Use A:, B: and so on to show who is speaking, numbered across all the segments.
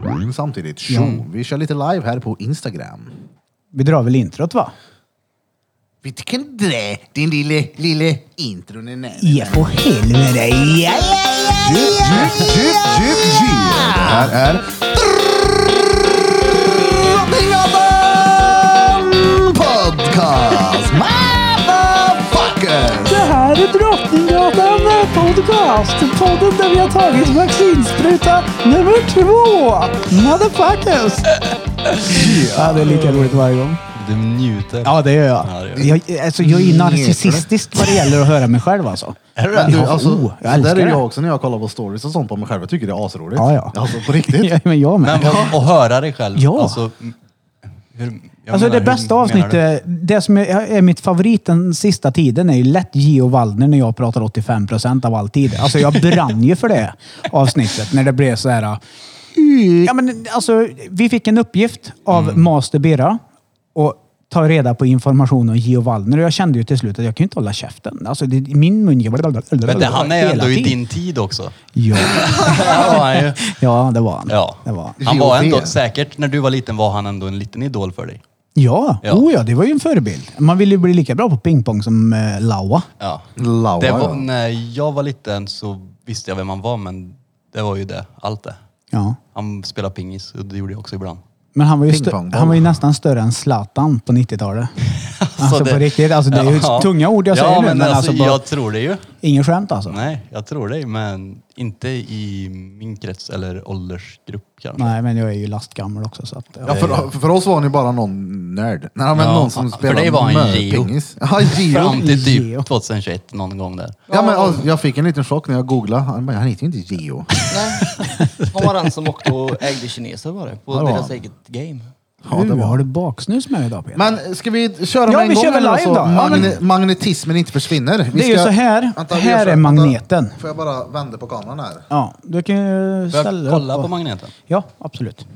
A: igång Mm. samtidigt. Tjo, Vi kör lite live här på Instagram.
B: Vi drar väl introt va?
A: Vi kan dra din lille, lille intron. är nära.
B: Ja, på E helvete. Ja, ja, ja.
A: Djup, djup, djup, djup, djup. Det här är Drottninggatan Podcast! Motherfuckers!
B: Det här är Drottninggatan Podcast. Podden där vi har tagit vaccinspruta nummer två. Motherfuckers. Ja, det är lika roligt varje gång.
C: Du njuter.
B: Ja, det gör jag.
C: Ja, det gör
B: Jag, alltså, jag är ju narcissistisk vad det gäller att höra mig själv alltså.
C: Är det
A: Men
C: det?
A: du,
B: Ja,
A: alltså,
B: oh, jag
A: så
B: älskar
A: där är
B: det.
A: jag också när jag kollar på stories och sånt på mig själv. Jag tycker det är asroligt.
B: Ja, ja.
A: Alltså på riktigt.
B: Ja, men jag med.
C: Men vad, och höra dig själv.
B: Ja.
C: Alltså, m- hur, jag
B: Alltså det
C: menar, hur
B: bästa
C: menar du?
B: avsnittet, det som är, är mitt favorit den sista tiden är ju lätt Gio Waldner när jag pratar 85 procent av all tid. Alltså jag brann ju för det avsnittet när det blev så här. Ja, men, alltså, vi fick en uppgift av
C: Mm.
B: Master Birra och ta reda på information om Gio Waldner och jag kände ju till slut att jag kan ju inte hålla käften. Alltså det, min mun gör blablabla
C: Men det, han är
B: hela
C: ändå i
B: tiden.
C: din tid också.
B: Ja,
C: Ja, han är ju-
B: ja, det var han.
C: ja.
B: Det var han.
C: Han var
A: GOP.
C: ändå, säkert när du var liten var han ändå en liten idol för dig.
B: Ja,
C: Ja.
B: Oh, ja, det var ju en förebild. Man ville ju bli lika bra på pingpong som eh, Laua.
C: Ja.
A: Laua,
C: Det var,
A: ja.
C: när jag var liten så visste jag vem han var men det var ju det, allt det.
B: Ja.
C: Han spelade pingis och det gjorde jag också ibland.
B: Men han var, ju stö-
A: Pingpongboll.
B: han var ju nästan större än Zlatan på 90-talet. alltså på riktigt. Alltså det är ju
C: Ja.
B: tunga ord jag
C: ja,
B: säger nu.
C: Men alltså,
B: bara,
C: Jag tror det ju.
B: Ingen skämt alltså. Nej.
C: Nej, jag tror det men inte i min krets eller åldersgrupp kanske.
B: men jag är ju lastgammal också så att...
A: Ja, för, för oss var ni bara någon nörd. Nej, men
C: Ja,
A: någon som
C: för
A: spelade
C: dig var han Geo.
A: pingis. Ja, Geo.
C: Fram till
B: Geo.
C: typ 2021 någon gång där.
A: Ja, men, alltså, jag fick en liten chock när jag googlade. Han, bara, han heter ju inte Geo.
D: Nej. Han var den som åkte och ägde kineser var det. På
A: Ja, det var
D: deras
A: han.
D: eget game.
A: Ja, det
B: du,
A: var
B: har du baksnus med idag Peter?
A: Men ska vi köra
B: Ja,
A: med en
B: vi
A: gång
B: kör väl
A: eller
B: live
A: så
B: då. Ja, men-
A: Magne- magnetismen inte försvinner? Vi
B: Det är ju så här.
A: vi
B: Här
A: gör
B: är magneten.
A: Får jag bara vända på kameran här?
B: Ja, du kan ju
C: Får
B: ställa
C: jag
B: dig
C: kolla
B: upp
C: på
B: och-
C: magneten?
B: Ja, absolut.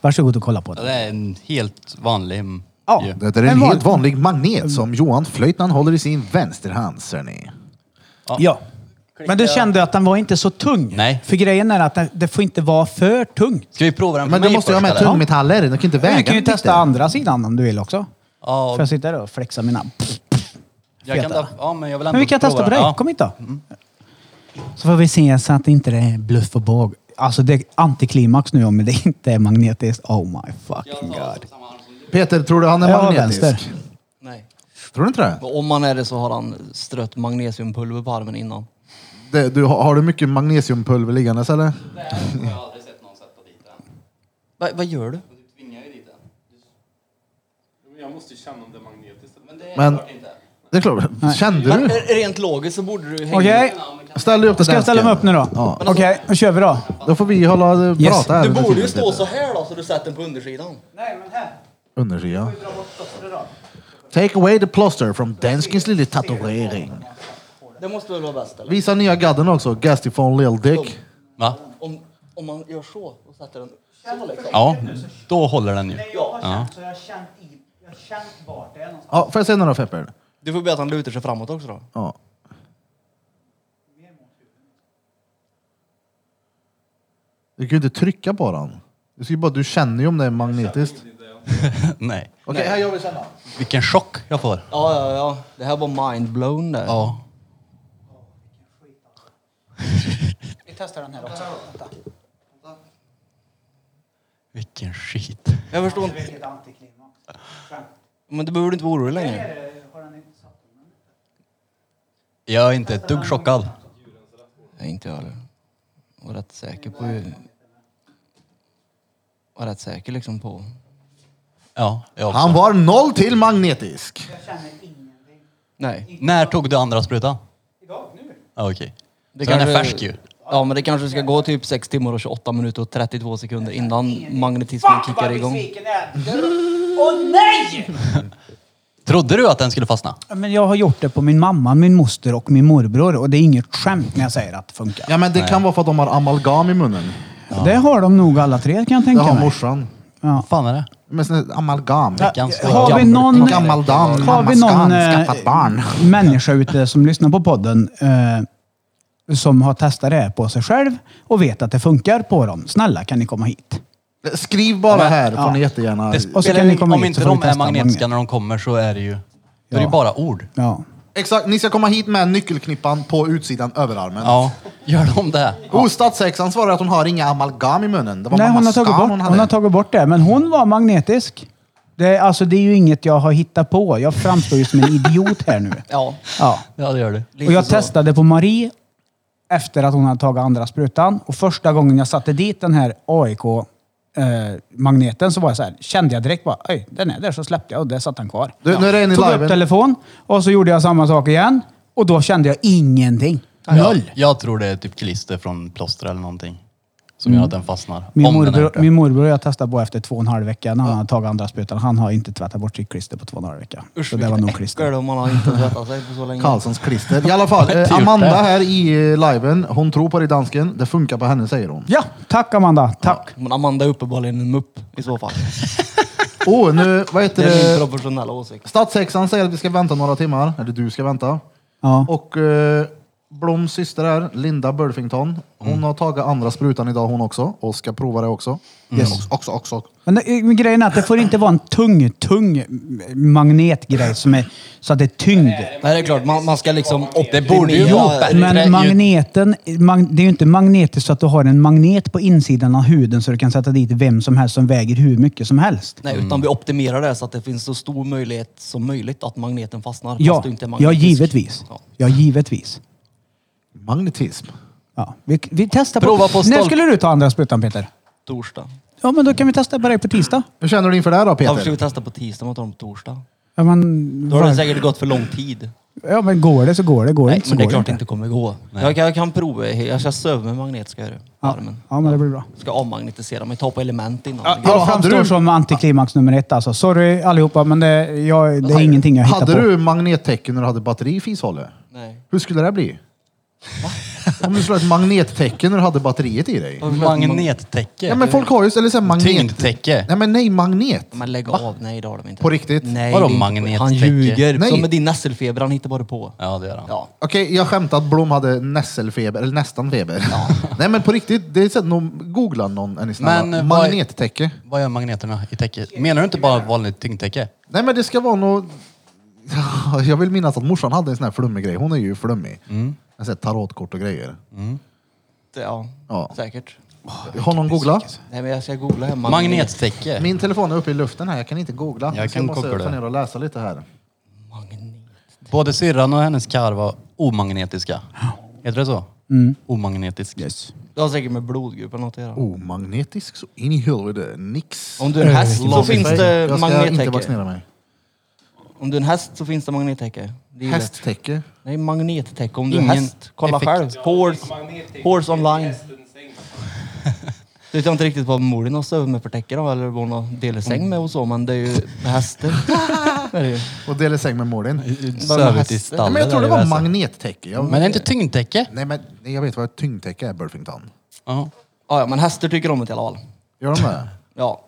B: Varsågod och kolla på
C: Ja,
B: den.
C: Det är en helt vanlig... mm,
B: Ja.
C: ju.
A: Det är en,
B: En
A: helt vanlig magnet som Johan Flöjtnant håller i sin vänsterhand, ser ni.
B: Ja. Men du kände att den var inte så tung?
C: Nej.
B: För grejen är att det, det får inte vara för tungt.
C: Ska vi prova den på
A: Men
C: mig
A: du måste ju ha
C: först,
A: med
C: eller?
A: tungmetaller, de kan inte väga.
B: Du kan ju
A: lite.
B: testa andra sidan om du vill också.
C: Ja,
B: Får jag sitta där och flexa mina...
C: jag kan
B: feta.
C: ta- ja, men jag vill ändå
B: Men vi kan
C: prova
B: testa på
C: den.
B: dig.
C: Ja.
B: Kom hit då. Så får vi se så att inte det är bluff och båg. Alltså det är antiklimax nu om det inte är magnetiskt. Oh my fucking god.
A: Peter, tror du han är
B: Ja,
A: magnetisk?
B: vänster.
D: Nej.
A: Tror du inte det?
D: Men om man är det så har han strött magnesiumpulver på armen innan.
A: det du, har har du mycket magnesiumpulver liggandes eller?
D: Va, vad gör du?
E: Jag måste ju känna om det är magnetiskt.
A: Men det är klart, kände
D: Men
A: du?
D: r- eh, rent logiskt så borde du hänga...
B: Okej,
A: Ställ dig upp den
B: ska jag ställa mig upp nu då?
A: Ja.
B: Okej, då kör vi då.
A: Då får vi hålla yes.
B: Yes.
A: prata här.
D: Du
A: under
D: borde ju
A: tiden,
D: stå
A: Peter.
D: så här då så du sätter den på undersidan.
A: Undersida. Take away the plaster from danskens lilla tatuering.
D: Det måste väl vara bäst eller?
A: Visa nya gadden också, Gastifon Lil Dick.
C: Va?
D: Om, om man gör så och sätter den så liksom.
C: Ja, då håller den ju. Ja.
B: så jag har känt i... Jag har känt vart det är någonstans.
A: Ja, får jag se några Fepper?
D: Du får be att han lutar sig framåt också då.
A: Ja. Du kan ju inte trycka på den. Du, ska ju bara, du känner ju om det är magnetiskt.
C: Nej.
A: Okej, här gör vi känna.
C: Vilken chock jag får.
D: Ja, ja, ja. Det här var mindblown där.
C: Ja.
B: Vi testar den här också.
C: Vilken skit.
D: Jag förstår inte. Men du behöver inte vara orolig längre.
C: Jag är inte ett dugg chockad.
D: Nej, inte jag heller. Jag var rätt säker på hur... var rätt säker liksom på...
C: Ja, jag också.
A: Han var noll till magnetisk.
D: Nej.
C: När tog du andra sprutan?
B: Idag, nu?
C: Ja, okej.
D: Det
C: Så den är färsk ju.
D: Ja, men det kanske ska gå typ 6 timmar och 28 minuter och 32 sekunder innan magnetismen kickar igång.
B: Åh nej!
C: Trodde du att den skulle fastna?
B: Men jag har gjort det på min mamma, min moster och min morbror och det är inget skämt när jag säger att det funkar.
A: Ja men det kan vara för att de har amalgam i munnen.
B: Det har de nog alla tre kan jag
A: Det
B: tänka
A: har
B: mig.
A: morsan.
C: Vad fan är det?
A: Men sån här amalgam.
C: Ganska
B: Har vi
C: gammalt.
B: någon,
A: Gammal dam,
B: har vi
A: mamma
B: någon
A: skan,
B: eh,
A: skaffat barn.
B: människa ute som lyssnar på podden eh, som har testat det här på sig själv och vet att det funkar på dem. Snälla kan ni komma hit?
A: Skriv bara
C: men-
A: här,
B: ja.
A: får ni jättegärna.
C: Det
B: Och så
C: spelar
B: kan ni
C: ing-
B: komma
C: om
B: hit
C: inte
B: så får
C: de
B: vi
C: är
B: testa en
C: magnetiska när de kommer så är det ju, då är det
B: Ja.
C: ju bara ord.
B: Ja.
A: Exakt, ni ska komma hit med nyckelknippan på utsidan överarmen.
C: Ja, gör de det?
A: Oh, stadssexan svarar att hon har inga amalgam i munnen. Det var
B: Nej, hon har,
A: mammas
B: tagit
A: skam
B: bort,
A: hon
B: hon,
A: hade.
B: har tagit bort det. Men hon var magnetisk. Det, alltså, det är ju inget jag har hittat på. Jag framstår ju som en idiot här nu.
D: Ja,
B: Ja.
C: Ja, det gör du.
D: lite
B: Och jag
D: så.
B: testade på Marie efter att hon hade tagit andra sprutan. Och första gången jag satte dit den här AIK-magneten eh, så var jag så här, kände jag direkt bara, oj, den är där. Så släppte jag och där satt den kvar.
A: Du, nu är det en i
B: Tog
A: liven.
B: upp telefon och så gjorde jag samma sak igen. Och då kände jag ingenting. Noll.
C: Jag, jag tror det är typ klister från plåster eller någonting. Som gör att den fastnar.
B: Mm. Min
C: om den har gjort
B: morbror,
C: det.
B: min morbror jag testade på efter två och en halv vecka när han hade tagit andra sprutan. Han har inte tvättat bort sitt klister på två och en halv vecka.
D: Usch,
B: så det var
D: vilket
B: nog
D: äckel
B: klister.
D: då, man har inte tvättat sig på så länge.
A: Karlssons klister. I alla fall,
C: Jag har inte
A: eh,
C: gjort
A: Amanda
C: det.
A: här i eh, liven, hon tror på dig dansken. Det funkar på henne säger hon.
B: Ja, tack Amanda. Tack.
D: Men Amanda är uppenbarligen en mupp i så fall.
A: Åh, oh, nu, vad heter
D: Det är min
A: det?
D: professionella åsikt.
A: Stadssexan säger att vi ska vänta några timmar, eller du ska vänta.
B: Ja.
A: Och eh, Bloms syster här, Linda Burfington, hon har tagit andra sprutan idag hon också och ska prova det också. Yes. Också, också, också.
B: Men det- men grejen är att det får inte vara en tung, tung magnetgrej som är, så att det är tyngd.
D: Nej, det är klart. Man, man ska liksom
C: Det borde ju
D: optimera-
C: vara bättre.
B: Men magneten, mag, det är ju inte magnetiskt så att du har en magnet på insidan av huden så du kan sätta dit vem som helst som väger hur mycket som helst.
D: Nej, utan vi optimerar det så att det finns så stor möjlighet som möjligt att magneten fastnar.
B: Ja,
D: fast du inte är
B: ja,
D: magnetisk.
B: givetvis.
D: Ja.
B: Ja, givetvis.
A: Magnetism.
B: Ja, vi, vi testar på...
D: Prova på
B: När
D: stolp.
B: skulle du ta andra sprutan Peter?
D: Torsdag.
B: Ja, men då kan vi testa på dig på tisdag.
A: Hur känner du inför det här då
D: Jag
A: Peter?
D: försöker testa på tisdag, men tar dem på torsdag.
B: Ja, men,
D: Då har det
B: var-
D: säkert gått för lång tid.
B: ja, men går det så går det. Går det
D: Nej,
B: inte så
D: men det är
B: går
D: klart
B: det
D: det inte kommer gå. Jag kan, jag kan prova. Jag ska söva med magnet, ska jag göra.
B: Ja,
D: Armen.
B: ja, men det blir bra.
D: Ska avmagnetisera mig, ta på element innan.
A: Ja,
B: Jag
A: hade
B: framstår
A: du-
B: som antiklimax nummer ett alltså. Sorry allihopa, men det, jag, det är ingenting jag hittar
A: Hade
B: på.
A: du magnettäcke när du hade batteri i fishållet?
D: Nej.
A: Hur skulle det bli? Om du skulle ha ett magnettäcke när du hade batteriet i dig?
C: Magnettäcke?
A: Ja men folk har ju, eller såhär magnet...
C: Tyngdtäcke?
A: Nej men nej, magnet.
D: Men lägg av. Nej, det har de inte.
A: På riktigt?
D: Nej,
C: Vadå
D: det är inte-
C: magnet-
D: Han
C: täcker?
D: ljuger.
A: Nej.
D: Som med din nässelfeber, han hittar bara på.
C: Ja, det gör han.
D: Ja.
A: Okej, jag skämtade att Blom hade nässelfeber, eller nästan feber. nej men på riktigt, det är såhär, någon, googla någon är ni snälla.
C: Men, eh, vad är-
A: magnettäcke.
C: Vad gör magneterna i täcket? Menar du inte bara vanligt tyngdtäcke?
A: Nej men det ska vara något... Jag vill minnas att morsan hade en sån här flummig grej. Hon är ju flummig. Mm. En sån här tarotkort och grejer.
D: Det- Ja,
A: Ja.
D: säkert.
A: Har någon googlat?
D: Nej, men jag ska googla hemma.
C: Magnettäcke?
A: Min telefon är uppe i luften här, jag kan inte googla.
C: Jag
A: Så
C: kan
A: jag måste
C: googla.
A: ta ner och läsa lite här.
D: Magnet.
C: Både syrran och hennes karl var omagnetiska. Heter det så?
A: Mm.
C: Omagnetisk.
D: Det har säkert med blodgrupp eller något att göra.
A: Oh. Omagnetisk så in i helvete, nix.
D: Om du är en häst så
A: Låt mig
D: finns
A: säga.
D: det
A: Eh, Jag ska inte
D: magnettäcke.
A: vaccinera mig.
D: Om du är en häst så finns det magnettäcke. Det är ju rätt.
A: Hästtäcke.
D: Nej, magnettäcke. Om du är
C: Ingen
D: häst, kolla
C: effekt.
D: själv. Horse, horse online. Du vet jag inte riktigt vad mor din har sovit med för täcke då, eller vad hon har delat säng med och så, men det är ju med hästar. Det är det ju.
A: Och delar säng med Mårdin.
C: Sövet i
A: Nej,
C: stallet.
A: men jag tror det
C: där
A: var
C: i väsen.
A: magnettäcke. Jag,
C: Men är det inte tyngdtäcke?
A: Nej men nej, jag vet vad ett tyngdtäcke är, Burfington.
C: Ja.
D: Ja, ja, men hästar tycker om det i alla fall.
A: Gör de det?
D: Ja,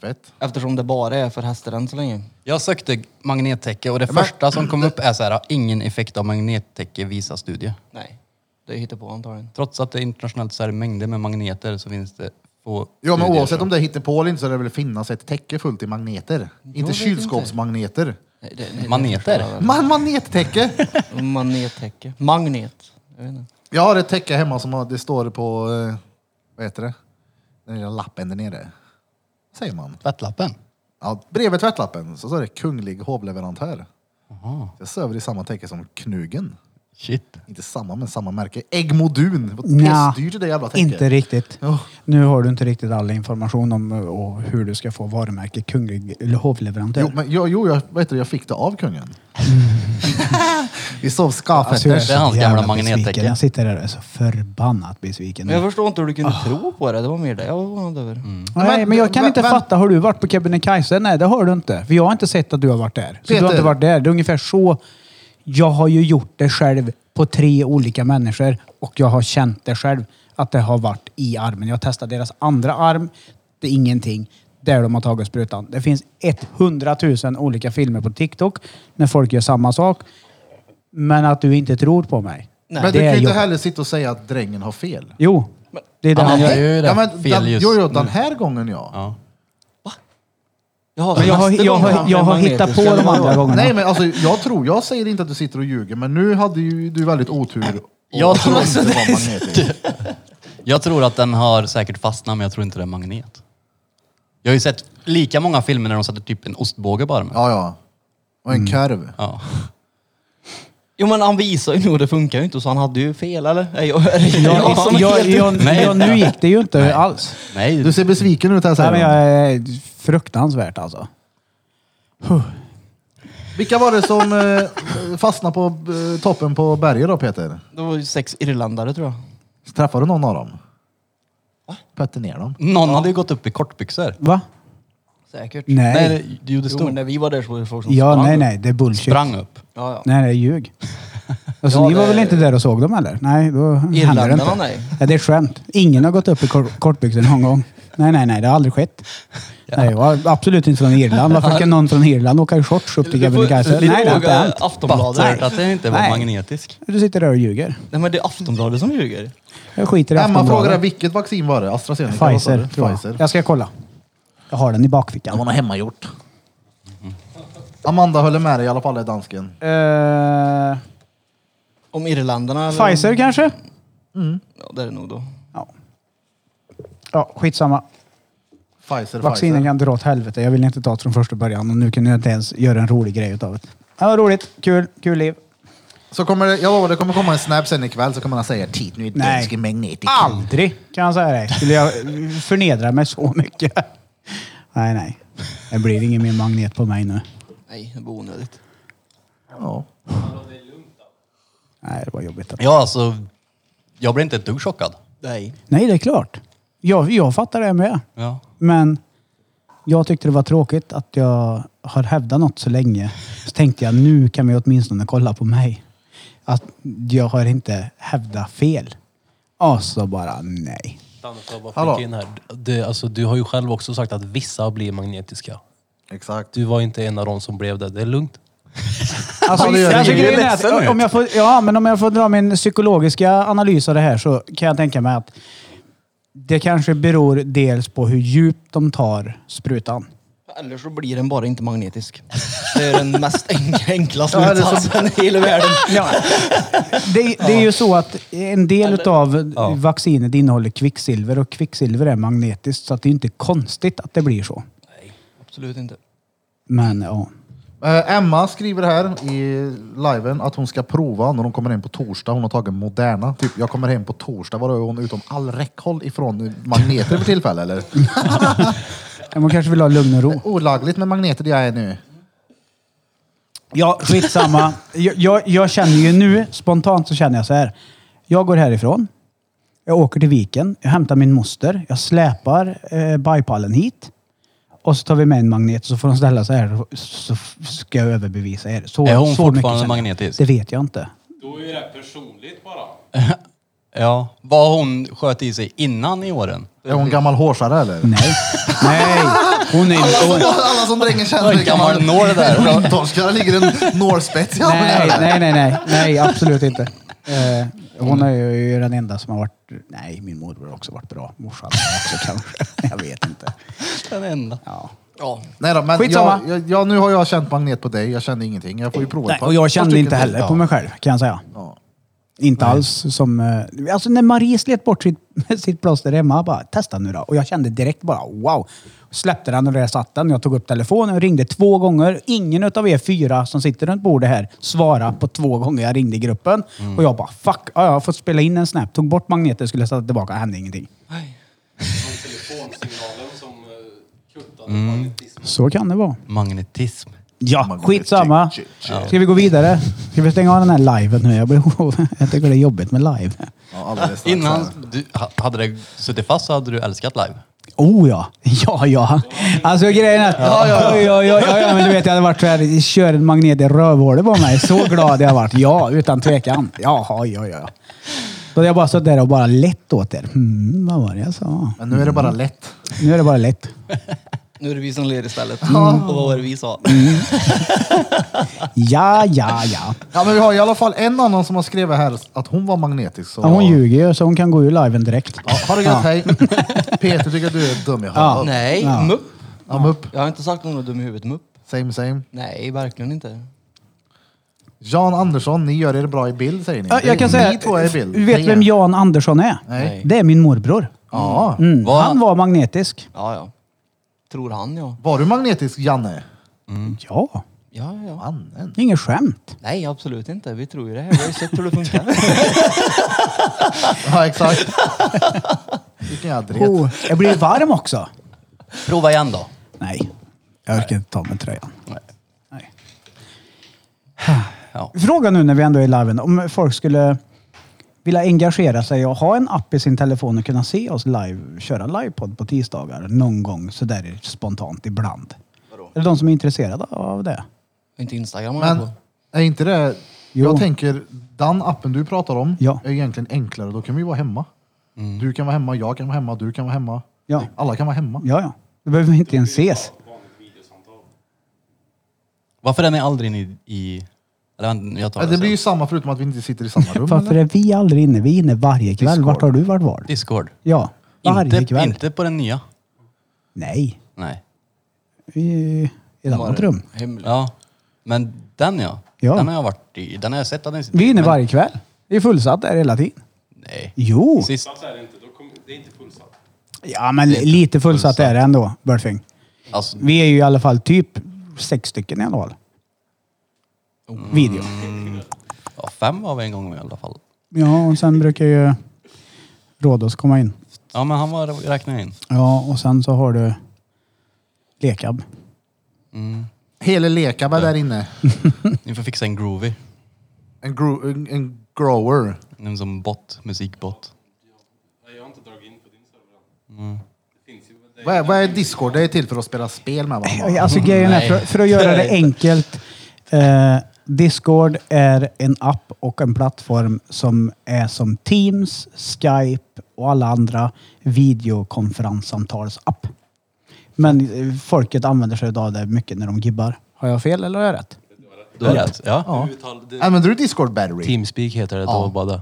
A: Fett.
D: eftersom det bara är för hästar än så länge.
C: Jag sökte magnettäcke och det första som kom upp är så här, ingen effekt av magnettäcke visar studie.
D: Nej, det är på antagligen.
C: Trots att det är internationellt så är det mängder med magneter så finns det få
A: Ja men
C: studier
A: oavsett
C: som-
A: om det hittar på eller inte så är det väl finnas ett täcke fullt i magneter. inte
D: vet
A: kylskåpsmagneter.
D: Nej, det- nej, det
C: Maneter?
D: förstår jag väl.
A: Man, magnettäcke!
D: Magnettäcke. Magnet. Jag vet inte.
A: jag har ett täcke hemma som har, det står på, eh, vad heter det? Den lilla lappen där nere. Säger man.
C: Tvättlappen?
A: Ja, bredvid tvättlappen så står det kunglig hovleverantör. Jag söver i samma täcke som Knugen.
C: Shit.
A: Inte samma, men samma märke. Äggmodun. Vad
B: Nja,
A: pissdyrt det jävla täcket.
B: Inte riktigt.
A: Ja.
B: Nu har du inte riktigt all information om eh, och hur du ska få varumärke kunglig eller hovleverantör.
A: Jo, men, jo, jo jag, vad heter det, jag fick det av kungen. Vi sov
B: Alltså,
A: skavfetter.
C: det är hans
B: jävla
C: gamla magnettäcke.
B: besviken. Jag sitter där och är så förbannat besviken.
D: Men jag förstår inte hur du
B: Ah.
D: kunde tro på det. Det var mer det jag var förvånad över.
B: Nej, men jag kan
A: Men-
B: inte
A: men-
B: fatta. Har du varit på Kebnekaise? Nej, det har du inte. För jag har inte sett att du har varit där. Så du har
A: Peter.
B: inte varit där. Det är ungefär så. Jag har ju gjort det själv på tre olika människor och jag har känt det själv att det har varit i armen. Jag har testat deras andra arm. Det är ingenting. Där de har tagit sprutan. Det finns 100 000 olika filmer på TikTok när folk gör samma sak. Men att du inte tror på mig.
D: Nej,
A: men du
B: det är
A: kan ju inte
B: jobbigt.
A: heller sitta och säga att drängen har fel.
B: Jo, det är det
C: Han
B: han
C: gör
B: gör.
C: ju det
A: ja, men
C: fel
A: den,
C: just
A: jo, jo, den här gången ja.
C: Ja.
D: Jaha,
B: Men jag har,
D: nästa
B: jag
D: gång
B: har,
D: kanske
B: jag har
D: magnetisk,
B: hittat på
D: eller
B: de
D: vad?
B: andra gångerna.
A: Nej men alltså, jag tror, jag säger inte att du sitter och ljuger, men nu hade ju du väldigt otur.
C: Jag tror
A: inte
C: också
A: det var magnetiskt.
C: Jag tror att den har säkert fastnat, men jag tror inte det är magnet. Jag har ju sett lika många filmer när de satte typ en ostbåge på armen.
A: Ja, ja. Och en
B: Mm.
A: korv.
C: Ja.
D: Jo men han visar ju nog, det funkar ju inte så han hade ju fel eller? Är jag, är jag,
B: Jag,
D: som är
B: jag,
D: helt-
B: jag,
C: Nej.
B: jag, nu gick det ju inte alls.
C: Nej,
A: Du ser besviken ut här
B: Nej,
A: säger
B: men
A: han.
B: jag är fruktansvärt alltså.
A: Vilka var det som eh, fastnade på eh, toppen på berget då Peter?
D: Det var ju sex irländare tror jag.
A: Träffade du någon av dem? Pötte ner dem?
C: någon hade ju gått upp i kortbyxor.
B: Va?
D: Säkert.
B: Nej.
C: det, jo, det
D: Jo, men
C: stod.
D: när vi var där så var det folk som
B: Ja,
D: sprang
B: nej,
D: upp.
B: nej. Det är bullshit.
C: Sprang upp.
D: Ja, ja.
B: Nej, det är ljug. Alltså,
D: Ja,
B: ni var
D: det-
B: väl inte där och såg dem eller? Nej, då hände det
D: Irländarna
B: inte.
D: nej.
B: Ja, det är ett skämt. Ingen har gått upp i kor- kortbyxor någon gång. Nej, nej, nej. Det har aldrig skett. Nej, jag var absolut inte från Irland. Varför ska någon från Irland åka i shorts upp till
D: Du får-
B: Kebnekaise? Nej,
D: du
B: det har inte
D: frågar
B: hänt.
D: Aftonbladet.
C: Hört att den inte var
B: Nej.
C: magnetisk.
B: Du sitter där och ljuger.
D: Nej men det är Aftonbladet som ljuger.
B: Jag skiter i
A: Emma frågade
B: Aftonbladet.
A: vilket vaccin var det? AstraZeneca? vad sa
B: Pfizer,
A: du?
B: tror jag.
A: Pfizer.
B: Jag ska kolla. Jag har den i
A: Ja,
B: bakfickan.
A: man har hemmagjort. Amanda håller med dig i alla fall, är dansken.
B: Eh,
D: Om irländarna eller...
B: Pfizer kanske?
D: Ja det är det nog då.
B: Ja. Ja, skitsamma.
A: Pfizer,
B: Vaccinen
A: Pfizer.
B: kan dra åt helvete. Jag ville inte ta det från första början och nu kunde jag inte ens göra en rolig grej utav det. Ja, roligt. Kul. Kul liv.
A: Så kommer det, jag lovar, det kommer komma en snap sen ikväll så kommer han säga Titt, nu är
B: Nej.
A: dansken magnetisk.
B: Aldrig kan jag säga dig. Skulle jag förnedra mig så mycket. Nej, nej. Det blir ingen mer magnet på mig nu.
D: Nej, det var onödigt.
A: Ja.
B: Nej, det var jobbigt.
C: Ja, alltså. Jag blev inte ett dugg chockad.
D: Nej.
B: Nej, det är klart. Jag, jag fattar det med.
C: Ja.
B: Men jag tyckte det var tråkigt att jag har hävdat något så länge. Så tänkte jag, nu kan vi åtminstone kolla på mig. Att jag har inte hävdat fel. Och så bara, nej.
F: Dan, får jag bara
A: Hallå.
F: flika in här. Det, alltså, du har ju själv också sagt att vissa blir magnetiska.
A: Exakt.
F: Du var inte en av dem som blev det. Det är lugnt.
B: Alltså,
A: Ja, det gör
B: alltså,
A: det.
B: grejen
A: Det
B: är
C: ledsen
B: att om jag, får, ja, men om jag får dra min psykologiska analys av det här så kan jag tänka mig att det kanske beror dels på hur djupt de tar sprutan.
D: Eller så blir den bara inte magnetisk. Det är den mest enk- enkla
A: Ja, eller så-
D: slutsatsen i hela världen.
B: Ja. Det, det är ju så att en del av vaccinet innehåller kvicksilver och kvicksilver är magnetiskt så att det är inte konstigt att det blir så.
D: Absolut inte.
B: Men ja.
A: Eh, Emma skriver här i liven att hon ska prova när hon kommer hem på torsdag. Hon har tagit Moderna. Typ, jag kommer hem på torsdag. Var är hon utom all räckhåll ifrån magneter för tillfälle eller?
B: Men Man kanske vill ha lugn och ro.
A: Olagligt med magneter det jag är nu.
B: Ja, skitsamma. Jag, jag, jag känner ju nu, spontant så känner jag så här. Jag går härifrån. Jag åker till viken. Jag hämtar min moster. Jag släpar eh, bajpallen hit. Och så tar vi med en magnet så får de ställa sig här så f- ska jag överbevisa er. Så,
C: Är hon
B: så mycket
C: fortfarande
B: känner jag.
C: magnetisk?
B: Det vet jag inte.
E: Då är ju det här personligt bara.
C: Ja. Vad hon sköt i sig innan i åren.
A: Är hon gammal hårsare eller?
B: Nej. Nej. Hon är hon,
A: Alla som drängen känner
C: Oj, gammal nål det där.
A: Torskar ligger en nålspets i
B: nej,
A: handen.
B: nej, nej, nej. Nej, absolut inte. Eh, hon är ju den enda som har varit... Nej, min morbror har också varit bra. Morsan har också kanske. Jag vet inte.
C: Den enda.
B: Ja.
D: Ja.
A: Nej då, men
B: Skitsamma.
A: jag, jag, jag, nu har jag känt magnet på dig. Jag kände ingenting. Jag får ju prova
B: Nej,
A: ett par-
B: och jag
A: par
B: kände
A: stycken
B: inte
A: till.
B: heller
A: Ja.
B: på mig själv, kan jag säga.
A: Ja.
B: Inte alls som... eh, Alltså när Marie slet bort sitt, sitt plåster hemma, jag bara testa nu då. Och jag kände direkt bara wow. Släppte den och där satt den. Jag tog upp telefonen och ringde två gånger. Ingen utav er fyra som sitter runt bordet här svarade på två gånger jag ringde i gruppen. Och jag bara fuck, ja, jag har fått spela in en snap. Tog bort magneten, skulle sätta tillbaka, hände ingenting.
E: Som telefonsignalen som eh, kuttade magnetismen.
B: Så kan det vara.
C: Magnetism.
B: Ja, skitsamma.
A: Shit, shit,
B: Ska vi gå vidare? Ska vi stänga av den här liven nu? Jag, blir, jag tycker det är jobbigt med live.
A: Ja, alldeles strax.
C: Innan du, ha- hade det suttit fast så hade du älskat live.
B: Oh ja! Ja, ja. Alltså grejen är att... Ja, ja, ja, ja, ja, ja men du vet, jag hade varit så här, kör en magnet i rövhålet på mig. Så glad jag varit. Ja, utan tvekan. Jaha, ja, ja. Då hade jag bara suttit där och bara lett åt er. Mm, vad var det jag sa?
A: Men nu är det bara lätt.
B: Nu är det bara lätt.
D: Nu är det vi som ler istället. Och vad var det vi sa?
B: Ja, ja, ja.
A: Ja, men vi har i alla fall en annan som har skrivit här att hon var magnetisk. Så...
B: ja hon ljuger ju, så hon kan gå ur liven direkt.
A: Ja, ha det gött, hej. Peter tycker att du är dum i huvudet.
D: Nej,
B: Ja.
D: mupp.
A: I'm up.
D: Jag har inte sagt någon är dum i huvudet, mupp.
A: Same same.
D: Nej, verkligen inte.
A: Jan Andersson, ni gör er bra i bild säger ni.
B: Ja, jag kan
A: ni
B: säga
A: två är i bild.
B: du vet vem Jan Andersson är?
A: Nej.
B: Det är min morbror.
A: Ja.
B: Mm.
C: Vad-
B: Han var magnetisk.
D: Ja, ja. Tror han, ja.
A: Var du magnetisk, Janne? Mm.
B: Ja,
D: Ja, ja, ja.
A: Mannen.
B: inget skämt.
D: Nej, absolut inte. Vi tror ju det här. Vi har ju sett hur det funkar.
A: Ja, exakt. Vilken jädra het.
B: Oh, jag blir varm också.
C: Prova igen då.
B: Nej, jag orkar inte ta med tröjan. Nej.
C: Ja.
B: Fråga nu när vi ändå är i liven, om folk skulle vilja engagera sig och ha en app i sin telefon och kunna se oss live, köra livepodd på tisdagar någon gång sådär spontant ibland. Är det de som är intresserade av det?
D: inte Instagram alltså. har jag
A: Men
D: på.
A: är inte det...
B: Jo.
A: Jag tänker, den appen du pratar om
B: Ja.
A: är egentligen enklare. Då kan vi vara hemma.
C: Mm.
A: Du kan vara hemma, jag kan vara hemma, du kan vara hemma.
B: Ja.
A: Alla kan vara hemma.
B: Ja, ja. Då behöver vi inte ens ses.
C: Varför är ni aldrig i... i eller, jag tar
A: Ja,
C: det,
A: Alltså, det blir
C: sen.
A: ju samma förutom att vi inte sitter i samma rum.
B: Varför
A: eller?
B: är vi aldrig inne? Vi är inne varje kväll.
A: Discord.
B: Vart har du varit var?
C: Discord.
B: Ja, varje
C: Inte,
B: kväll.
C: inte på den nya.
B: Nej,
C: Nej.
B: i, i ett
D: De har
B: annat rum.
D: Hemligt.
C: Ja. Men den ja.
B: Ja.
C: Den har jag varit i. Den har jag sett. att Den
B: Vi är inne
C: men-
B: varje kväll. Det är fullsatt där hela tiden.
C: Nej.
B: Jo,
C: Sist.
E: Så är det inte. Då kommer- det är inte fullsatt.
B: ja men lite fullsatt är det ändå, Burfing.
C: Alltså,
B: Vi är ju i alla fall typ sex stycken i alla fall. Video.
C: ja, fem var vi en gång med i alla fall.
B: Ja, och sen brukar ju Rhodos komma in.
C: Ja, men han var räknar jag in.
B: Ja, och sen så har du Lekab.
A: Hele Lekab är där inne.
C: Ni får fixa en groovy.
A: En, gro- en, en grower.
C: En som bot, musikbot.
E: Nej, jag har inte dragit in på din server än. Det finns ju väl det.
A: Vad är, vad är Discord? Det är till för att spela spel med varandra.
B: Alltså grejen är,
C: Nej.
B: för, för att göra det enkelt. Eh, Discord är en app och en plattform som är som Teams, Skype och alla andra videokonferenssamtalsapp. Men eh, folket använder sig av det mycket när de gibbar. Har jag fel eller har jag rätt?
C: Du har rätt. Ja.
A: Använder du Discord Battery?
F: Teamspeak heter det. Då, bara det.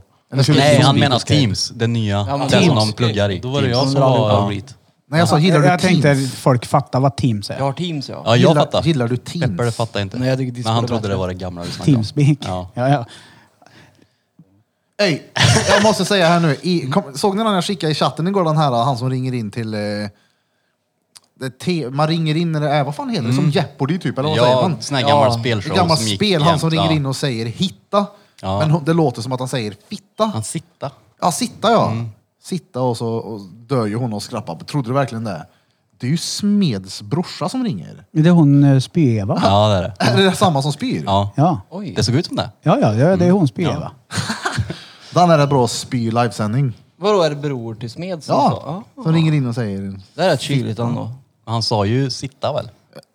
C: Nej, han menar Teams. Det nya.
D: Ja, men
C: det som
D: Teams.
C: de pluggar i.
F: Då var det
C: Teams.
F: jag som var favorit.
A: Nej, jag sa gillar
B: jag
A: du
B: jag tänkte
A: Teams?
B: folk fattar vad Teams är.
D: Jag har Teams, ja.
C: Ja, jag
A: Gillar-
C: fattar.
A: gillar du Teams?
C: Pepper fattar inte.
D: Nej, jag tycker
C: men
D: Discord
C: han
D: är
C: trodde
D: bättre.
C: det var det gamla vi snackade om.
B: Teamspeak.
C: Ja.
B: Ja. Ja, ja.
A: Ey, jag måste säga här nu. I, kom, såg ni när jag skickade i chatten igår den här, han som ringer in till... Eh, det te, man ringer in när det är, vad fan heter det, som Jeopardy typ, eller vad säger
C: Mm. Ja,
A: man?
C: sån här gammal
D: Ja,
A: Ett
C: spelshow
A: gammalt
C: som gick
A: spel, han som
C: jämt,
A: ringer
C: ja.
A: in och säger hitta.
C: Ja.
A: Men hon- det låter som att han säger fitta.
C: Han sitta.
A: Ja, sitta ja.
C: Mm.
A: Sitta och så och dör ju hon och skrappar. Trodde du verkligen det? Det är ju Smeds brorsa som ringer.
B: Det är hon eh, Spy-Eva. Ja.
C: Ja, det är det.
A: Är det samma som spyr?
C: Ja.
B: Ja.
D: Oj.
C: Det såg ut som det.
B: ja, ja, det är hon Spy-Eva.
A: Den är det bra spy livesändning.
D: Vadå, är det bror till smed som
A: Ja, Mm.
D: sa? Ja.
A: som ringer in och säger...
D: Det är rätt kyligt ändå.
C: Han sa ju sitta väl?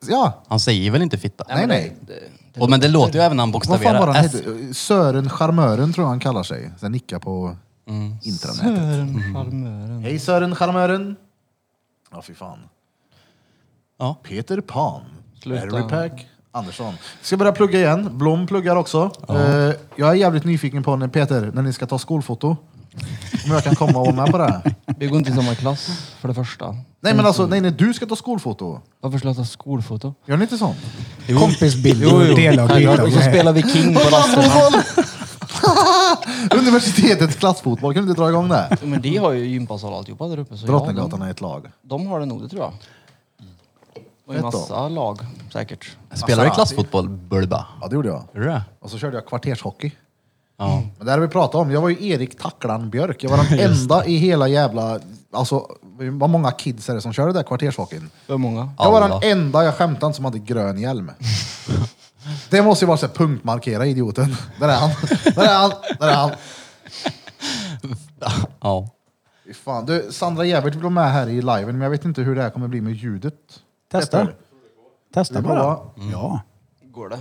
A: Ja,
C: Han säger väl inte fitta?
A: nej nej.
D: Det, det,
C: Och, men det låter ju även när han
A: Vad fan var
C: bokstaverar
A: han
C: S.
A: hette? Sören Charmören tror jag han kallar sig. Sen nickar på
C: Mm.
A: intranätet.
D: Sören charmören.
A: Hej Sören Charmören! Ja fy fan.
C: Ja.
A: Peter Pan.
D: Sluta.
A: Harry Pack. Andersson. Ska börja plugga igen. Blom pluggar också. Eh, jag är jävligt nyfiken på när Peter, när ni ska ta skolfoto. Om jag kan komma och vara med på det. här.
D: Vi går inte i samma klass, för det första.
A: Nej men alltså, nej, när du ska ta skolfoto.
D: Varför ska jag ta skolfoto?
A: Gör ni inte sånt?
B: Kompisbilder och
D: Ja, Och så
B: delavbilder.
D: spelar vi King på rasterna.
A: Universitetets klassfotboll, kan du inte dra igång det?
D: Men de har ju gympasal och alltihopa där uppe. Så ja, de,
A: Drottninggatan är ett lag.
D: de har det nog, det tror jag. Och
A: Vet
D: en massa lag, säkert.
C: Spelar du klassfotboll, Bulba?
A: Ja det gjorde jag.
C: Gjorde du det?
A: Och så körde jag kvartershockey. Mm.
C: Ja.
A: Men det här har vi pratat om. Jag var ju Erik Tacklan Björk. Jag var den enda i hela jävla... Alltså, vad många kids är det som kör det där kvartershockeyn?
D: Hur många?
A: Jag var
C: Alla.
A: den enda, jag skämtar inte, som hade grön hjälm. Det måste ju vara så här punktmarkera idioten. Där är han. Där är han. Där är han.
C: Ja.
A: Fy Fan. Du, Sandra Jävert vill vara med här i liven, men jag vet inte hur det här kommer bli med ljudet.
B: Testa.
A: Peter,
B: Testa
A: Det är bra.
B: bara. Mm. Ja.
D: Går det?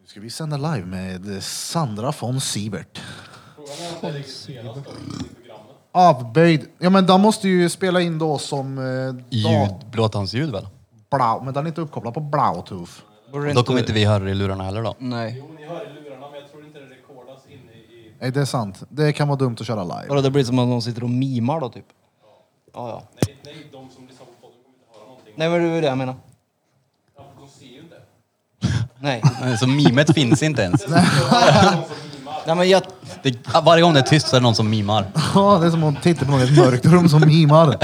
A: Nu ska vi sända live med Sandra von Siebert.
E: Frågan är om det registreras då i programmet.
A: Avböjd. Ja men den måste ju spela in då som... Eh, da-
C: Ljud, blåtandsljud väl?
A: Blau, men den är inte uppkopplad på bluetooth.
D: Borde
C: Då kommer inte vi höra det i lurarna heller då.
D: Nej.
E: Jo, ni hör i lurarna, men jag tror inte det rekordas inne i
A: Nej det är sant. Det kan vara dumt att köra live.
D: Vadå, det blir som att någon sitter och mimar då typ? Ja, ja.
E: Nej, nej, de som lyssnar på podden kommer inte höra någonting.
D: Nej, men det var det jag menar.
E: Ja, för De ser ju inte.
D: Nej.
C: Nej, Så mimet finns inte ens.
D: Nej, men jag...
C: Det, varje gång det är tyst så är det någon som mimar.
A: Ja, det är som att titta på någon i ett mörkt rum som mimar.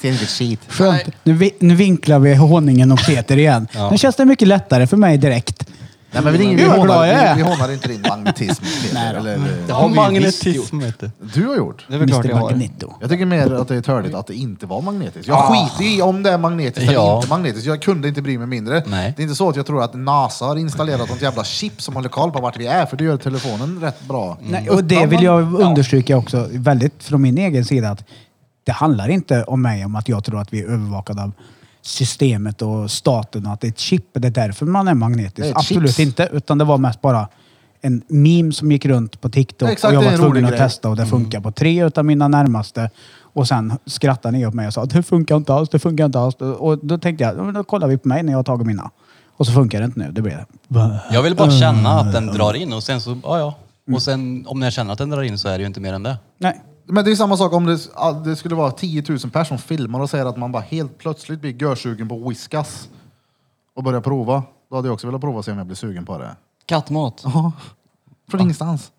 A: Ser inte ett skit.
B: Skönt. Nu, vi, nu vinklar vi honungen och Peter igen. Nu känns det mycket lättare för mig direkt.
A: Nej men vi, ingen, vi,
B: Gud, vad glad jag
A: hånar,
B: är.
A: vi, vi hånar inte din magnetism. Peter, eller, eh,
C: Det har vi ju visst gjort.
F: Magnetism heter det.
A: du har gjort.
D: Det är väl klart
B: Mr
D: jag har.
B: Magneto.
A: Jag tycker mer att det är törligt att det inte var magnetiskt. Jag skiter ju i om det är magnetiskt eller
C: Ah. Ja.
A: inte magnetiskt. Jag kunde inte bry mig mindre.
C: Nej.
A: Det är inte så att jag tror att NASA har installerat något jävla chip som håller koll på vart vi är, för det gör telefonen rätt bra.
C: Mm.
B: Nej, och det vill jag understryka också, väldigt från min egen sida, att det handlar inte om mig, om att jag tror att vi är övervakade av systemet och staten och att det är ett chip. Det är därför man är
A: Det
B: magnetisk.
A: är ett
B: Absolut
A: chips.
B: inte, utan det var mest bara en meme som gick runt på TikTok
A: Exakt,
B: och jag
A: det är
B: var
A: en
B: tvungen
A: rolig
B: att
A: grej. Mm.
B: testa och det funkar på tre utav mina närmaste. Och sen skrattade ni åt mig och sa att det funkar inte alls, det funkar inte alls. Och då tänkte jag, "Ja, men då kollar vi på mig när jag har tagit mina. Och så funkar det inte nu. Det blev...
C: Jag vill
A: Mm.
C: bara känna att den drar in och sen så, ja ja. Och sen om jag känner att den drar in så är det ju inte mer än det.
B: Nej.
A: Men det är samma sak om det, all- det skulle vara 10 000 personer som filmar och säger att man bara helt plötsligt blir görsugen på whiskas och börjar prova. Då hade jag också velat prova och se om jag blir sugen på det.
D: Kattmat.
A: Ja, från
C: Ah.
A: ingenstans.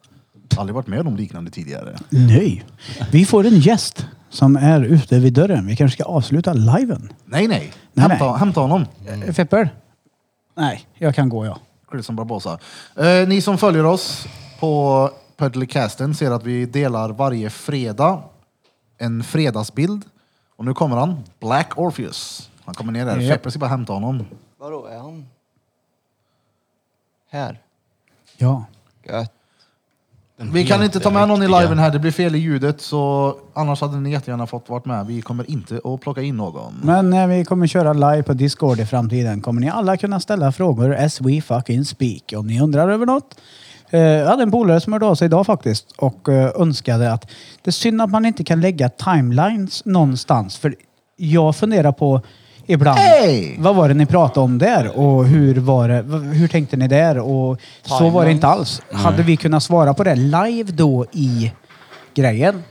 A: Aldrig varit med om liknande tidigare.
B: Nej. Vi får en gäst som är ute vid dörren. Vi kanske ska avsluta liven.
A: Nej, nej.
B: Nej,
A: Hämta,
B: nej.
A: hämta honom.
C: Eh,
B: Mm. Fepper? Nej, jag kan gå jag.
A: Chris som Barbosa. Eh, ni som följer oss på Puddlecasten ser att vi delar varje fredag en fredagsbild. Och nu kommer han, Black Orpheus. Han kommer ner där.
B: Japp.
A: Feppe ska bara hämta honom.
D: Vadå, är han... Här.
B: Ja.
D: Gött.
A: Vi kan inte ta med någon i liven här, det blir fel i ljudet. Så annars hade ni jättegärna fått vara med. Vi kommer inte att plocka in någon.
B: Men när vi kommer köra live på Discord i framtiden kommer ni alla kunna ställa frågor as we fucking speak. Om ni undrar över något. Eh, Jag hade en polare som hörde av sig idag faktiskt och eh, önskade att det är synd att man inte kan lägga timelines någonstans. För jag funderar på ibland.
A: Hey!
B: Vad var det ni pratade om där och hur, var det, v- hur tänkte ni där? Och så var det inte alls. Hade vi kunnat svara på det live då i grejen?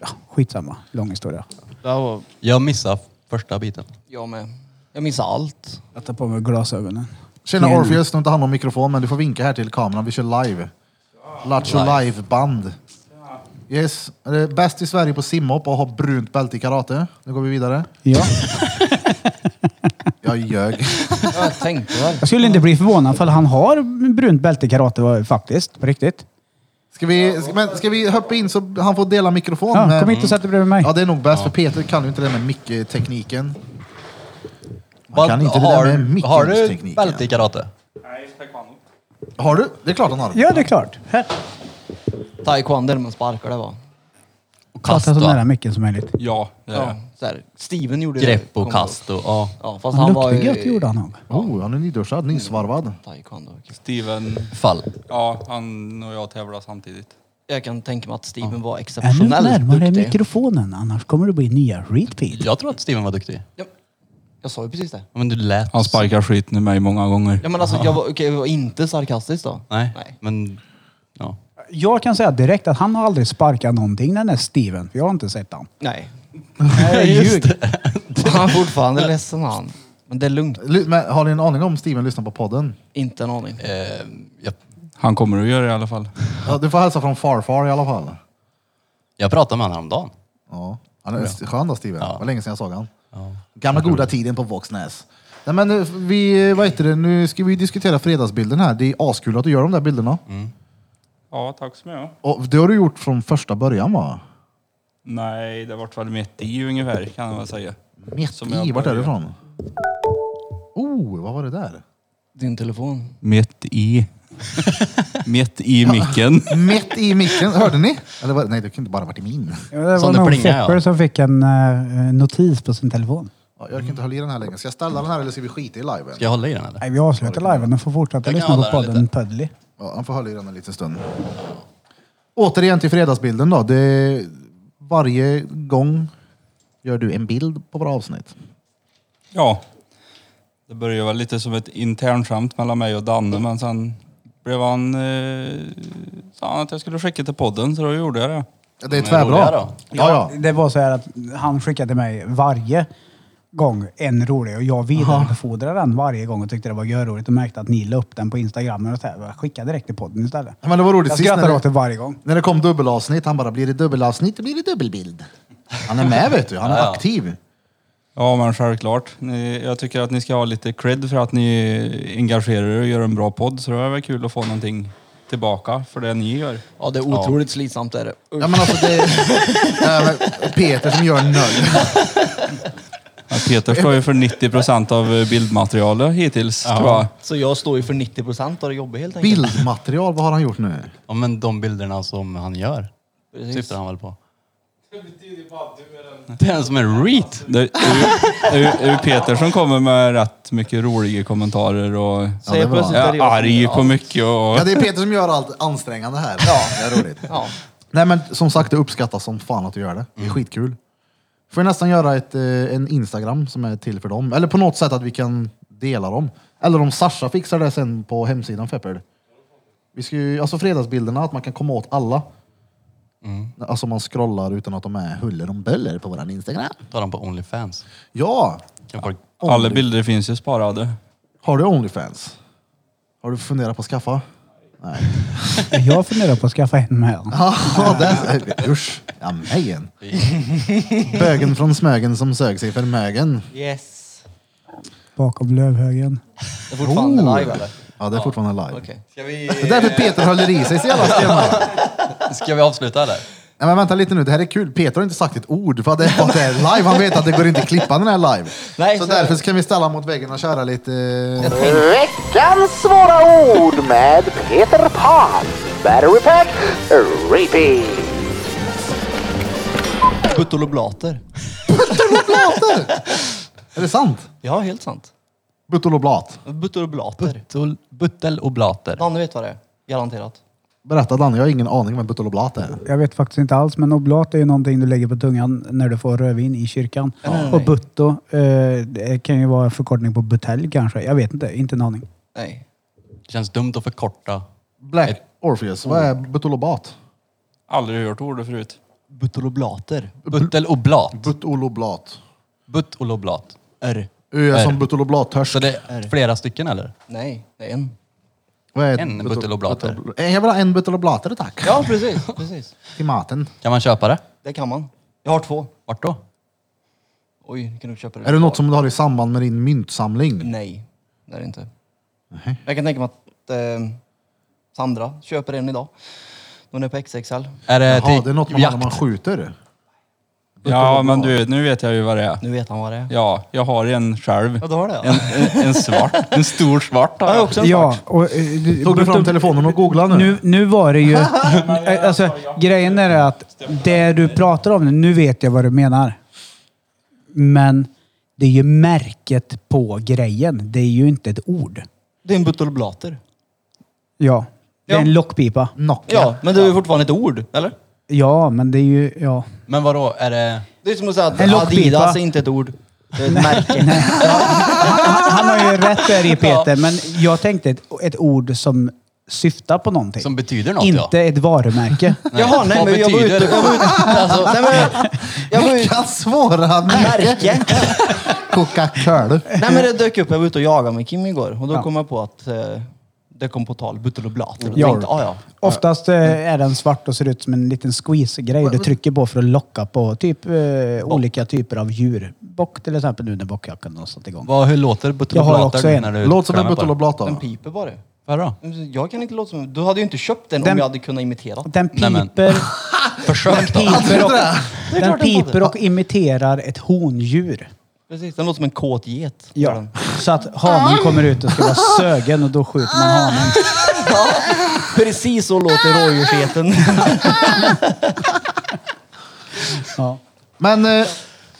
B: Ja, skitsamma, lång historia.
D: Det här var...
C: Jag missar första biten.
D: Jag med. Jag missar allt.
B: Jag tar på mig glasögonen.
A: Tjena
B: Mm.
A: Orpheus, nu har inte hand om mikrofon men du får vinka här till kameran. Vi kör live. Lattjo live-band. Yes, Eh, bäst i Sverige på simhopp och har brunt bälte i karate. Nu går vi vidare.
B: Ja.
A: Jag ljög.
D: Jag tänkte väl.
B: Jag skulle inte bli förvånad för han har brunt bälte i karate va, faktiskt, på riktigt.
A: Ska vi, ska, men, ska vi hoppa in så han får dela mikrofon?
B: Ja,
A: med-
B: kom hit och sätt dig bredvid mig.
A: eh, Ja, det är nog bäst för Peter kan ju inte det där med mic-tekniken. Man
C: Vad-
A: kan inte det
C: har-
A: där med
C: Har du
A: mic-tekniken.
C: bälte i karate?
E: Nej, taekwondo.
A: Har du? Det är klart han har.
B: Ja, det är klart. Här.
D: Taekwondo, men sparkar det var.
C: Och kast
B: Prata så nära
C: va?
B: micken som möjligt.
F: Ja, det är
D: Ja.
F: det.
D: Så här. Steven gjorde
C: Grepp
D: Kom-
C: och kast och ja.
D: Ja, fast han,
B: Han
D: var
B: luktade
D: ju...
B: gött gjorde han nog.
A: Oh, han är nyduschad, nysvarvad.
D: Taekwondo. okej.
G: Steven,
C: Fall.
G: ja han och jag tävlar samtidigt.
D: Jag kan tänka mig att Steven var
B: Ännu
D: exceptionellt
B: närmare
D: duktig.
B: mikrofonen, annars kommer det bli nya repeat.
C: Jag tror att Steven var duktig.
D: Ja, jag sa ju precis det.
C: Men du lät...
G: Han sparkar skit med mig många gånger.
D: Ja men alltså, jag var, okej, jag var inte sarkastisk då.
C: Nej,
D: Nej.
C: men... Ja.
B: Jag kan säga direkt att han har aldrig sparkat någonting den där Steven. för Jag har inte sett han.
D: Nej.
B: Nej, ljug.
D: Han är fortfarande ledsen han. Men det är lugnt.
A: Ly- Men, har ni en aning om Steven lyssnar på podden?
D: Inte en aning.
C: Eh, jag,
G: Han kommer att göra det i alla fall.
A: Ja, du får hälsa från farfar i alla fall.
C: jag pratade med honom häromdagen.
A: Ja. Han är skön då Steven.
C: Ja.
A: Det var länge sedan jag såg han. Gamla goda tiden på Våxnäs. Nej, men eh, vi, vad heter det, nu ska vi diskutera fredagsbilden här. Det är askul att du gör de där bilderna.
G: Mm. Ja, tack så mycket.
A: Och det har du gjort från första början va?
G: Nej, det vart väl mitt i ungefär kan man väl säga.
A: Mitt
G: Som jag
A: i, vart är
G: började.
A: du ifrån? Oh, vad var det där?
D: Din telefon.
G: Mitt i. mitt i micken.
A: Mitt i micken, hörde ni? Eller var, nej, det kunde inte bara varit i min.
B: Ja, Det
C: Som
B: var
C: det
B: nog
C: plingar, ja.
B: Fepper som fick en eh, notis på sin telefon.
A: Ja, jag kan inte hålla i den här längre. Ska jag ställa den här eller ska vi skita i liven?
C: Ska jag hålla i den eller?
B: Nej, vi avslutar liven och får fortsätta
C: Jag kan
B: lyssna på
C: hålla den
B: podden Puddly.
A: Ja, han får hålla i den en liten stund. Återigen till fredagsbilden då. Det varje gång gör du en bild på våra avsnitt.
G: Ja. Det började väl lite som ett internskämt mellan mig och Danne men sen blev han... Eh, sa han att jag skulle skicka till podden så då gjorde jag det.
A: Det är
C: De är
A: tvärbra.
C: roliga
A: Ja,
C: då.
A: Mm. ja.
B: Det var så här att han skickade till mig varje gång en rolig och jag vidarebefordrade den varje gång och tyckte det var görroligt och märkte att ni la upp den på Instagram och så här. Jag skickade direkt till podden istället.
A: Men det var roligt
B: Jag
A: sist
B: skrattar
A: när
B: åt det
A: det,
B: varje gång.
A: när det kom dubbelavsnitt. Han bara, blir det dubbelavsnitt blir det dubbelbild. Han är med vet du, han är
C: Ja, ja.
A: aktiv.
G: Ja men självklart. Ni, jag tycker att ni ska ha lite cred för att ni engagerar er och gör en bra podd så det var väl kul att få någonting tillbaka för det ni gör.
D: Ja, det är otroligt slitsamt är det.
A: Ja, men alltså, det Ja, men Peter som gör noll.
G: Ja, Peter står ju för 90 av eh, bildmaterialet hittills tror jag.
D: Så jag står ju för 90 procent av det jobbet helt enkelt.
A: Bildmaterial, vad har han gjort nu?
C: Ja, men de bilderna som han gör,
D: Precis.
C: syftar han väl på.
E: Det betyder ju bara att du är den...
C: Den som är reet.
G: Det är ju, det är ju, det är ju Peter som kommer med rätt mycket roliga kommentarer och
D: Så jag plötsligt är det
G: är
D: jag som-
G: arg på mycket och...
A: Ja, det är Peter som gör allt ansträngande här. Ja, Mm. det är roligt.
D: Ja.
A: Nej men som sagt, det uppskattas som fan att du gör det. Det är skitkul. Får jag nästan göra ett, eh, en Instagram som är till för dem. Eller på något sätt att vi kan dela dem. Eller om Sasha fixar det sen på hemsidan Feppel. Vi ska ju, alltså fredagsbilderna, att man kan komma åt alla. Alltså man scrollar utan att de är huller om böller på våran Instagram.
C: Tar han på Onlyfans.
A: Ja!
C: Kan folk...
G: Alla bilder finns ju sparade.
A: Har du Onlyfans? Har du funderat på att skaffa? Nej.
B: Jag funderar på att skaffa en med.
A: Ja, där, usch. Ja, mig igen. Bögen från Smögen som sög sig för mögen.
D: Yes.
B: Bakom Lövhögen.
D: Det är fortfarande
A: Oh.
D: live eller?
A: Ja, det är fortfarande live.
D: Okej.
C: Ska vi,
A: Det är därför Peter håller i sig så jävla stenhårt.
C: ska vi avsluta där?
A: Nej men vänta lite nu, det här är kul. Peter har inte sagt ett ord för att det är, för att det är live. Han vet att det går inte att klippa den här live.
D: Nej,
A: så
D: så är det.
A: därför så kan vi ställa mot väggen och köra lite...
H: Veckans svåra ord med Peter Pan. Battery Pack Repeat.
D: Buttoloblater.
A: Buttoloblater! är det sant?
D: Ja, helt sant.
A: Buttoloblat.
D: Buttoloblater.
C: Buttel, buttel och blater.
D: Danne vet vad det är. Garanterat.
A: Berätta Danne, jag har ingen aning om vad buttoloblat är.
B: Jag vet faktiskt inte alls, men oblat är ju någonting du lägger på tungan när du får rödvin i kyrkan.
D: nej,
B: Och
D: nej.
B: butto eh, det kan ju vara en förkortning på butelj kanske. Jag vet inte, inte en aning.
D: Nej.
C: Känns dumt att förkorta.
A: Black Orpheus, vad är buttolobat?
G: Aldrig hört ordet förut.
D: Buttoloblater.
C: Buttel och blat.
A: Buttoloblat.
C: Butt och loblat.
D: R.
A: U är
C: Är
A: som
C: det?
A: buttoloblathörs.
C: Så det är flera stycken eller?
D: Nej, det är en.
A: Vad är
C: En
A: buttol-
C: buttoloblater.
A: buttol- Eh, Jag vill ha en buttoloblater tack.
D: Ja, precis. precis.
A: Till maten.
C: Kan man köpa det?
D: Det kan man. Jag har två.
C: Vart då?
D: Oj, jag kunde köpa det.
A: Är det något som du har i samband med din myntsamling?
D: Nej, det är det inte. Jag kan tänka mig att eh, Sandra köper en idag. Hon är på XXL.
C: Är det,
A: Jaha,
C: till
A: det är något man har
C: jakt?
A: när man skjuter.
G: Ja men du, nu vet jag ju vad det är.
D: Nu vet han vad det är.
G: Ja, jag har en själv.
D: Ja, då har det.
G: En, en, en svart. En stor svart har jag.
D: också
B: Ja, och, eh, du-
A: Tog du fram telefonen och googlade nu?
B: Nu, nu var det ju... alltså, grejen är att det du pratar om nu, nu vet jag vad du menar. Men det är ju märket på grejen. Det är ju inte ett ord.
D: Det är en buttoloblater.
B: Ja. Det är
D: Ja.
B: en lockpipa.
A: Nokia.
D: Ja, men det är ju fortfarande ett ord, eller?
B: Ja, men det är ju... Ja.
C: Men vadå, är det...
D: Det är som att säga att
B: En lockpipa.
D: Adidas är inte ett ord. Det är ett märke.
B: Han har ju rätt där i Peter, men jag tänkte ett, ett ord som syftar på någonting.
C: Som betyder något
B: inte
C: ja.
B: ett varumärke.
D: Jaha, nej
C: Vad
D: men jag var ute...
C: betyder det?
D: Jag var ute alltså, nej, men, jag var ute...
A: Vilka svåra märken!
D: Märke.
A: Coca-Cola.
D: Nej men det dök upp, jag var ute och jagade med Kim igår och då
B: Ja.
D: kom jag på att eh, det kom på tal, buttoloblater.
B: Ja.
D: Ja. Tänkte, ah, ja.
B: Oftast eh, är den svart och ser ut som en liten squeeze-grej du trycker på för att locka på typ eh, olika typer av djur. Bock till exempel nu när bockjackan har satt igång.
C: Vad, hur låter
B: Jag har
C: buttoloblater
B: också en.
C: när du
A: Låt som en
C: klämmer på den?
A: buttoloblat
D: Den
A: då.
D: piper bara.
C: Vadå?
D: Jag kan inte låta som... Du hade ju inte köpt den,
B: Den-
D: om jag hade kunnat imitera.
B: Den
C: Nej, men-
B: piper,
C: Försök då.
B: piper, och,
D: är
B: den
D: klart den
B: piper
D: låter.
B: och imiterar ett hondjur.
D: Precis, den låter som en kåt get. gör
B: Ja.
D: den.
B: Så att hanen
D: Ah.
B: kommer ut och ska vara sögen och då skjuter man hanen.
D: ja. Precis så låter rådjursgeten.
B: Ja.
A: Men eh,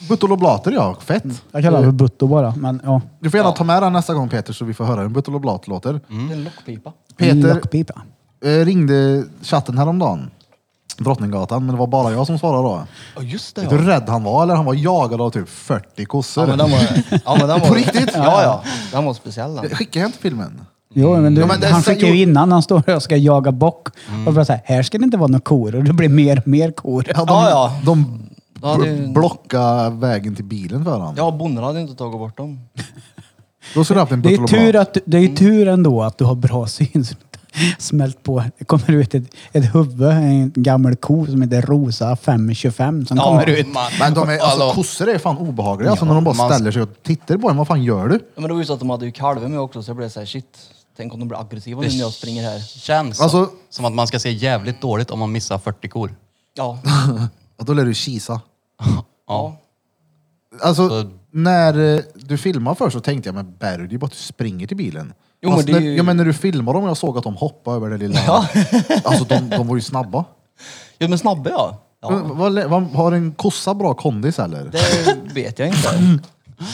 A: buttoloblater ja, fett.
D: Mm.
B: Jag kallar det för butto bara. Men, ja.
A: Du får gärna ta med den nästa gång Peter så vi får höra hur en buttoloblat
D: Mm.
A: låter.
D: En lockpipa.
A: Peter
B: Lockpipa.
A: eh, ringde chatten häromdagen. Drottninggatan, men det var bara jag som svarade då.
D: Ja, just det
A: Vet
D: ja.
A: du hur rädd han var? Eller han var jagad av typ 40 kossor.
D: Ja men den var... Ja, men den var
A: På riktigt?
D: Ja, ja. Den var speciell den.
A: Skicka hem till filmen.
B: Jo, men du,
A: Ja, men det-
B: han
A: sen-
B: skickar ju
A: jo-
B: innan han står och ska jaga bock. Och bara så här, här ska det inte vara några kor och det blir mer och mer kor.
A: Mm. Ja, de,
D: Ja, ja.
A: de
D: Ja,
A: bl-
D: det-
A: blockade vägen till bilen för honom.
D: Ja, bonden hade inte tagit bort dem.
A: Då skulle du haft en
B: Det är,
A: Bertolomat.
B: tur att, det är
A: Mm.
B: tur ändå att du har bra syn. så du inte Smält på. Det kommer ut ett, ett huvud, en gammal ko som heter Rosa 525 som kommer ut.
C: man.
A: Men de är, alltså,
C: Hallå.
A: kossor är fan obehagliga. alltså, när de bara
C: man-
A: ställer sig och tittar på en. Vad fan gör du?
D: Ja, men det var ju så att de hade ju kalvar med också så jag blev såhär shit. Tänk om de blir aggressiva nu när jag springer här.
C: Känns
A: Alltså-
C: som- som att man ska se jävligt dåligt om man missar 40 kor.
D: Ja.
A: Ja, då lär du kisa.
D: ja.
A: Alltså,
C: Så-
A: när eh, du filmar först så tänkte jag, men Barry, det är ju bara att du springer till bilen.
D: Jo,
A: Fast
D: men det är
A: när,
D: ju-
A: ja, men när du filmar dem och jag såg att de hoppade över det lilla...
D: Ja.
A: Alltså, de, de var ju snabba.
D: Jo men snabba ja. ja.
A: Men Vad, lä- vad, har en kossa bra kondis eller?
D: Det vet jag inte.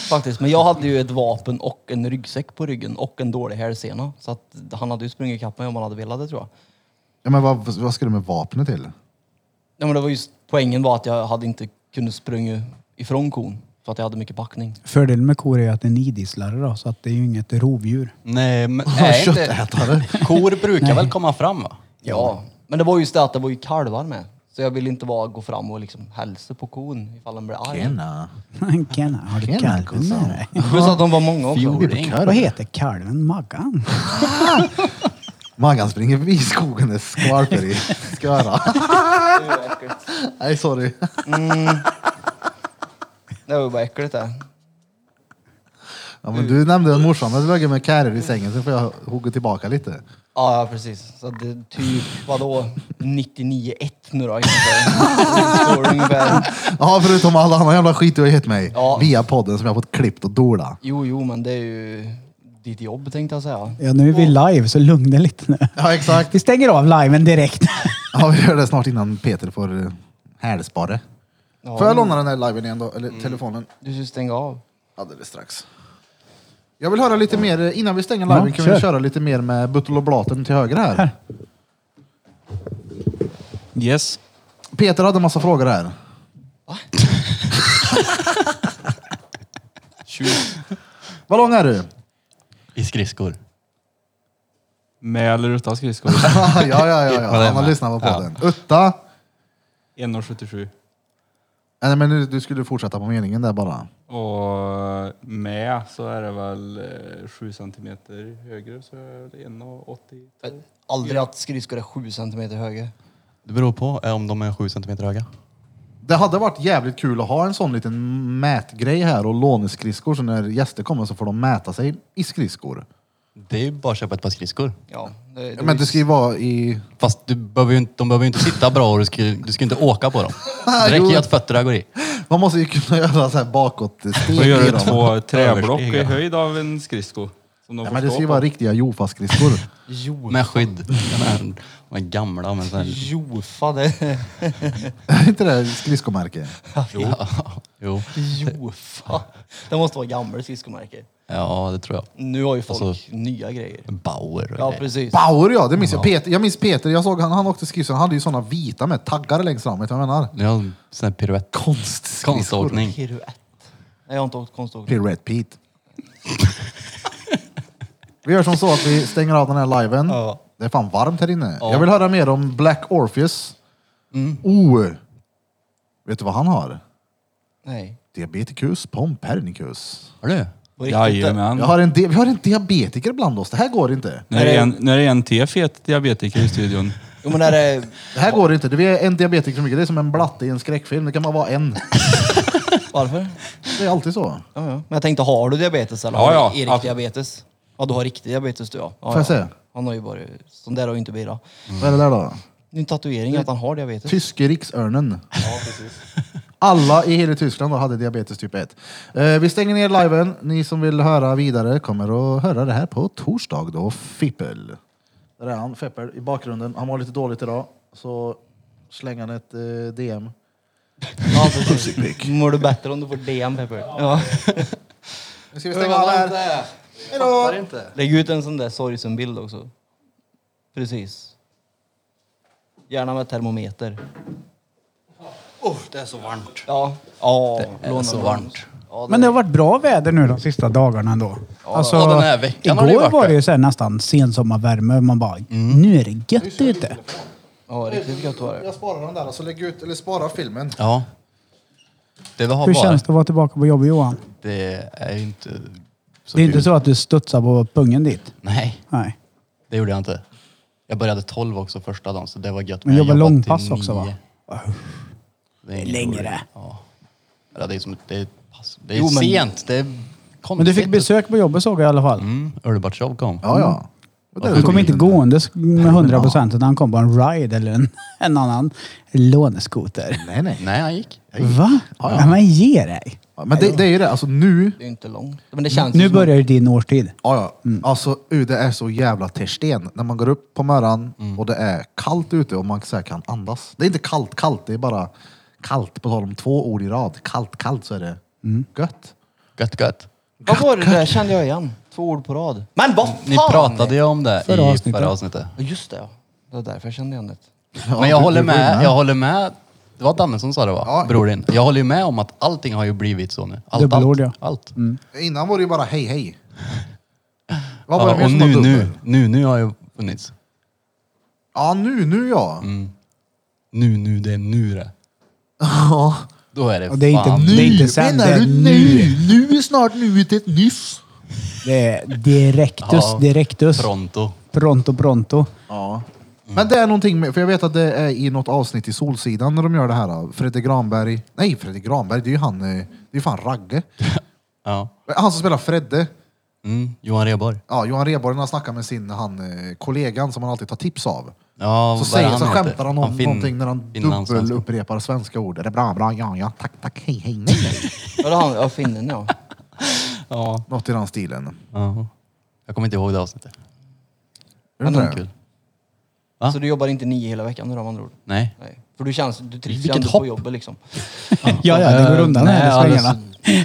D: Faktiskt. Men jag hade ju ett vapen och en ryggsäck på ryggen och en dålig hälsena. Så att han hade ju sprungit ikapp mig om han hade velat det tror jag.
A: Ja, men vad, vad ska du med vapnet till?
D: Ja, men det var just, poängen var att jag hade inte kunnat springa ifrån kon. För att jag hade mycket packning.
B: Fördelen med kor är att det är nidisslare då, så att det är ju inget rovdjur.
C: Nej, men är inte...
A: Köttätare.
C: Kor brukar väl komma fram va?
D: Ja. Men det var just det att det var ju kalvar med. Så jag ville inte bara gå fram och liksom hälsa på kon ifall den blev arg.
A: Tjena.
B: Tjena, har du
A: Tjena,
B: kalven
A: kossan.
B: med dig?
D: Plus att de var många också.
A: Vi är på
B: Vad
A: kör.
B: heter kalven? Maggan?
A: Maggan springer förbi skogen, det skvalpar i sköra. Nej, sorry.
D: Det var ju bara äckligt det.
A: Ja, men du nämnde att morsan hade legat med kärror i sängen, så får jag hugga tillbaka lite.
D: Ja, ja precis. Så det är typ, vadå, 99-1 nu då? Står ungefär.
A: Ja, förutom all annan jävla skit du har gett mig
D: Ja.
A: via podden som jag har fått klippt och dola.
D: Jo, jo, men det är ju ditt jobb tänkte jag säga.
B: Ja, nu är vi live, så lugna lite nu.
A: Ja, exakt.
B: Vi stänger av liven direkt.
A: Ja, vi gör det snart innan Peter får eh, hälsbarre.
D: Ja,
A: Får jag låna den här liven igen då? Eller telefonen?
D: Du ska stänga av.
A: Alldeles strax. Jag vill höra lite mer, eh, innan vi stänger liven
B: Ja,
A: kan
B: kör.
A: vi köra lite mer med Buttel och Blaten till höger här.
G: Yes.
A: Peter hade en massa frågor här. Vad lång är du?
C: I skridskor.
G: Med eller utan skridskor?
A: ja, ja, ja,
C: Vad
A: ja.
C: är
A: Han har
C: det?
A: lyssnat på
C: Ja.
A: podden. Utta?
G: 1,77.
A: Nej, men nu, du skulle fortsätta på meningen där bara.
G: Och med så är det väl 7 centimeter högre så är det 1,80.
D: Aldrig att skridskor är 7 centimeter höga.
C: Det beror på eh, om de är 7 cm höga.
A: Det hade varit jävligt kul att ha en sån liten mätgrej här och låneskridskor så när gäster kommer så får de mäta sig i skridskor.
C: Det är ju bara att köpa ett par skridskor.
D: Ja, det, det
A: Men det ska ju vara i...
C: Fast du behöver ju inte, de behöver ju inte sitta bra och du ska, ju- du ska ju inte åka på dem. Det räcker ju att fötterna går i.
A: Man måste ju kunna göra så här bakåt
G: Då
A: steg
G: gör
A: i
G: du
A: dem.
G: två träblock i
C: Överstiga.
G: höjd av en skridsko. Som de
A: Ja,
G: får
A: men det
G: stå
A: ska ju
G: på.
A: vara riktiga Jofa-skridskor.
D: Jo,
C: Med skydd. De här- de är gamla men sen...
D: jofa det.
A: Är inte det skridskomärke?
C: Ja, jo.
D: Jofa. Det måste vara gamla skridskomarker.
C: Ja, det tror jag.
D: Nu har ju folk
C: Alltså-
D: nya grejer.
C: Bauer och
D: Ja,
C: grejer.
D: precis.
A: Bauer ja, det minns jag. Peter, jag minns Peter, jag såg han, han åkte skridskor, han hade ju såna vita med taggar längst fram, vet du vad jag menar?
C: Ja, sån här piruett.
A: Konstskridskor.
C: Konståkning.
D: Piruett. Nej, jag har inte åkt konståkning.
A: Pirouette Pete. vi gör som så att vi stänger av den här liven.
D: Ja.
A: Det är fan varmt här inne. Jag vill höra mer om Black Orpheus. Oh! Vet du vad han har?
D: Nej.
A: Diabeticus pompernicus.
C: Har du?
D: På riktigt, det-
A: Jag
G: Jajamän.
A: har en di- vi har en diabetiker bland oss. Det här går inte.
G: Nu är det en, nu är det en till fet diabetiker i studion.
D: Jo men är det,
A: Det här går inte. Det är en diabetiker för mycket. Det är som en blatte i en skräckfilm. Det kan bara vara en.
D: varför?
A: Det är alltid så.
D: Ja, ja. Men jag tänkte, har du diabetes eller
G: Ja,
D: har
G: ja.
D: du Erik
G: Alltså-
D: diabetes? Ja, du har riktig diabetes du ja. ja
A: Får jag
D: ja.
A: se?
D: Han har ju bara, sån där har ju inte Bira.
A: Vad är det där då?
D: Det är en tatuering att han har diabetes.
A: Tyske riksörnen. Alla i hela Tyskland då hade diabetes typ 1. Eh, vi stänger ner liven. Ni som vill höra vidare kommer att höra det här på torsdag då. Fippel. Där är han, Fippel, i bakgrunden. Han var lite dåligt idag, så slänger han ett eh, DM.
D: Ja, precis. Mår du bättre om du får DM Pepper? Ja.
A: Nu ska vi stänga av här. Hejdå!
D: Lägg ut en sån där sorgsen bild också. Precis. Gärna med termometer.
G: Det är så varmt.
D: Ja. Ja,
C: Det är så varmt.
B: Men det har varit bra väder nu de sista dagarna ändå. Alltså,
C: ja, den här veckan
B: igår
C: har det ju varit
B: var det
C: det. Mm.
B: ju så här nästan sensommarvärme. Man bara, nu är det gött ute.
D: ja riktigt gött var det.
A: Jag sparar den där och så lägger ut, eller sparar filmen.
C: Ja. Det har
B: Hur
C: varit.
B: känns det att vara tillbaka på jobbet Johan?
C: Det är ju inte så
B: det är inte
C: kul.
B: så att du studsar på pungen dit?
C: Nej,
B: Nej.
C: det gjorde jag inte. Jag började 12 också första dagen, så det var gött.
B: Men
C: jag
B: jobbar
C: jobbade
B: långpass
C: till
B: också, va?
C: nio. Det är inget
B: Längre.
C: roligt. Ja. Ja, Det är som ett- det är, ett pass. Det är
D: Jo, men-
C: sent. Det är konstigt.
B: Men du fick besök på jobbet såg jag i alla fall.
C: Mm, Ördebartshov kom.
A: Ja, Mm. ja. Och det är
B: Han kom
A: roligt.
B: inte gåendes med 100 procent utan han kom på en ride eller en, en annan låneskoter.
A: Nej, nej.
C: Nej, han gick. Jag gick.
B: Va? Ja, men ge dig!
A: Ja, Men det, det är ju det, alltså nu,
D: Det är ju inte långt. Men det känns ju
B: Nu
D: som-
B: börjar ju din årstid.
A: ja, ja. alltså uh, det är så jävla tersten. När man går upp på morgonen och det är kallt ute och man så här kan andas. Det är inte kallt kallt, det är bara kallt. På tal om två ord i rad, kallt kallt så är det gött.
C: Gött, gött.
D: Vad var det där kände jag igen? Två ord på rad. Men vad fan!
C: Ni pratade ju om det
B: Förra
C: i
B: avsnittet.
C: förra avsnittet.
D: Ja, Just det ja. Det var därför jag kände igen det.
C: Men jag
A: du-
C: håller
A: du får ju
C: med. Jag håller med. Det var Danne som sa det va?
A: Ja.
C: Bror din. Jag håller ju med om att allting har ju blivit så nu. Allt,
B: Dubbelord,
C: allt.
B: ja.
C: allt.
A: Mm. Innan var det ju bara hej hej. Vad var
C: Ja,
A: det mer
C: och
A: som var
C: nu,
A: dubbel?
C: nu, nu, nu har ju funnits.
A: Ja, nu, nu ja.
C: Nu, nu, det är nu det.
A: Ja.
C: Då är det,
B: Och det är inte
C: fan
B: nu. Det är inte sen, det är
A: Nu är snart nuet ett nyss.
B: Det är direktus,
C: Ja.
B: direktus.
C: pronto.
B: Pronto, pronto.
A: Ja. Mm. Men det är någonting med, för jag vet att det är i något avsnitt i Solsidan när de gör det här. Fredrik Granberg, nej Fredrik Granberg, det är ju han, eh, det är ju fan Ragge.
C: Ja.
A: Han som spelar Fredde.
C: Mm. Johan Rheborg.
A: Ja, Johan Rheborg när han snackar med sin han, eh, kollegan som han alltid tar tips av.
C: Ja,
A: Så,
C: vad är
A: säger, så
C: han heter?
A: skämtar han om
C: fin-
A: någonting när han
C: finlandssvensk.
A: dubbelupprepar svenska ord. Är det bra, bra, ja, ja, tack, tack, hej, hej, nej, nej.
D: Ja, det har han. Ja, finnen ja.
C: Ja.
A: Något i den stilen.
C: Ja. Jag kommer inte ihåg det avsnittet.
A: Är det
D: Men
A: inte det?
C: Kul. Va?
D: Så du jobbar inte nio hela veckan nu då med andra ord?
C: Nej.
D: Nej. För du känns, du trivs ju
C: Vilket
D: ändå
C: hopp.
D: på jobbet liksom.
B: Ja, ja, det går undan
C: Nej,
B: här i
C: ja, det-
B: svängarna.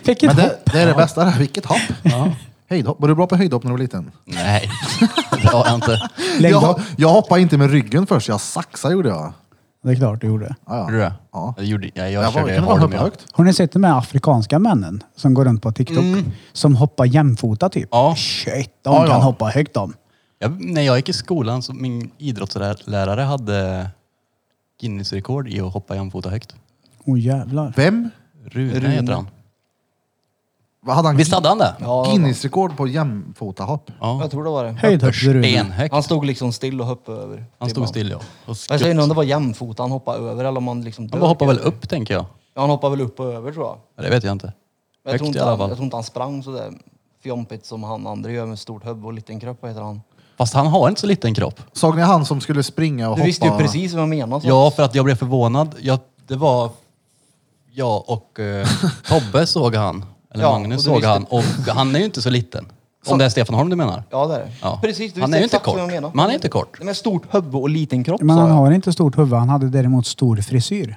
B: Fick
A: Men
B: ett
A: det,
B: hopp.
A: det är det bästa där. Vilket hopp! Höjdhopp. Var du bra på höjdhopp när du var liten?
C: Nej. det var jag inte.
B: Längdhopp.
A: Jag, jag hoppade inte med ryggen först, jag saxade gjorde jag.
B: Det är klart du gjorde.
A: Ja, ja.
C: Gjorde du det?
A: Ja.
C: Jag, gjorde, jag,
A: Jag
C: jag
A: var, kan
C: körde
A: du hoppa
C: hardom, ja.
A: högt?
B: Har ni sett de här afrikanska männen som går runt på TikTok? Som hoppar jämfota typ?
C: Ja.
B: Shit, de
A: Mm. Ja,
B: kan
A: ja.
B: hoppa högt de.
C: Jag, när jag gick i skolan så min idrottslärare hade Guinness-rekord i att hoppa jämfota högt.
B: Åh jävlar.
A: Vem?
C: Rune,
D: Rune.
C: heter han.
A: Vad hade han?
C: Visst hade han det?
D: Ja,
A: Guinness-rekord på jämfotahopp.
C: Ja.
D: jag tror det var det.
B: Höjdhoppsrune.
C: Benhögt.
D: Han stod liksom still och hoppade över.
C: Han stod still ja. Och
D: Jag säger inte om
C: skutt.
D: det var jämfota han hoppade över eller om han liksom
C: Han
D: dök
C: bara hoppade väl
D: över.
C: upp tänker jag.
D: Ja, han hoppade väl upp och över tror jag.
C: Ja, Det vet jag inte.
D: Men Jag
C: Högt
D: tror,
C: i
D: inte
C: alla
D: han,
C: fall.
D: jag tror inte han sprang sådär fjompigt som han andra gör med stort hubb och liten kropp. Vad heter han?
C: Fast han har inte så liten kropp.
A: Såg ni han som skulle springa och
D: Du
A: hoppa?
D: visste ju precis vad jag menade. så.
C: Ja, för att jag blev förvånad. Jag, det var jag och eh, Tobbe såg han. Eller
D: Ja,
C: Magnus
D: och du
C: såg
D: visste-
C: han. Och han är ju inte så liten. Om det är Stefan Holm du menar?
D: Ja, det är det.
C: Ja.
D: Precis, du
C: Han
D: visste
C: är ju inte
D: exakt
C: kort.
D: vad jag menade.
C: Men han är inte kort.
D: Men stort hubb och liten kropp
B: Men
D: sa
B: han
D: jag.
B: har inte stort huvud. Han hade däremot stor frisyr.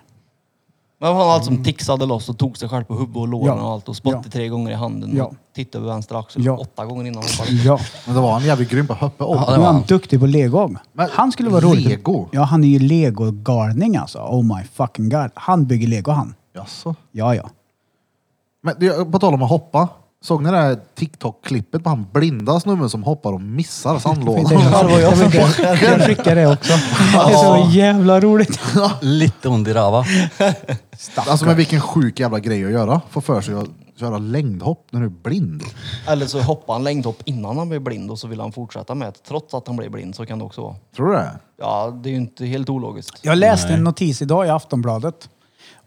D: Men han allt som tixade loss och tog sig själv på huvudet och låren
B: Mm. Ja.
D: och allt och spottade
B: Ja.
D: tre gånger i handen
B: Ja.
D: och tittade över vänster axel
B: Ja.
D: åtta gånger innan han hoppade.
B: Ja.
A: Men det var han jävligt grym på att hoppa.
B: Ja,
A: Oh,
B: han
C: var
B: var
C: han.
B: duktig på lego.
A: Men
B: han skulle vara rolig.
A: Lego?
B: Ja, han är ju legogalning alltså. Oh my fucking god. Han bygger lego han.
A: Jaså?
B: Ja, ja.
A: Men det- på tal om att hoppa. Såg ni det här TikTok-klippet på han blinda snubben som hoppar och missar
B: Det
A: sandlådan?
B: var jag som skickade det också. Det är så jävla roligt.
C: Lite ond i rava.
A: alltså men vilken sjuk jävla grej att göra. Få för sig att köra längdhopp när du är blind.
D: Eller så hoppade han längdhopp innan han blev blind och så ville han fortsätta med det. Trots att han blev blind så kan det också vara.
A: Tror du det?
D: Ja, det är ju inte helt ologiskt.
B: Jag läste en notis idag i Aftonbladet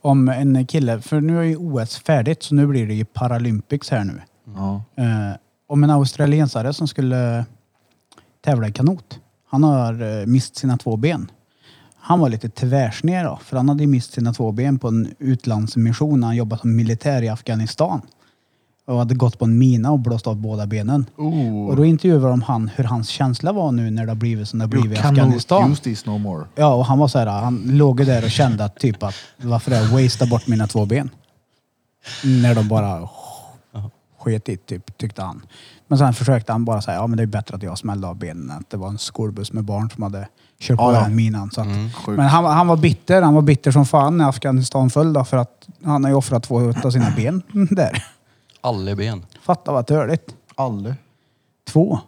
B: om en kille, för nu är ju OS färdigt så nu blir det ju Paralympics här nu.
A: Ja.
B: Eh, om en australiensare som skulle tävla i kanot. Han har eh, mist sina två ben. Han var lite tvärsned då, för han hade ju mist sina två ben på en utlandsmission när han jobbade som militär i Afghanistan. Och hade gått på en mina och blåst av båda benen. Och då intervjuade de han hur hans känsla var nu när det har blivit som det har blivit
A: You
B: i
A: cannot
B: Afghanistan.
A: use this no more.
B: Ja, och han var så här, han låg ju där och kände att typ att varför är jag wastea bort mina två ben? När de bara sket i typ, tyckte han. Men sen försökte han bara säga, ja men det är bättre att jag smällde av benen. än Att det var en skolbuss med barn som hade kör på
A: Ja, ja.
B: den minan. Så att,
A: Sjukt.
B: men han, han var bitter. Han var bitter som fan när Afghanistan föll då, för att han har ju offrat två av sina ben där.
C: Alleben.
B: Fatta vad törligt.
A: Alle.
B: Två.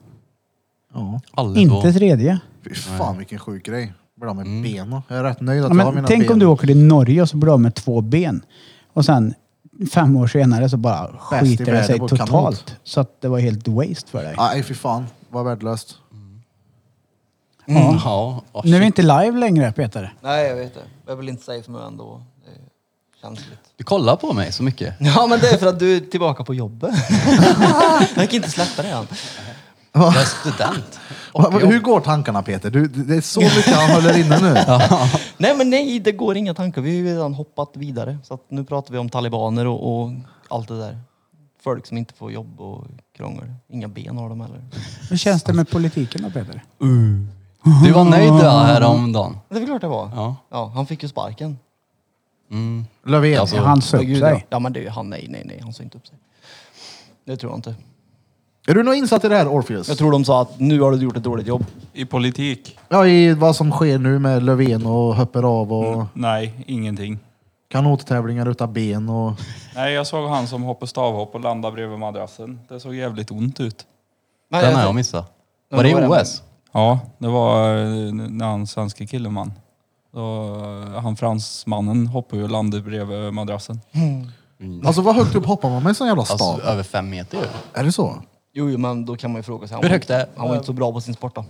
A: Ja.
C: Alle
B: Inte tredje.
A: Fy fan vilken sjuk grej. Blir av med benen. Jag är rätt nöjd att
B: Mm. Ja,
A: jag har
B: men
A: mina
B: tänk
A: ben.
B: om du åker till Norge och så blir du av med två ben. Och sen fem år senare så bara
A: Bäst i
B: skiter det
A: världen
B: sig
A: på
B: totalt.
A: kanot.
B: Så att det var helt waste för dig.
A: Nej fy fan, vad värdelöst.
C: Mm. Ja. Oh,
B: nu är vi
C: shit.
B: inte live längre Peter.
D: Nej, jag vet det. Jag vill inte säga för mycket ändå. Det är känsligt.
C: Du kollar på mig så mycket.
D: Ja, men det är för att du är tillbaka på jobbet. jag kan inte släppa det än.
C: Jag är student.
A: Va- va- Hur går tankarna Peter? Du, det är så mycket han håller inne nu.
D: Nej, men nej, det går inga tankar. Vi har ju redan hoppat vidare. Så att nu pratar vi om talibaner och, och allt det där. Folk som inte får jobb och krångel. Inga ben har de heller.
B: Hur känns det med politiken då Peter?
C: Du var nöjd då häromdagen.
D: Det är klart det var.
C: Ja.
D: han fick ju sparken.
C: Mm.
A: Löfven.
C: Alltså,
B: Han sa
D: Ja,
B: upp
D: gud, ja.
B: sig.
D: ja, men det är ju han. Nej, nej, nej. Han sa inte upp sig. Det tror jag inte.
A: Är du nog insatt i det här Orpheus?
D: Jag tror de sa att nu har du gjort ett dåligt jobb.
G: I politik?
A: Ja, i vad som sker nu med Löfven och hoppar av och
G: Nej, ingenting.
A: kanottävlingar utan ben och...
G: Nej, jag såg han som hoppade stavhopp och landade bredvid madrassen. Det såg jävligt ont ut.
D: Men
C: Den
D: jag-
C: har jag missat. Var det i
D: var det med.
C: OS?
G: Ja, det var eh, när han svenske killen vann. Då, eh, Han fransmannen hoppade ju och landade bredvid madrassen.
A: Alltså vad högt upp hoppar man med en sån jävla stav?
C: Alltså, över fem meter ju.
A: Är det så?
D: Jo, jo, men då kan man ju fråga sig. Han
C: Hur
D: var-
C: högt är-
D: Han var inte så bra på sin sport då.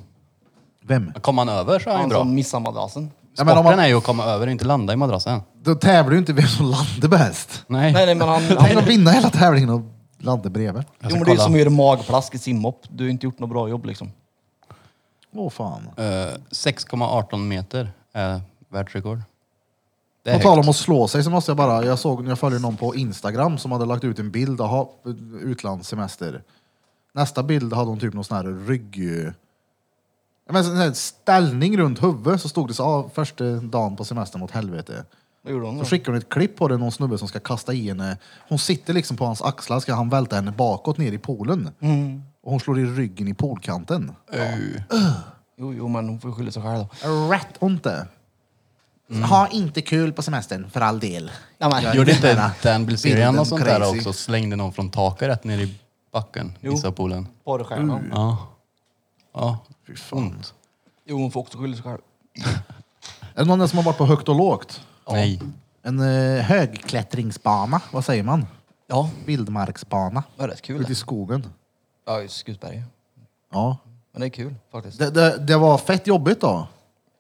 A: Vem?
C: Kom han över så är han ju
D: Han
C: bra.
D: som missade madrassen.
A: Ja, men om
C: Sporten
A: man,
C: är ju att komma över, inte landa i madrassen.
A: då tävlar ju inte vem som landar bäst.
C: Nej.
D: Nej, nej, men han...
A: Han kan
D: han
A: vinna hela tävlingen och landa bredvid.
C: Jag
D: jo,
C: ska
D: men det är ju
C: kolla.
D: som att göra magplask i simhopp. Du har ju inte gjort något bra jobb liksom.
A: Åh fan.
C: Eh, 6,18 meter är världsrekord. Det är
A: På tal
C: högt.
A: om att slå sig så måste jag bara, jag såg när jag följde någon på Instagram som hade lagt ut en bild, aha, utlandssemester. Nästa bild hade hon typ någon sån här rygg... eh, Jag menar, sån här ställning runt huvudet så stod det så ah, första dagen på semestern åt helvete.
D: Vad gjorde han
A: Så
C: Mm.
D: då?
A: skickar hon ett klipp på det, någon snubbe som ska kasta i henne. Hon sitter liksom på hans axlar, ska han välta henne bakåt ner i poolen.
C: Mm.
A: Och hon slår i ryggen i poolkanten.
D: Jo, jo, men hon får skylla sig själv då.
A: Rätt ont det.
C: Mm.
A: Ha inte kul på semestern, för all del.
D: Ja, men,
A: Jag-
C: Gjorde
A: den här
C: inte Dan Bilzerian
A: bilden
C: och sånt där
A: crazy.
C: också? Slängde någon från taket rätt ner i backen,
D: Jo.
C: Isapoolen.
D: Porrstjärnan.
A: Mm.
C: Ja. Ja. Ont.
D: Jo, hon får också skylla sig själv.
A: Är det någon som har varit på högt och lågt?
C: Nej.
A: En eh, högklättringsbana, vad säger man?
D: Ja,
A: Vildmarksbana.
D: det var rätt kul.
A: Ute i
D: det.
A: skogen.
D: Ja, i Skutberg.
A: Ja.
D: Men det är kul faktiskt.
A: Det, det, det var fett jobbigt då.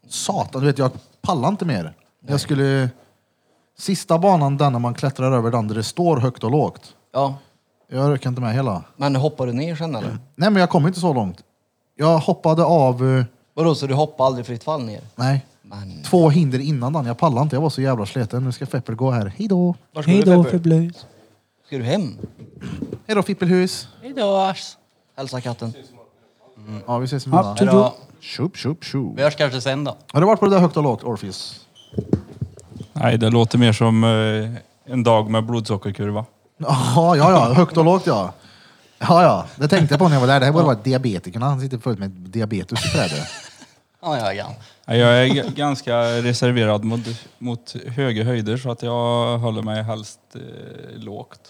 A: Satan, du vet jag pallar inte mer. Jag skulle... Sista banan, den när man klättrar över den där det står högt och lågt.
D: Ja,
A: Jag orkar inte med hela.
D: men hoppar du ner sen eller?
A: Nej men jag kom inte så långt. Jag hoppade av, eh,
D: Vadå, så du hoppar aldrig fritt fall ner?
A: nej,
D: Men...
A: två hinder innan den. Jag pallade inte, jag var så jävla sliten. Nu ska Feppel gå här. Hej då!
D: Var ska
B: Hej
D: du
B: då
D: Peppe?
B: för blöjs.
D: Ska du hem?
A: Hej då Fippelhus!
D: Hälsa katten.
A: Mm. Ja vi ses
B: Ja,
A: imorgon.
B: tjo, tjo.
A: Tjup, tjup, tjup.
C: Vi hörs kanske sen då.
A: Har du varit på det där högt och lågt, Orpheus?
G: Nej, det låter mer som eh, en dag med blodsockerkurva.
A: Ja, ja, ja. Högt och lågt ja. Ja, ja. Det tänkte jag på när jag var där. Det här borde vara diabetikerna. Han sitter fullt med diabetes i trädet.
C: Ja, ja, ja.
G: Nej, Jag är g- ganska reserverad mot, mot höga höjder så att jag håller mig helst eh, lågt.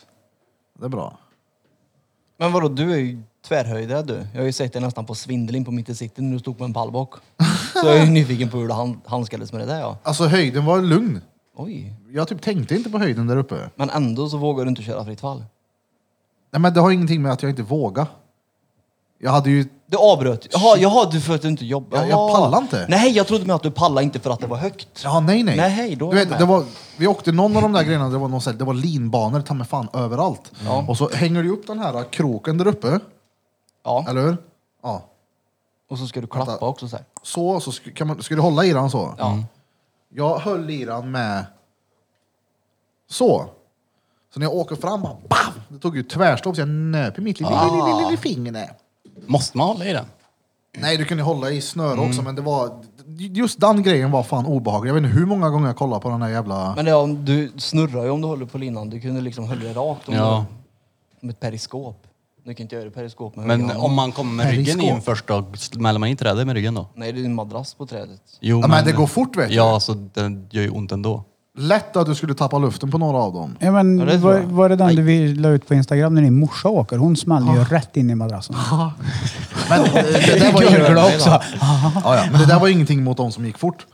A: Det är bra.
D: Men vadå, du är ju tvärhöjdare du. Jag har ju sett dig nästan på Svindelin på mitt i city när du stod på en pallbock. Så jag är ju nyfiken på hur du hand- handskades med det där ja.
A: Alltså höjden var lugn.
D: Oj.
A: Jag typ tänkte inte på höjden där uppe.
D: Men ändå så vågar du inte köra fritt fall.
A: Nej, men det har ingenting med att jag inte vågar. Jag hade ju...
D: Du avbröt. Jaha, jaha du för att du inte jobbar.
A: Jag- jag
D: Jaha.
A: pallar inte.
D: Nej, jag trodde med att du pallar inte för att det var högt.
A: Ja, nej, nej.
D: Nej, hej, då är
A: du
D: jag med.
A: vet, det var, vi åkte någon av de där grejerna, det var, någon, så här- det var linbanor ta mig fan överallt. Och så hänger du upp den här kroken där uppe,
D: Ja,
A: eller hur? Ja.
D: och så ska du klappa också så här.
A: Så, så sk- kan man, ska du hålla i den så. Mm.
D: Ja.
A: Jag höll i den med så. Så när jag åker fram, bara, bam! Det tog ju tvärstopp så jag nöp i mitt lilla, lilla, lilla, lilla finger. där.
C: Måste man hålla i den?
A: Nej, du kunde hålla i snöre
D: Mm.
A: också, men det var... Just den grejen var fan obehaglig. Jag vet inte hur många gånger jag kollade på den här jävla...
D: Men det, är om du snurrar ju om du håller på linan. Du kunde liksom hålla dig rakt om
C: Ja.
D: du, som ett periskop. Nu kan inte jag göra periskop med
C: Men
D: höger hand.
C: om man kommer med ryggen
A: Periskop.
C: in först då, smäller man i trädet med ryggen då?
D: Nej, det är en madrass på trädet.
C: Jo,
A: Ja, men det går fort, vet du.
C: Ja, så den gör ju ont ändå.
A: Lätt att du skulle tappa luften på några av dem.
B: Ja, men,
D: Ja, det tror
B: var,
D: jag.
B: var det den du vi- la ut på Instagram när din morsa åker? Hon smällde ju rätt in i madrassen.
A: Men eh, det, där var
B: Gurgla
A: ju,
B: också.
A: ja, ja, men det där var ju ingenting mot dem som gick fort.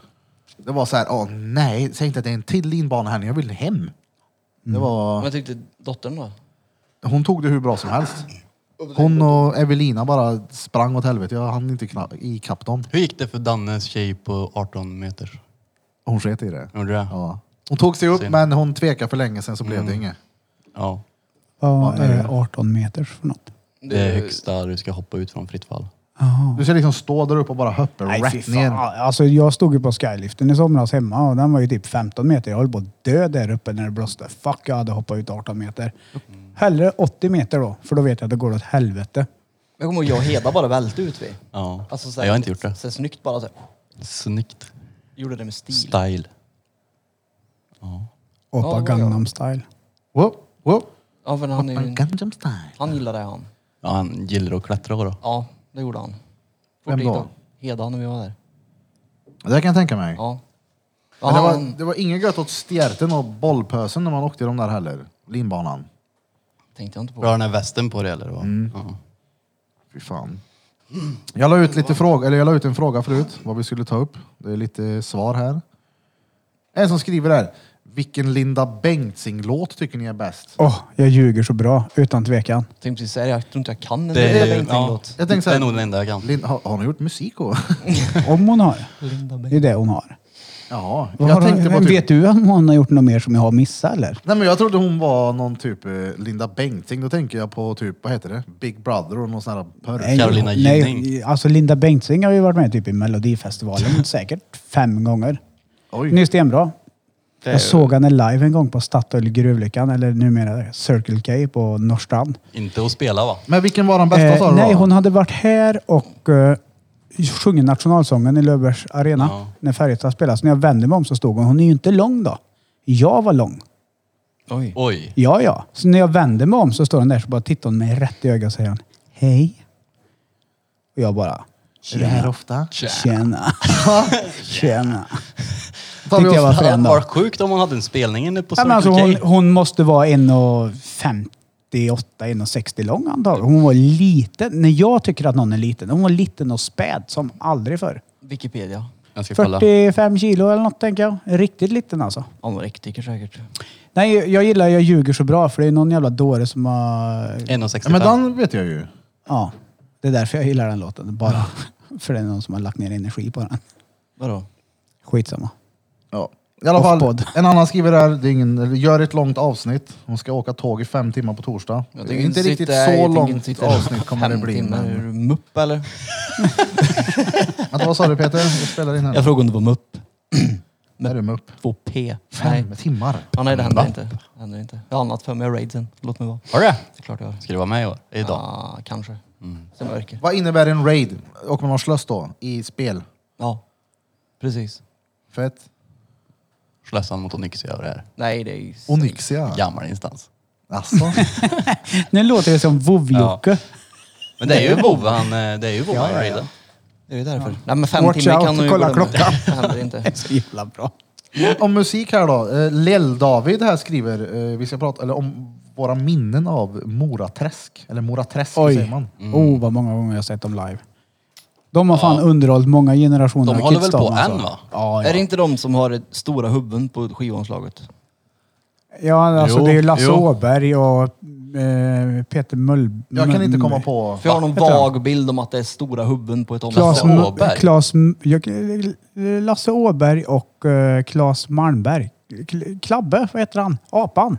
A: Det var så här, åh nej, säg inte att det är en till linbana här, jag vill hem. Det
D: Mm. Men
A: var,
D: jag tyckte dottern då?
A: hon tog det hur bra som helst. Hon och Evelina bara sprang åt helvete, jag hann inte kna- ikapp dem.
C: Hur gick det för Dannes tjej på 18 meter?
A: Hon sket i det.
C: Gjorde det?
A: Ja. Hon tog sig upp
C: Synd.
A: men hon tvekade för länge sedan så blev det inget.
C: Ja.
B: Vad är det 18 meters för något?
C: Det är högsta du ska hoppa ut från fritt fall.
A: Du ska liksom stå där uppe och bara hoppa rätt ner.
B: Alltså, jag stod ju på skyliften i somras hemma och den var ju typ 15 meter. Jag höll på att dö där uppe när det blåste. Fuck, jag hade hoppat ut 18 meter.
A: Mm.
B: Hellre 80 meter då, för då vet jag att det går åt helvete.
D: Jag kommer ihåg jag och Heda bara välte ut vi.
C: Ja.
D: Alltså, så
C: Nej, jag har inte gjort det.
D: Så här, snyggt bara. Så här,
C: Snyggt.
D: gjorde det med stil.
C: Style.
B: Opa
D: Ja, ja, ja.
B: Gangnam style.
A: Whoop, whoop.
D: Ja, för han, är, ju-
A: Gangnam style.
D: han gillar det han.
C: Ja, han gillar att klättra då.
D: Ja, det gjorde han. Fort
A: Vem
D: dit
A: då?
D: Heda när vi var där.
A: Det kan jag tänka mig.
D: Ja. ja
A: Men det,
D: han,
A: var, det var inget gött åt stjärten och bollpösen när man åkte i de där heller. Linbanan.
D: tänkte jag inte på.
C: Drar den här västen på dig eller? Vad?
A: Mm.
C: Ja.
A: Fy fan. Jag la ut lite fråga, eller jag la ut en fråga förut, vad vi skulle ta upp. Det är lite svar här. En som skriver här. Vilken Linda Bengtzing-låt tycker ni är bäst?
B: Åh, jag ljuger så bra, utan tvekan.
D: Jag tänkte precis säga det, jag tror inte jag kan en
C: Det är,
D: Linda
C: ja,
D: Bengtzing-låt.
A: Jag tänker så
C: det
A: här-
C: är nog den enda jag kan.
A: Lin, har, har hon gjort musik då?
B: Om hon har.
D: Linda
B: Det är det hon har.
A: ja,
B: Vad
A: jag
B: har
A: tänkte på
B: hon,
A: typ...
B: Vet du om hon har gjort något mer som jag har missat eller?
A: Nej men jag trodde hon var någon typ eh, Linda Bengtzing. Då tänker jag på typ, vad heter det? Big Brother och någon sån här
B: Nej,
A: pörr.
C: Carolina
B: nej,
C: Gynning.
B: alltså Linda Bengtzing har ju varit med typ i Melodifestivalen säkert fem gånger. Hon är
A: Oj.
B: stenbra. Jag såg henne live en gång på Statoil Gruvlyckan, eller numera Circle K på Norrstrand.
C: Inte att spela va?
A: Men vilken var den bästa sa
B: Eh,
A: du
B: nej,
A: då?
B: hon hade varit här och eh, sjungit nationalsången i Löfbergs arena
C: Ja.
B: när Färjestad spelades. När jag vände mig om så stod hon. Hon är ju inte lång då. Jag var lång.
D: Oj.
C: Oj.
B: Ja, ja. Så när jag vände mig om så står hon där så bara tittar hon mig rätt i ögat och säger hon, hej. Och jag bara,
A: Är det här ofta?
B: tjena. Tjena.
A: Tar vi
B: Tyckte jag
A: oss-
B: var
C: Det hade
B: frän då.
C: varit sjukt om hon hade en spelning inne på
B: Ja,
C: Circle
B: men alltså,
C: K.
B: hon, hon måste vara 1,58, 1,60 lång antagligen. Hon var liten. När jag tycker att någon är liten, hon var liten och späd som aldrig förr.
D: Wikipedia.
C: Jag ska kolla.
B: 45 kilo eller något tänker jag. Riktigt liten alltså.
D: Anorektiker säkert.
B: Nej, jag gillar Jag ljuger så bra för det är någon jävla dåre som har...
A: Ja,
C: 1,65.
A: men den vet jag ju.
B: Ja, det är därför jag gillar den låten. Bara för det är någon som har lagt ner energi på den.
D: Vadå?
B: Skitsamma.
A: Ja. I alla fall,
B: Off-podd.
A: en annan skriver där, det är ingen, eller gör ett långt avsnitt. Hon ska åka tåg i fem timmar på torsdag. Det är inte riktigt så långt avsnitt kommer det bli.
D: Timmar. Är
A: Men,
D: du mupp eller?
A: vänta, vad sa du Peter? Jag spelar in här.
D: Jag frågade om du var mupp.
A: Där är de upp.
D: 2P. Nej.
A: Fem timmar.
D: Ja, nej, det händer inte. Det händer inte. Jag har annat för mig. Raidsen. Låt mig vara.
C: Har du det?
D: Det är klart jag har.
C: Ska du vara med i år? Idag?
D: Ja, kanske. Som mörker.
A: Vad innebär en raid? Och man har slöss då? I spel?
D: Ja, precis.
A: Fett.
C: Slösan mot Onyxia över det här.
D: Nej, det är ju...
A: Onyxia?
C: Gammal instans.
A: Alltså.
B: Nu låter det som Vovve-Jocke.
C: Men det är ju Vov han... eh, Det är ju Vov han raidar.
D: Det är ju därför. Nej, men fem
B: Watch
D: timmar
B: out,
D: kan du ju
B: kolla
D: glömma.
B: klockan.
D: Det händer inte.
B: Så jävla bra.
A: Om musik här då. Eh, Lill-David här skriver, eh, vi ska prata eller om våra minnen av Moraträsk. Eller Moraträsk
B: Oj.
A: säger man.
B: Oh, vad många gånger jag har sett dem live. De har fan underhållit många generationer
C: De
B: av
C: håller
B: kids,
C: väl på
B: alltså.
C: än, va?
B: Ja,
D: Är det
B: ja.
D: inte de som har det stora hubben på skivomslaget?
B: ja alltså
C: Jo,
B: det är ju Lasse
C: jo.
B: Åberg och eh, Peter Möll...
A: Jag kan inte komma på...
D: För jag har någon
B: Heter han?
D: vag bild om att det är stora hubben på ett
B: Klas,
D: omslag.
C: Lasse
B: M-
C: Åberg?
B: Klas, M- jag, Lasse Åberg och eh, Klas Malmberg. Kl- Klabbe, vad heter han? Apan?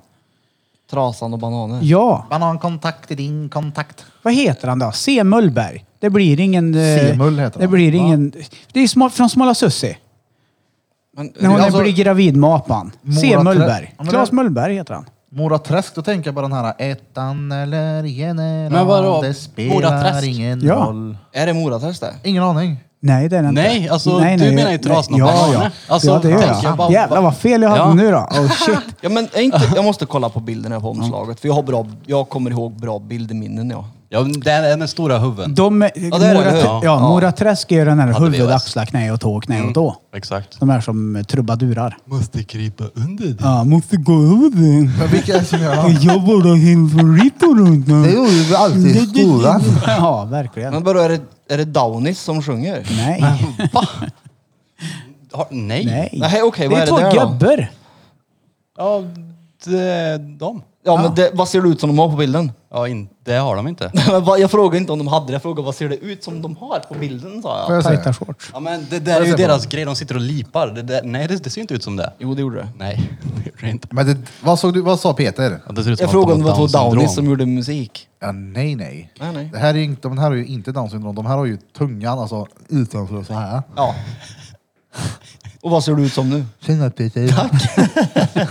D: Trasan och bananer.
B: Ja.
A: Man har en kontakt i din kontakt.
B: Vad heter han då? C. Mullberg. Det blir ingen... eh,
A: Semull heter
B: Det
A: han.
B: blir ingen... Det är sma, från Smala Sussi.
D: Men,
B: När hon
A: Alltså-
B: blir gravid med apan. C.
A: Mora-
B: Mullberg.
A: Ja, men
B: Klas
A: det-
B: Mullberg heter han.
A: Moraträsk, då tänker jag på den här ettan eller general.
C: Men vadå?
A: Det spelar
C: Moraträsk?
A: ingen
B: Ja.
A: roll.
D: är det Moraträsk det?
A: Ingen aning.
B: Nej, det är det inte.
C: Nej, alltså, du menar ju Trasan och
B: Ja, ja.
C: Bananer. Alltså,
B: ja, det gör
C: tänker jag
B: jag.
C: bara-
B: Jävlar vad fel jag hade
C: Ja.
B: nu då. Oh shit.
D: Ja, men är inte, jag måste kolla på bilderna på omslaget, för jag, har bra, jag kommer ihåg bra bildminnen. Ja.
C: Ja, det är den stora huvuden.
B: De,
C: det är det,
B: Mora,
C: det är det.
B: ja,
C: Ja.
B: Mora Träsk är ju den här
C: det Mm.
B: huvud,
C: vet.
B: axlar, knä och tå, knä och tå.
C: Exakt.
B: De här som trubadurar.
C: Måste krypa under dig.
B: Ja, måste gå över.
A: Men vilka är det som gör det?
B: Jag bara hinner runt
A: Det gjorde vi alltid i skolan.
B: Ja, verkligen.
D: Men vadå, är det, är det Downis som sjunger?
B: Nej.
C: Va? Har, nej.
B: Nej.
D: Nej, okej, vad
B: det
D: är
B: är
D: det
B: två
D: där då?
B: gubbar.
C: Ja, de, de.
D: Ja, men det, vad ser det ut som de har på bilden?
C: Ja, in, det har de inte.
D: Men vad- jag frågar inte om de hade det, jag frågar vad ser det ut som de har på bilden sa
A: Får
D: jag.
A: jag
B: Tajta
A: säga?
B: shorts.
C: Ja, men det där är ju deras grej. De sitter och lipar. Det där, nej, det, det ser inte ut som det.
D: Jo, det gjorde det.
C: Nej, det gör det inte.
A: Men det, vad, såg du, vad sa Peter?
C: Ja, det ser ut som
D: Jag
C: att
D: frågade
C: de
D: om det
C: har
D: var två
C: Downs syndrom.
D: Downis som gjorde musik.
A: Ja, nej, nej.
D: Nej, nej.
A: Det här är ju inte, de här har ju inte Downs syndrom. De här har ju tungan alltså utanför så här.
D: Ja. Och vad ser det ut som nu?
A: Tjena Peter.
C: Men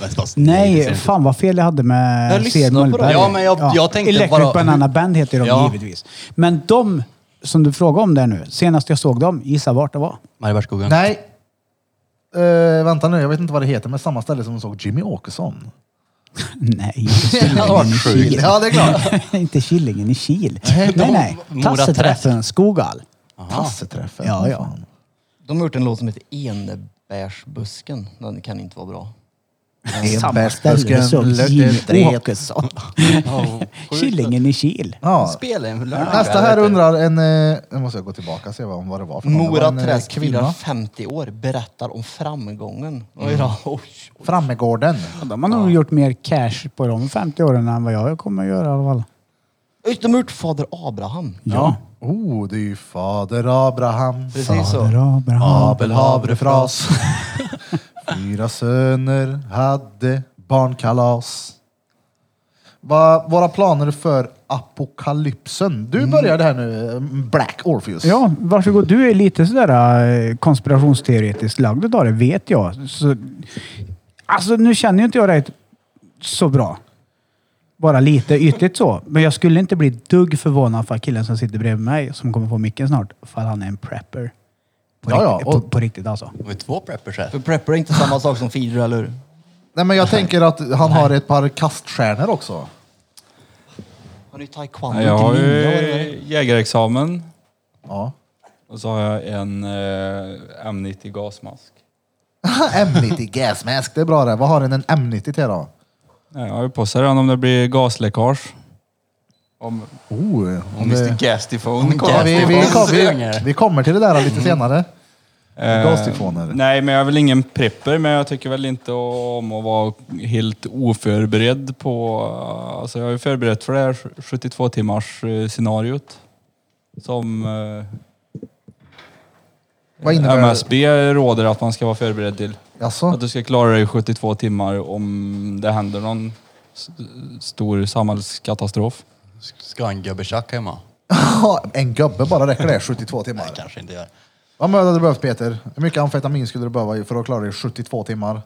C: fast det ser
B: Nej,
C: inte-
B: fan vad fel jag hade med
D: Jag lyssnar
B: C.L.
D: på
B: Mullberg.
D: det.
C: Ja, men jag- jag tänkte
B: Electric
C: bara-
B: Banana Band heter de
C: Ja.
B: givetvis. Men de som du frågade om där nu, senast jag såg dem, gissa vart det var?
C: Mariebergsskogen.
A: nej. Eh, vänta nu, jag vet inte vad det heter, men samma ställe som de såg Jimmy Åkesson.
B: Nej,
A: Ja, ja, det är klart.
B: inte Killingen i Kil.
A: Nej,
B: Nej,
A: de-
B: nej.
C: Mora
B: Tasseträffen, Skogal.
A: Tasseträffen.
B: Ja, ja.
A: Fan.
D: De har gjort en låt som heter Enebärsbusken. Den kan inte vara bra.
B: Samma
A: Enbärsbusken,
B: ställe som
A: löken,
B: Jimmy
A: dret.
B: Åkesson. Killingen i Kil.
A: Ja.
C: Spela en
A: Nästa här undrar en... eh, Nu måste jag gå tillbaka och se vad, vad det var för någon. Det var
D: Mora
A: en, eh,
D: Träsk firar
A: kvinna.
D: 50 år, berättar om framgången. Oj då. Oj.
A: Frammegården.
B: De har nog gjort mer cash på de 50 åren än vad jag kommer att göra i alla fall.
D: Oj, De har gjort Fader Abraham.
B: Ja.
A: Oh, det är ju fader Abraham.
D: Precis så.
B: Fader Abraham.
A: Abel havre fras. Fyra söner hade barnkalas. Va, våra planer för apokalypsen. Du började här nu, eh, Black Orpheus.
B: Mm. Ja, varsågod. Du är lite sådär eh, konspirationsteoretiskt lagd idag, det vet jag. Så, alltså, nu känner ju inte jag dig så bra. Bara lite ytligt så. Men jag skulle inte bli ett dugg förvånad för killen som sitter bredvid mig, som kommer få micken snart, för han är en prepper. På,
A: Ja, ja,
B: riktigt,
A: och-
B: på, på riktigt alltså.
C: Vi har två preppers här.
D: För prepper är inte samma sak som feeder, eller hur?
A: Nej, men jag tänker att han har ett par kaststjärnor också.
D: Har du taekwondo
G: Jag har
D: till
G: ju
D: ninja? eller vad det är?
G: jägarexamen
A: Ja.
G: och så har jag en eh, M90 gasmask.
A: M90 gasmask, det är bra det. Vad har den en M90 till då?
G: Nej, Jag har ju på sig den om det blir gasläckage. Om,
A: Oh,
G: om Mr Gastifone
A: Ja, vi, vi,
C: Gastifon
A: vi,
C: svänger.
A: vi kommer till det där lite senare.
G: Eh,
A: Gastifoner.
G: Nej, men jag är väl ingen prepper, men jag tycker väl inte om att vara helt oförberedd på... Alltså jag är ju förberett för det här 72 timmars eh, scenariot. Som eh,
A: Vad innebär det?
G: MSB råder att man ska vara förberedd till.
A: Jaså?
G: Att du ska klara dig i 72 timmar om det händer någon s- stor samhällskatastrof.
C: Ska ha en gubbeschack hemma?
A: En gubbe bara räcker det, 72 timmar.
C: Kanske inte gör.
A: Vad möda hade du behövt Peter? Hur mycket amfetamin skulle du behöva för att klara dig i 72 timmar?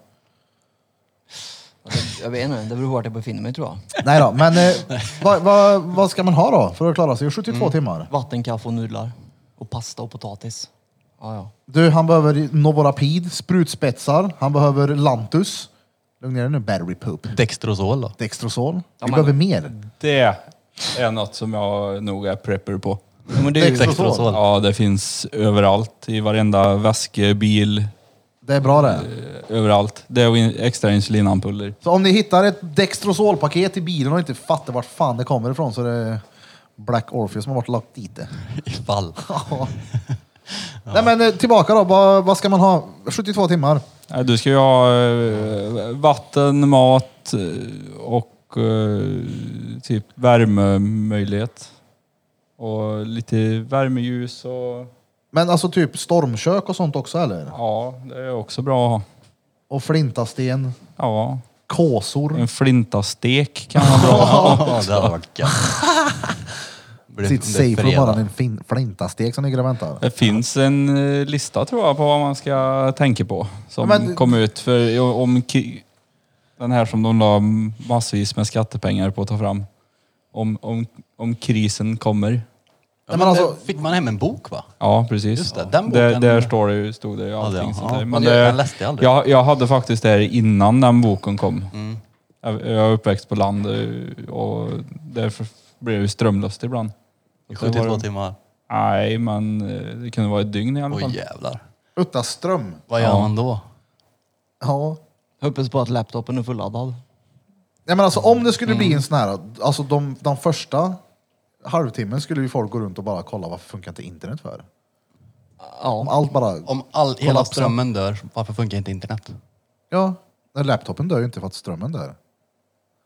D: Alltså, Jag vet inte, det beror på vart jag befinner mig tror jag.
A: Nej då, men eh, vad, vad, vad ska man ha då för att klara sig i 72
D: Mm.
A: timmar?
D: Vatten, kaffe och nudlar. Och pasta och potatis. Ja, ja.
A: Du, han behöver Novorapid, sprutspetsar, han behöver Lantus. Lugna ner dig nu, battery poop.
C: Dextrosol då?
A: Dextrosol. Vi
D: men-
A: behöver mer.
G: Det är något som jag nog är prepper på.
D: ja men det är ju,
C: Dextrosol.
G: Ja, det finns överallt. I varenda väska, bil,
A: Det är bra det.
G: eh, överallt. Det är in- extra insulinampuller.
A: Så om ni hittar ett Dextrosolpaket i bilen och inte fattar vart fan det kommer ifrån så är det Black Orpheus som har varit och lagt dit det.
C: Ifall.
A: Nej men eh, tillbaka då, vad, vad ska man ha? 72 timmar.
G: Nej, Du ska ju ha eh, vatten, mat eh, och eh, typ värmemöjlighet. Och lite värmeljus och...
A: Men alltså typ stormkök och sånt också eller?
G: Ja, det är också bra att ha.
A: Och flintasten,
G: Ja,
A: kåsor.
C: Mm.
G: en flintastek kan vara bra.
C: Ja, det hade varit gött. Blir-
A: Sitt
C: det är
A: safe för
C: fredag.
A: bara en fin, flintastek som ligger och väntar.
G: Det finns en eh, lista tror jag på vad man ska tänka på. Som
A: Men-
G: kom ut för om ki- den här som de la massvis med skattepengar på att ta fram. Om, om, om krisen kommer.
C: Ja, men
A: men alltså-
C: det- Fick man hem en bok va?
G: Ja, precis.
C: Just det, den
G: där,
C: boken-
G: där står det ju, stod det ju allting
C: Ja, det-
G: sånt
C: ja.
G: där. eh,
C: Men jag- jag läste aldrig. Mm.
G: Jag, jag hade faktiskt det här innan den boken kom. Jag, jag är uppväxt på land eh, och därför blev ju strömlöst ibland.
C: I
G: Så var det-
C: 72 timmar.
G: Nej, men eh, det kunde vara ett dygn i alla fall.
C: Åh jävlar.
A: Utta ström.
C: Vad gör man då?
A: Ja.
D: Hoppas på att laptopen är fulladdad.
A: Nej men alltså om det skulle bli
C: Mm.
A: en sån här, alltså de, den första halvtimmen skulle ju folk gå runt och bara kolla varför funkar inte internet för? Om
D: Ja.
A: allt bara,
C: Om all, hela
A: Kollapsa.
C: strömmen dör, varför funkar inte internet?
A: ja, nej, laptopen dör ju inte för att strömmen dör.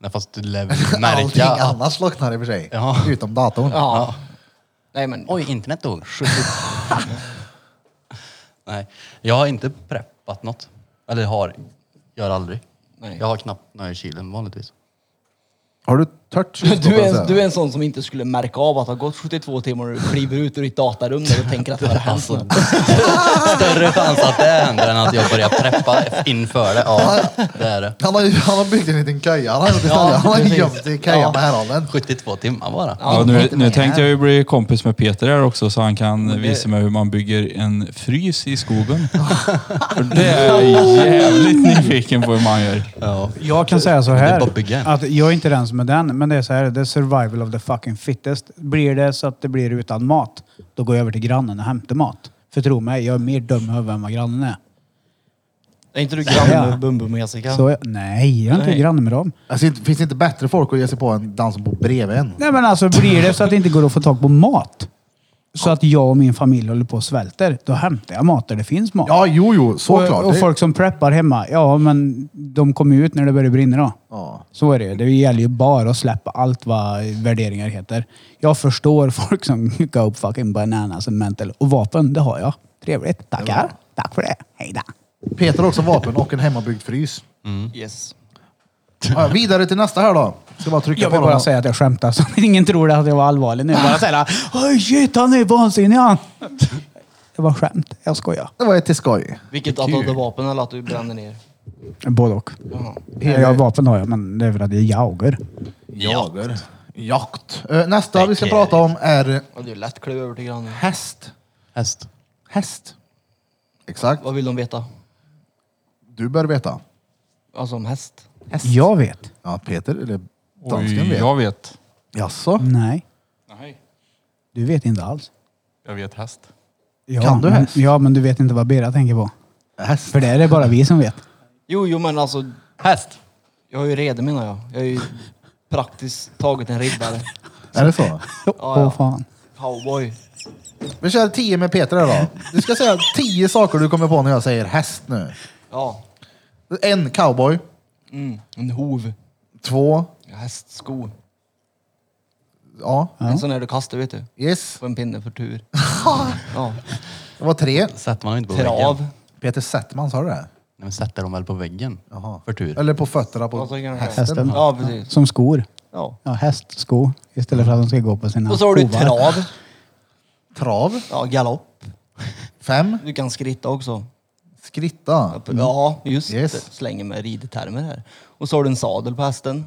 C: Nej, fast du lär väl
A: Allting
C: märka att...
A: annars slocknar i och för sig.
C: Ja.
A: Utom datorn.
D: ja. Nej men,
C: Oj, internet dog. Shit. Nej, jag har inte preppat något. Eller har, gör aldrig.
D: Nej.
C: Jag har knappt några i kylen vanligtvis.
A: Har du tört
D: Du är, en, du är en sån som inte skulle märka av att det har gått 72 timmar och du kliver ut ur ditt datarum där och tänker att det har hänt
C: Alltså,
D: något.
C: större chans att det händer än att jag börjar preppa inför det. Ja, det är det.
A: Han har, ju- han har byggt en liten kaja, han har, gjort ja, han har
D: precis.
A: gömt i kajan med härollen.
C: 72 timmar bara.
G: Ja, nu
A: inte
G: nu
A: med
G: tänkte
A: här.
G: jag ju bli kompis med Peter här också så han kan visa mig hur man bygger en frys i skogen. För det är jag jävligt nyfiken på hur man gör.
C: Ja.
B: Jag kan säga så
C: Men det är
B: här.
C: bara att bygga en.
B: Att jag är inte den som är den, men det är så här. Det är survival of the fucking fittest. Blir det så att det blir utan mat, då går jag över till grannen och hämtar mat. För tro mig, jag är mer dum i huvudet än vad grannen är.
D: Är inte du granne
B: Ja.
D: med Bumbum och Jessica?
B: Så jag, nej, jag är inte
D: Nej.
B: granne med dem.
A: Alltså, inte- finns det inte bättre folk att ge sig på än den som bor bredvid en?
B: Nej men alltså, blir det så att det inte går att få tag på mat, så att jag och min familj håller på och svälter, då hämtar jag mat där det finns mat.
A: Ja, jo, jo, såklart.
B: Och, och
A: Det-
B: folk som preppar hemma, ja men de kommer ju ut när det börjar brinna då.
A: Ja.
B: Så är det ju. Det gäller ju bara att släppa allt vad värderingar heter. Jag förstår folk som go fucking bananas and mental. Och vapen, det har jag. Trevligt. Tackar. Tack för det. Hej då.
A: Peter har också vapen och en hemmabyggd frys.
D: Yes.
A: Ja, vidare till nästa här då. Ska bara trycka
B: Jag
A: på
B: vill
A: den
B: bara
A: här.
B: säga att jag skämtar så att ingen tror att jag var allvarlig nu. Bara säga oj shit han är vansinnig han. Det var skämt. Jag skojar.
A: Det var ett till skoj.
D: Vilket att du hade vapen eller att du brände ner?
B: Både och.
D: Jaha.
B: Ja, vapen har jag men det är väl att jag är jauger.
A: Jager. Jakt. Eh, Nästa vi ska prata om är
D: Ja, Det är lätt att kliva över till grannen.
A: häst.
C: Häst.
A: Häst. Exakt.
D: Vad vill de veta?
A: Du bör veta.
D: Alltså om häst?
B: Jag vet.
A: Ja, Peter, eller dansken
G: Oj,
A: vet.
G: jag vet.
A: Jaså?
B: Nej.
G: Nej,
B: Du vet inte alls.
G: jag vet häst.
B: Ja,
A: Kan du
B: men,
A: häst?
B: Ja men du vet inte vad Bera tänker på.
A: Häst.
B: För det är det bara vi som vet.
D: Jo, jo men alltså,
C: Häst!
D: jag är ju redo menar jag. Jag är ju praktiskt taget en riddare.
A: Är det så?
B: Åh
D: ja.
B: fan.
D: Cowboy.
A: Vi kör 10 med Peter här då. Du ska säga 10 saker du kommer på när jag säger häst nu.
D: Ja.
A: En cowboy.
D: Mm. En hov.
A: Två.
D: Hästsko.
A: Ja.
D: En sån där du kastar vet du.
A: Yes.
D: På en pinne för tur. ja.
A: Det var tre.
C: Sätter man inte på väggen.
D: Trav.
C: Nej,
A: Peter Settman, sa du det?
C: men sätter de väl på väggen?
A: Jaha.
C: För tur.
A: Eller på fötterna på
D: Ja, så kan jag
A: hästen.
B: Hästen.
D: Ja, precis.
B: Som skor.
D: Ja.
B: Ja, hästsko. Istället för att de ska gå på sina
D: Och så har du
B: hovar.
D: trav.
A: Trav.
D: Ja, galopp.
A: Fem.
D: Du kan skritta också.
A: Skritta.
D: Ja, just
A: Mm. Yes.
D: det. Slänger med ridtermer här. Och så har du en sadel på hästen.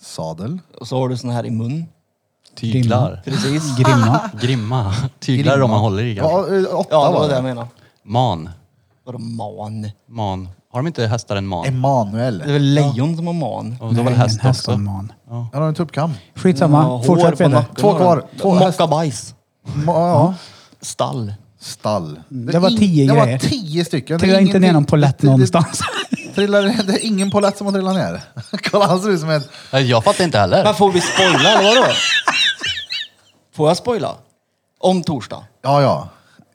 A: Sadel.
D: Och så har du sån här i mun.
C: Tyglar.
D: Precis.
B: Mm. Grimma.
C: Grimma. Tyglar är de man håller i. kanske.
A: Ja, eh, åtta
D: Ja, det
A: var
D: var det jag
A: det.
D: menade.
C: Man.
D: Vadå man?
C: Man. Har de inte hästar en man?
D: Det är
A: Emanuel.
D: väl lejon som har man?
C: Och då var det
B: Nej,
C: häst
B: en
C: också.
B: man.
A: Han har en tuppkam.
B: Skitsamma.
D: Ja, hår
B: Fortsätt
D: på
B: Peder.
D: nacken.
A: Två kvar. Två hästar.
D: Mockabajs.
A: Ma- ja.
D: Stall.
A: Stall.
B: Det var
A: är in-
B: tio
A: Det var
B: grejer.
A: tio stycken. Det är
B: Trilla inte ner
A: ingenting-
B: någon
A: det-
B: polett
A: det-
B: någonstans.
A: Trillar, det är ingen polett som har trillat ner. Kolla, han ser ut som en...
C: Nej, Jag fattar inte
D: Men
C: heller.
D: får vi spoila eller vadå? Får jag spoila? Om torsdag?
A: Ja, ja.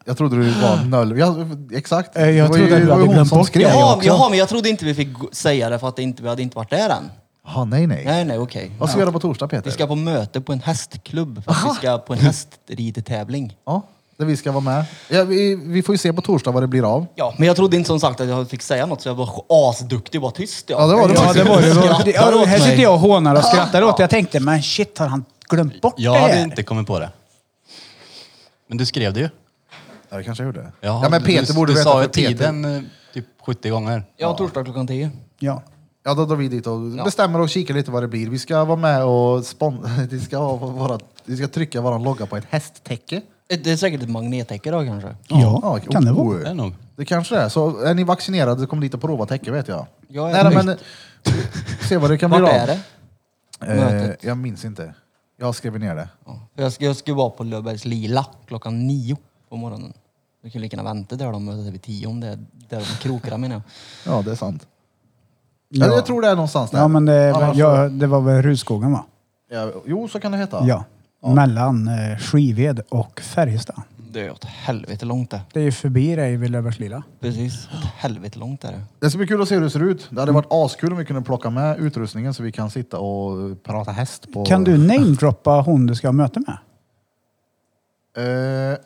A: Jag trodde du var noll. Ja, exakt.
B: Eh, jag
A: Det var ju-
B: trodde att
A: det
B: du
A: var
B: hade
A: hon
B: glömt
A: som
B: bort
A: skrev.
B: det. jag
D: Jaha,
B: också.
D: jaha, men jag trodde inte vi fick gå- säga det för att det inte, vi hade inte varit där än.
A: Jaha, nej, nej.
D: Nej, nej, okej.
A: Vad ska vi göra på torsdag, Peter?
D: Vi ska på möte på en hästklubb för att vi ska på en hästridtävling.
A: Ja, där vi ska vara med. Ja, vi, vi får ju se på torsdag vad det blir av.
D: Ja, men jag trodde inte som sagt att jag fick säga något så jag var asduktig och bara tyst.
A: Ja, det var du
B: Ja, det var det. det.
D: Skrattar
B: Ja,
D: åt
B: här
D: mig.
B: sitter jag och hånar och skrattar åt det. Jag tänkte, men shit, har han glömt bort
C: Jag
B: det
C: hade
B: här?
C: inte kommit på det. Men du skrev det ju.
A: Ja, det kanske jag gjorde.
C: Ja,
A: men Peter
C: du,
A: borde
C: du
A: veta.
C: sa ju
A: för Peter-
C: tiden eh, typ 70 gånger.
D: Ja, torsdag klockan 10.
B: Ja.
A: Ja, då drar vi dit och bestämmer och kikar lite vad det blir. Vi ska vara med och spon- vi, ska ha våra, vi ska trycka vår logga på ett hästtäcke.
D: Det är säkert ett magnettäcke då kanske.
B: Ja, kan det vara.
A: oh.
C: Det är nog.
A: Det kanske det är. Så är ni vaccinerade, kom dit och prova täcke vet jag.
D: Ja,
A: Nej,
D: ja,
A: men, se vad det kan bli
D: Vart
A: av.
D: är det?
A: Eh,
D: Mötet?
A: jag minns inte. Jag skriver ner det.
D: Ja. För jag, ska, jag ska ju vara på Löfbergs Lila klockan nio på morgonen. Du kan ju lika gärna vänta där de möter vid tio om det är där de krokar menar jag.
A: Ja, det är sant. Ja. Jag tror det är någonstans där.
B: Ja, men det,
A: Annars-
B: ja, det var väl Rudskogen va?
A: Ja, jo, så kan det heta.
B: Ja. Mellan eh, Skived och Färjestad.
D: Det är åt helvete långt det.
B: Det är ju förbi dig vid Löfbergslila.
D: Precis. Åt helvete långt är det.
A: Det ska bli kul att se hur det ser ut. Det hade varit askul om vi kunde plocka med utrustningen så vi kan sitta och prata häst på...
B: Kan du namedroppa hon du ska ha möte med?
A: Eh, ja.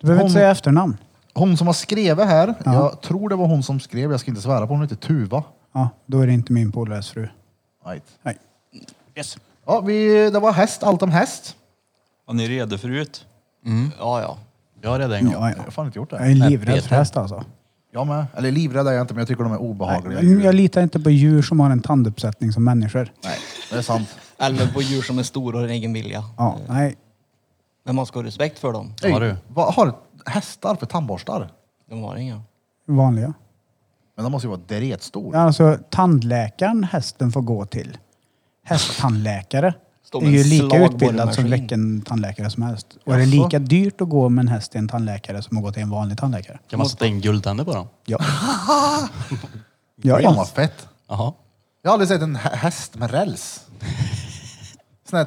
B: Du
A: Hon-
B: behöver inte säga efternamn.
A: Hon som har skrivit här, jag tror det var hon som skrev, jag ska inte svära på hon heter Tuva.
B: Ja, då är det inte min polares fru.
A: Right.
B: Nej.
A: Ja, vi, det var häst, allt om häst.
G: Var ni redo förut?
D: Ja, ja.
C: Jag har redan en gång.
B: Ja,
A: Jag
B: ja.
A: har fan inte gjort
B: Jag
A: det.
B: är livrädd
C: Peter.
B: för häst alltså.
A: Jag med. Eller livrädd är jag inte, men jag tycker de är obehagliga.
B: Nej, jag litar inte på djur som har en tanduppsättning som människor.
A: Nej, det är sant.
D: Eller på djur som är stora och har en egen vilja.
B: Ja, nej.
D: Men man ska ha respekt för dem.
C: Har du?
A: Vad har hästar för tandborstar?
D: De har inga.
B: Vanliga.
A: Men de måste ju vara deretstor.
B: Ja, Alltså tandläkaren hästen får gå till. Hästtandläkare
D: Står
B: är
D: med
B: ju
D: en
B: lika
D: slagborre
B: utbildad som
D: maskin.
B: vilken tandläkare som helst. Och är det
A: Jaså?
B: lika dyrt att gå med en häst till en tandläkare som att gå till en vanlig tandläkare?
C: Kan man sätta in guldtänder på dem?
B: Ja.
A: Ja,
B: ja,
A: Fan vad
B: ja.
A: fett.
C: Jaha.
A: Jag har aldrig sett en hä- häst med räls. Sån här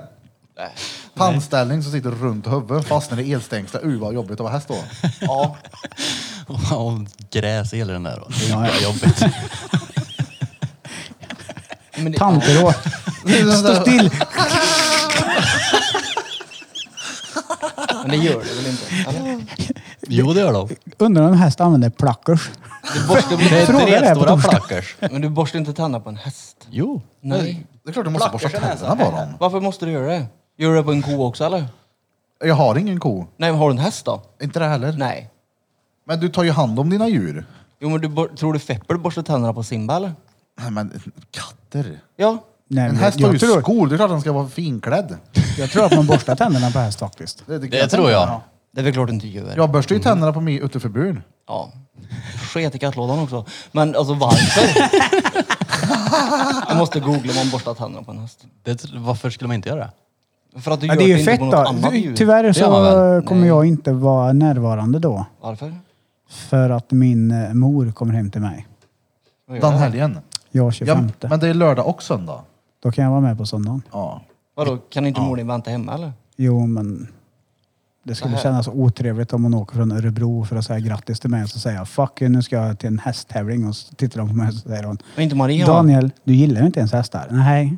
A: tandställning som sitter runt huvudet, fastnar i elstängslar. Uh, vad jobbigt att vara häst då.
D: Ja,
C: Och gräs i den där då. Det
B: Ja,
C: är
B: ja.
C: ja. jobbigt.
D: men det,
B: Tanter åt. Stå still!
D: men det gör det väl inte? Eller?
C: Jo, det gör de.
B: Undrar om en häst använder plackers.
D: Du borstar,
C: Det
B: Fråga det
C: är tre
B: här på
C: stora
B: torsdag.
C: flackers.
D: men du borstar inte tänderna på en häst?
C: Jo.
D: Nej.
A: Det är klart du måste borsta tänderna på dem.
D: Varför måste du göra det? Gör du det på en ko också eller?
A: Jag har ingen ko.
D: Nej, men har du en häst då?
A: Inte det heller.
D: Nej.
A: Men du tar ju hand om dina djur.
D: Jo, men du, bor- tror du Fepper borstar tänderna på Simba eller?
A: Nej, men katter.
D: Ja.
B: Nej,
A: En
B: men
A: häst har
B: jag,
A: ju
B: tror,
A: skor, det är klart den ska vara finklädd.
B: jag tror att man borstar tänderna på häst faktiskt.
A: Det, det kan
C: Det tror jag.
A: tänka.
D: Det är väl klart du inte gör.
A: Jag borstar ju tänderna på mig utanför buren.
D: Ja. Sket i kattlådan också. Men alltså varför? jag måste googla om man borstar tänderna på en häst.
C: Det, varför skulle man inte göra det?
D: För att du
B: Ja,
D: gör
B: det är ju
D: inte
B: fett
D: på något
B: då.
D: annat
B: Du-
D: djur.
B: Tyvärr
C: Det gör man
B: så
C: väl?
B: kommer jag inte vara närvarande då.
D: Varför?
B: För att min eh, mor kommer hem till mig.
D: Vad gör
A: Den
D: det?
A: helgen.
B: Jag
A: Ja,
B: 25.
A: men det är lördag och söndag.
B: Då kan jag vara med på söndagen.
A: Ja.
D: Vadå, kan inte mor din vänta hemma eller?
B: Jo, men det skulle kännas otrevligt om hon åker från Örebro för att säga grattis till mig och så säger jag fuck you, nu ska jag till en hästtävling och så tittar de på mig och så säger hon
D: Och inte Maria hemma?
B: Daniel, du gillar ju inte ens hästar. Nej.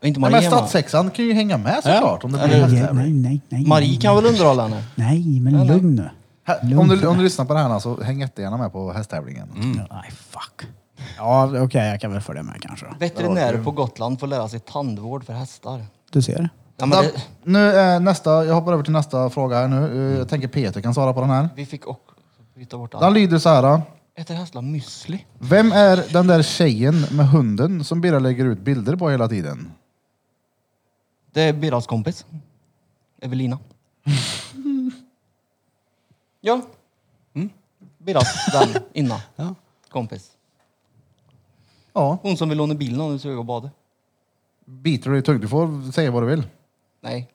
D: Och inte
A: Nej,
D: Maria
A: men
D: hemma?
A: stadssexan kan ju hänga med såklart. Om det blir
B: Nej, nej,
A: hästtävling.
B: nej, nej, nej.
D: Marie kan väl underhålla henne?
B: Nej, men
D: Nej, nej.
B: lugn nu.
A: Här- Om du, om du lyssnar på det här nu, så häng jättegärna med på hästtävlingen.
B: Nej, fuck. Ja, okej, jag kan väl följa med kanske. då.
D: Veterinärer på Gotland får lära sig tandvård för hästar.
B: Du ser.
D: Ja, men det,
A: Ja, Nu är nästa, jag hoppar över till nästa fråga här nu. Eh, Jag tänker Peter kan svara på den här.
D: vi fick också byta bort
A: Den
D: allt.
A: lyder så här.
D: Äter hästar müsli?
A: Vem är den där tjejen med hunden som Birra lägger ut bilder på hela tiden?
D: Det är Birras kompis. Evelina. ja. Mm. Birras vän innan. Kompis.
A: Ja,
D: Hon som vill låna bilen när du ska gå och bada.
A: biter du i tungt. Du får säga vad du vill.
D: Nej.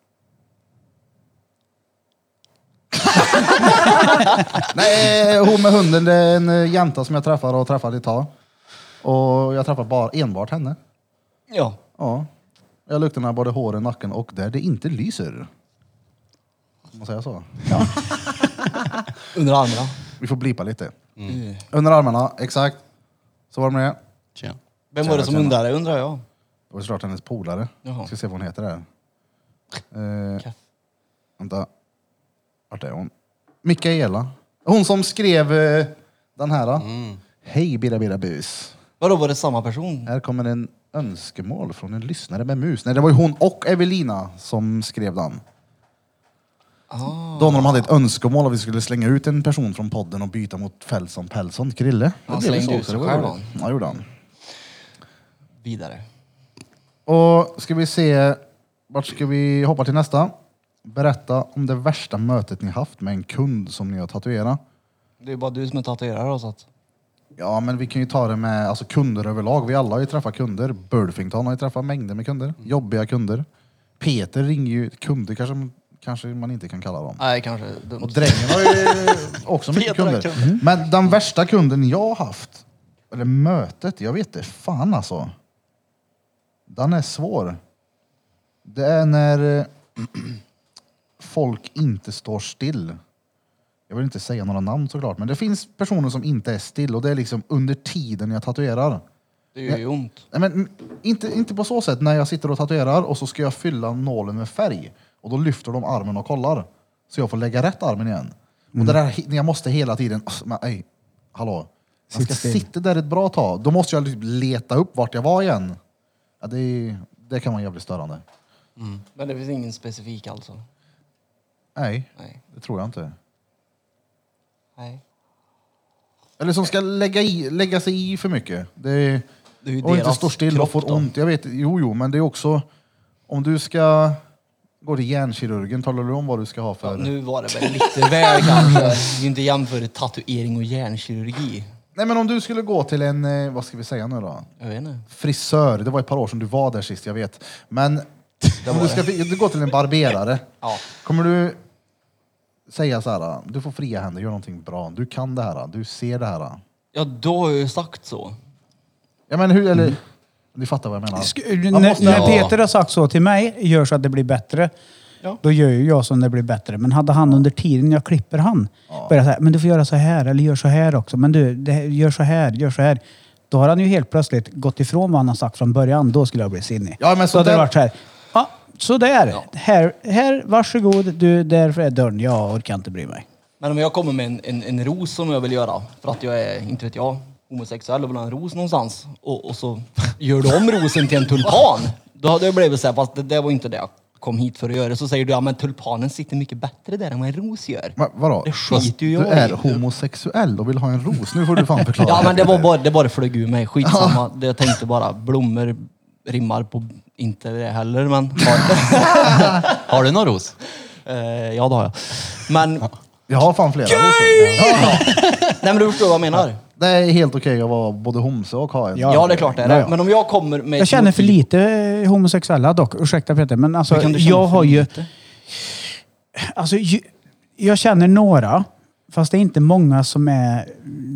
A: Nej, hon med hunden, det är en eh, jänta som jag träffar och träffade ett tag. Och jag träffar bara, enbart henne.
D: Ja.
A: Ja. Jag luktar när både håren, nacken och där det inte lyser. Om man säger så.
D: Under armarna.
A: Vi får blipa lite.
D: Mm.
A: Under armarna, exakt. Så var det med det.
C: Tjena.
D: Vem var
A: Tjena,
D: det som
A: tjena.
D: undrade undrar jag.
A: Det var såklart hennes polare.
D: Jaha.
A: Ska se vad hon heter där. Eh,
D: Kaff.
A: vänta. Vart är hon? Mikaela. Hon som skrev eh, den här.
D: Mm.
A: Hej Birra Birra Bus.
D: Vadå var det samma person?
A: Här kommer en önskemål från en lyssnare med mus. Nej, det var ju hon och Evelina som skrev den.
D: Ah.
A: Då när de hade ett önskemål att vi skulle slänga ut en person från podden och byta mot Pälsson Pälsson, Krille. Det
D: Han
A: blev ju
D: slängde ut
A: så
D: sig
A: det var
D: själv,
A: roligt. Ja, det gjorde han.
D: Vidare.
A: Och ska vi se, vart ska vi hoppa till nästa? Berätta om det värsta mötet ni haft med en kund som ni har tatuerat.
D: Det är bara du som är tatuerare då, så att...
A: Ja, men vi kan ju ta det med alltså, kunder överlag. Vi alla har ju träffat kunder. Burlington har ju träffat mängder med kunder. Jobbiga kunder. Peter ringer ju kunder kanske, kanske man inte kan kalla dem.
D: Nej, kanske dumt.
A: Och drängen har ju också mycket
D: Peter har
A: kunder. Mm. Men den värsta kunden jag har haft, eller mötet, jag vet inte fan alltså. Den är svår. Det är när eh, folk inte står still. Jag vill inte säga några namn såklart, men det finns personer som inte är still och det är liksom under tiden jag tatuerar.
D: Det gör ju ont.
A: Nej, men inte, inte på så sätt när jag sitter och tatuerar och så ska jag fylla nålen med färg. Och då lyfter de armen och kollar. Så jag får lägga rätt armen igen. Och det
B: Mm.
A: där, jag måste hela tiden, "Åh, men, ej, hallå. Man
B: Sitt
A: ska
B: still.
A: sitta där ett bra tag. Då måste jag typ leta upp vart jag var igen. Ja, det, är- det kan vara jävligt störande.
D: Men det finns ingen specifik alltså?
A: Nej,
D: Nej.
A: det tror jag inte.
D: Nej.
A: Eller som ska lägga, i, lägga sig i för mycket. Det är,
D: Det är ju
A: och inte
D: deras
A: står still och
D: kropp
A: får
D: då.
A: ont. Jag vet, jo, jo, men det är också... Om du ska gå till hjärnkirurgen, talar du om vad du ska ha för...
D: Nu var det väl lite väl kanske. Det är ju inte jämföra tatuering och hjärnkirurgi.
A: Nej, men om du skulle gå till en, eh, vad ska vi säga nu då?
D: Jag vet inte.
A: Frisör, det var ett par år sedan du var där sist, jag vet. Men om du ska du går till en barberare,
D: Ja.
A: kommer du säga så här, du får fria händer, gör någonting bra, du kan det här, du ser det här.
D: Ja, då har jag ju sagt så.
A: Ja, men hur,
D: Mm.
A: eller, du fattar vad jag menar.
B: Sk-
A: Man
B: när,
A: måste-
B: när
A: Ja.
B: Peter har sagt så till mig, gör så att det blir bättre.
D: Ja.
B: Då gör ju jag så att det blir bättre. Men hade han under tiden jag klipper han börjat säga, men du får göra så här eller gör så här också. Men du, det, här- gör så här, gör så här. Då har han ju helt plötsligt gått ifrån vad han har sagt från början. Då skulle jag bli sinnig.
A: Ja, men
B: så
A: så
B: hade det
A: där-
B: varit så här. Ja, så där. Här, här, varsågod. Du, därför är dörren. Jag orkar inte bry mig.
D: Men om jag kommer med en, en, en ros som jag vill göra för att jag är, inte vet jag, homosexuell och vill ha en ros någonstans och, och så gör du om rosen till en tulpan. Då hade jag blivit såhär, fast det, det var inte det jag kom hit för att göra. Så säger du, ja men tulpanen sitter mycket bättre där än vad en ros gör.
A: Va, vadå?
D: Det skiter ju
A: du
D: jag i.
A: är homosexuell och vill ha en ros, nu får du fan förklara.
D: Ja men det var bara, det bara flög ur mig, skitsamma. Det, jag tänkte bara, blommor rimmar på inte det heller men...
C: Har du någon ros?
D: Eh, ja det har jag. Men,
A: Jag har fan flera rosor. Ja,
D: nej men du förstår vad jag menar.
A: det är helt okej att vara både homse och ha en.
B: Ja.
D: Ja det är klart det är
B: Ja,
D: det.
B: ja.
D: Men om jag kommer med...
B: Jag
D: ett
B: känner för
D: motiv-
B: lite eh, homosexuella dock. Ursäkta Peter, men alltså
D: Hur kan du känna
B: jag
D: för
B: har ju...
D: lite?
B: Alltså, ju- jag känner några, fast det är inte många som är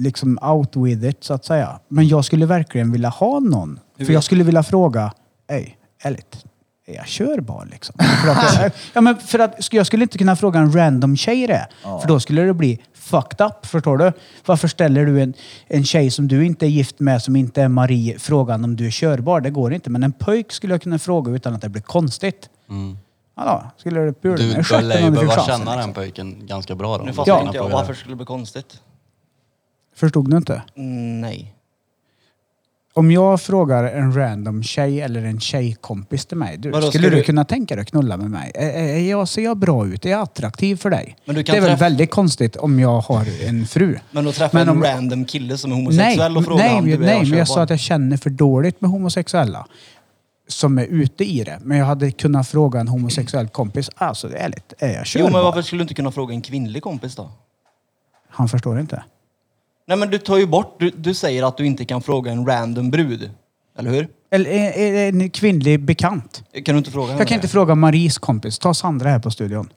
B: liksom out with it så att säga. Men jag skulle verkligen vilja ha någon. För jag skulle vilja fråga, ej, ärligt, är jag körbar liksom? för att jag, ja, men för att, jag skulle inte kunna fråga en random tjej det. För då skulle det bli fucked up, förstår du? Varför ställer du en, en tjej som du inte är gift med, som inte är Marie, frågan om du är körbar? Det går inte. Men en pojk skulle jag kunna fråga utan att det blir konstigt. Hallå, skulle du pula mig?
C: Du
B: Ursäkta
C: bör
B: om
C: lär ju
B: du fick
C: behöva
B: chansen,
C: känna
B: liksom.
C: den pojken ganska bra då.
D: Nu fattar
B: Ja.
D: inte jag varför skulle det bli konstigt.
B: Förstod du inte?
D: Mm, Nej.
B: Om jag frågar en random tjej eller en tjejkompis till mig. Du,
D: Vadå,
B: skulle
D: ska
B: du
D: du-
B: kunna tänka dig att knulla med mig? Är, är är jag, ser jag bra ut? Är jag attraktiv för dig?
D: Men du kan
B: det är väl
D: träffa-
B: väldigt konstigt om jag har en fru.
D: Men att träffa
B: Men om-
D: en random kille som är
B: Nej,
D: homosexuell och fråga
B: nej,
D: om du
B: nej,
D: vill ha
B: nej men jag
D: körbarn.
B: sa att jag känner för dåligt med homosexuella som är ute i det. Men jag hade kunnat fråga en homosexuell kompis. Alltså ärligt, är jag
D: Jo, men
B: körbar?
D: varför skulle du inte kunna fråga en kvinnlig kompis då?
B: Han förstår inte.
D: Nej, men du tar ju bort... Du, du säger att du inte kan fråga en random brud. Eller hur?
B: Eller är- är det en kvinnlig bekant.
D: Kan du inte fråga henne
B: Jag kan
D: det?
B: inte fråga Maries kompis. Ta Sandra här på studion.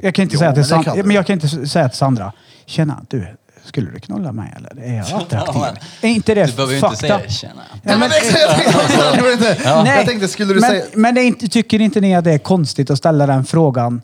B: Jag kan inte
A: Jo,
B: säga till
A: men det
B: Sandra,
A: kan du.
B: men jag kan inte s- säga till Sandra. Tjena, du, skulle du knulla mig eller? Är jag attraktiv?
C: Ja,
B: är inte det
C: Du behöver ju inte
B: fucked
C: säga
B: up?
C: det. Tjena.
A: Nej, men, jag tänkte också- jag gjorde inte. Jag tänkte, skulle du
B: men,
A: säga...
B: men det är inte, tycker inte ni att det är konstigt att ställa den frågan?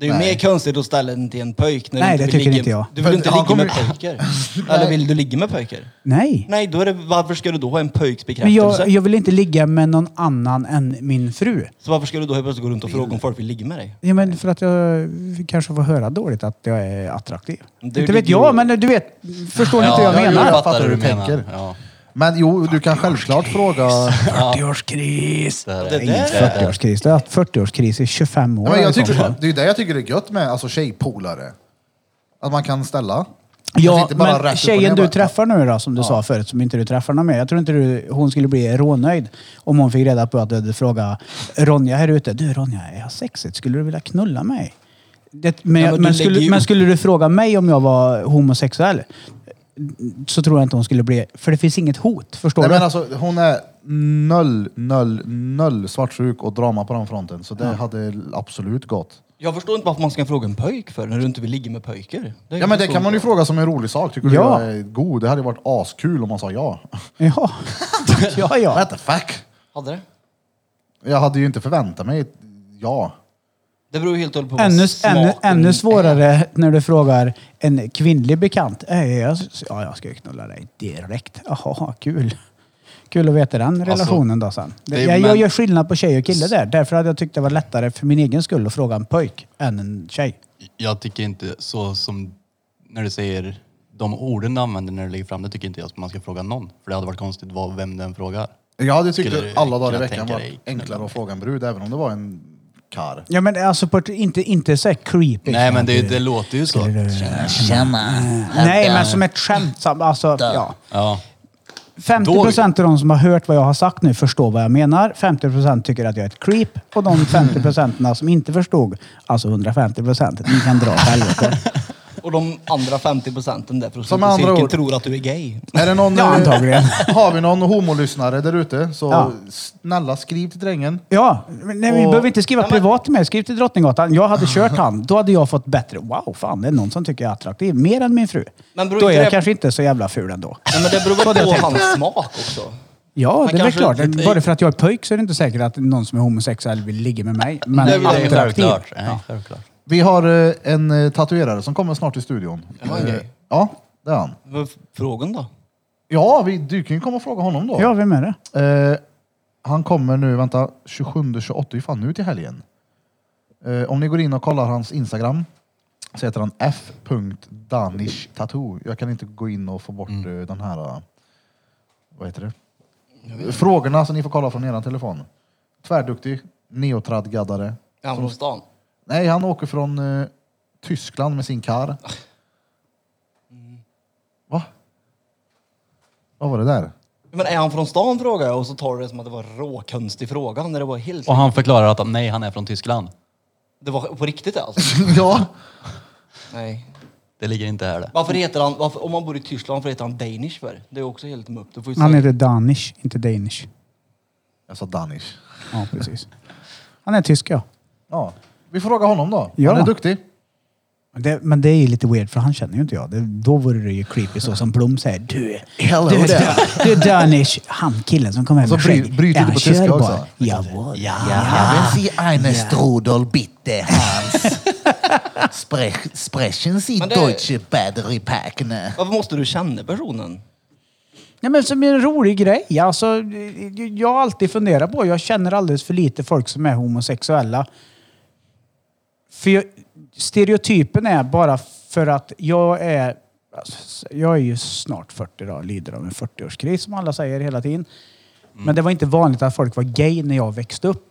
D: Det är ju mer konstigt att ställa den till en pojk. När
B: Nej,
D: du
B: det
D: inte vill
B: tycker
D: ligga,
B: inte jag.
D: Du vill
A: För
D: inte
A: han
D: ligga
A: kommer-
D: med pojkar. Eller vill du ligga med pojkar?
B: Nej.
D: Nej, då är det, varför ska du då ha en pojks
B: Men
D: bekräftelse?
B: jag, jag vill inte ligga med någon annan än min fru.
D: Så varför ska du då helt plötsligt gå runt och fråga om folk vill ligga med dig?
B: Ja, men för att jag kanske får höra dåligt att jag är attraktiv.
D: Det-
B: inte vet jag, men du vet, förstår ni inte
C: Ja,
B: vad jag
A: jo,
B: menar?
A: jag
C: fattar
A: fattar
C: hur
A: hur
C: du
A: du
C: menar.
A: tänker.
C: Ja.
A: Men jo, du kan självklart fråga...
B: 40-årskris!
C: Det
D: Det
C: är
D: där-
C: inget
B: Ingen 40-årskris. Det har haft 40-årskris i 25 år.
A: Ja, men jag
B: i så
A: tycker,
B: fall.
A: det är ju det jag tycker det är gött med alltså, tjejpolare. Att man kan ställa. Alltså,
B: Ja,
A: inte bara rätt upp
B: men
A: och
B: tjejen
A: ner,
B: du
A: bara-
B: träffar nu då, som du sa förut, som inte du träffar någon mer. Jag tror inte du, hon skulle bli rånöjd om hon fick reda på att du hade frågat Ronja här ute. Du Ronja, är jag sexigt? Skulle du vilja knulla mig? Det, men,
D: Ja, men du
B: men,
D: lägger
B: skulle,
D: ju-
B: men skulle du fråga mig om jag var homosexuell? så tror jag inte hon skulle bli... För det finns inget hot, förstår
A: Nej,
B: du?
A: men alltså, hon är noll, noll, noll svartsjuk och drama på den fronten. Så det hade absolut gått.
D: Jag förstår inte varför man ska fråga en pöjk för när du inte vill ligga med pöjker. är
A: Ja men det kan man ju fråga som en rolig sak. Tycker du
B: Ja.
A: jag är god? Det hade varit askul om man sa ja.
B: Ja. ja, ja.
A: What the fuck?
D: Hade det?
A: Jag hade ju inte förväntat mig ett ja.
D: Det beror ju helt och hållet på vad
B: Ännu,
D: smaken
B: ännu, ännu
D: Är.
B: svårare när du frågar en kvinnlig bekant. "Äh, Jag, ja, jag ska ju knulla dig direkt. Jaha, kul. Kul att veta den relationen då sen.
C: Alltså, det är
B: jag, jag
C: män-
B: gör skillnad på tjej och kille där. Därför hade jag tyckt det var lättare för min egen skull att fråga en pojk än en tjej.
C: Jag tycker inte så som när du säger de orden du använder när du lägger fram det tycker inte jag att man ska fråga någon. För det hade varit konstigt vad, vem den frågar.
A: Jag hade tyckt
C: Skulle
A: att alla dagar i
C: kunna
A: veckan
C: tänka
A: var
C: dig.
A: enklare att fråga en brud även om det var en kar.
B: Ja men alltså på ett, inte, inte så här creepy.
C: Nej men det, det låter ju så.
B: Nej men som ett skämt. som- Alltså, ja.
C: Ja.
B: 50 procent av de som har hört vad jag har sagt nu förstår vad jag menar. 50 procent tycker att jag är ett creep. Och de 50 procenten som inte förstod, alltså 150 procent, ni kan dra åt helvete.
D: Och de andra 50 procenten där
A: Som andra
D: procentcirkeln
A: ord.
D: tror att du är gay.
A: Är det någon,
B: Ja,
A: eh,
B: antagligen.
A: Har vi någon homolyssnare där ute så
B: Ja.
A: snälla skriv till drängen.
B: Ja, men nej, vi
A: Och-
B: behöver inte skriva privat till mig. Skriv till Drottninggatan. Jag hade kört han. Då hade jag fått bättre. Wow, fan det är någon som tycker jag är attraktiv. Mer än min fru.
D: Men beror
B: Då är
D: inte
B: jag
D: det-
B: kanske inte så jävla ful ändå.
D: Nej, men det beror väl på hans smak också.
B: Ja, det är väl
D: kanske
B: klart.
D: inte-
B: Bara för att jag är pöjk så är det inte säkert att någon som är homosexuell vill ligga med mig. Men
D: Det är väl
C: Det är
B: attraktiv.
C: självklart. Nej, självklart.
A: Vi har eh, en eh, tatuerare som kommer snart till studion.
D: var en
A: Eh,
D: grej.
A: Ja, det är han.
D: Vad är Frågan då?
A: Ja, vi, du kan ju komma och fråga honom då.
B: Ja, vem är det?
A: Eh, han kommer nu, vänta, 27-28, det är fan nu till helgen. Eh, om ni går in och kollar hans Instagram så heter han f.danish tattoo. Jag kan inte gå in och få bort eh, den här, eh, vad heter det? Frågorna så ni får kolla från eran telefon. Tvärduktig, neotrad-gaddare.
D: Är han från stan?
A: Nej, han åker från eh, Tyskland med sin kar. Va? Vad var det där?
D: Men är han från stan frågar jag och så tar du det som att det var råkonstig fråga när det var helt...
C: Och han förklarar att nej, han är från Tyskland.
D: Det var på riktigt alltså?
A: ja.
D: Nej.
C: Det ligger inte här det.
D: Varför heter han, varför, om man bor i Tyskland, varför heter han Danish för? Det är också helt mupp. Du får ju
B: Han
D: säga-
B: heter Danish, inte Danish.
A: Jag sa Danish.
B: Ja, precis. Han är tysk, ja.
A: Ja. Vi får fråga honom då.
B: Ja.
A: Han är duktig.
B: Men det, men det är ju lite weird, för han känner ju inte jag. Det, då vore det ju creepy, så som Blom säger. Du,
A: Hello
B: du,
A: there.
B: du, du Danish, han killen som kom hem
A: så
B: med
A: bry-
B: skägg.
A: bryter du
B: Är han
A: på tyska
B: körbar?
A: också?
B: Jawohl. Ja.
I: Ja, wenn Sie einen Strudel bitte, Hans. Sprech, sprechen Sie
D: Men det-
I: deutsche Battery Pack, ne?
D: Varför måste du känna personen?
B: Nej, men som en rolig grej. Alltså, jag har alltid funderat på, jag känner alldeles för lite folk som är homosexuella. För jag, stereotypen är bara för att jag är... Alltså, jag är ju snart 40 då, lider av en 40-årskris som alla säger hela tiden. Men det var inte vanligt att folk var gay när jag växte upp.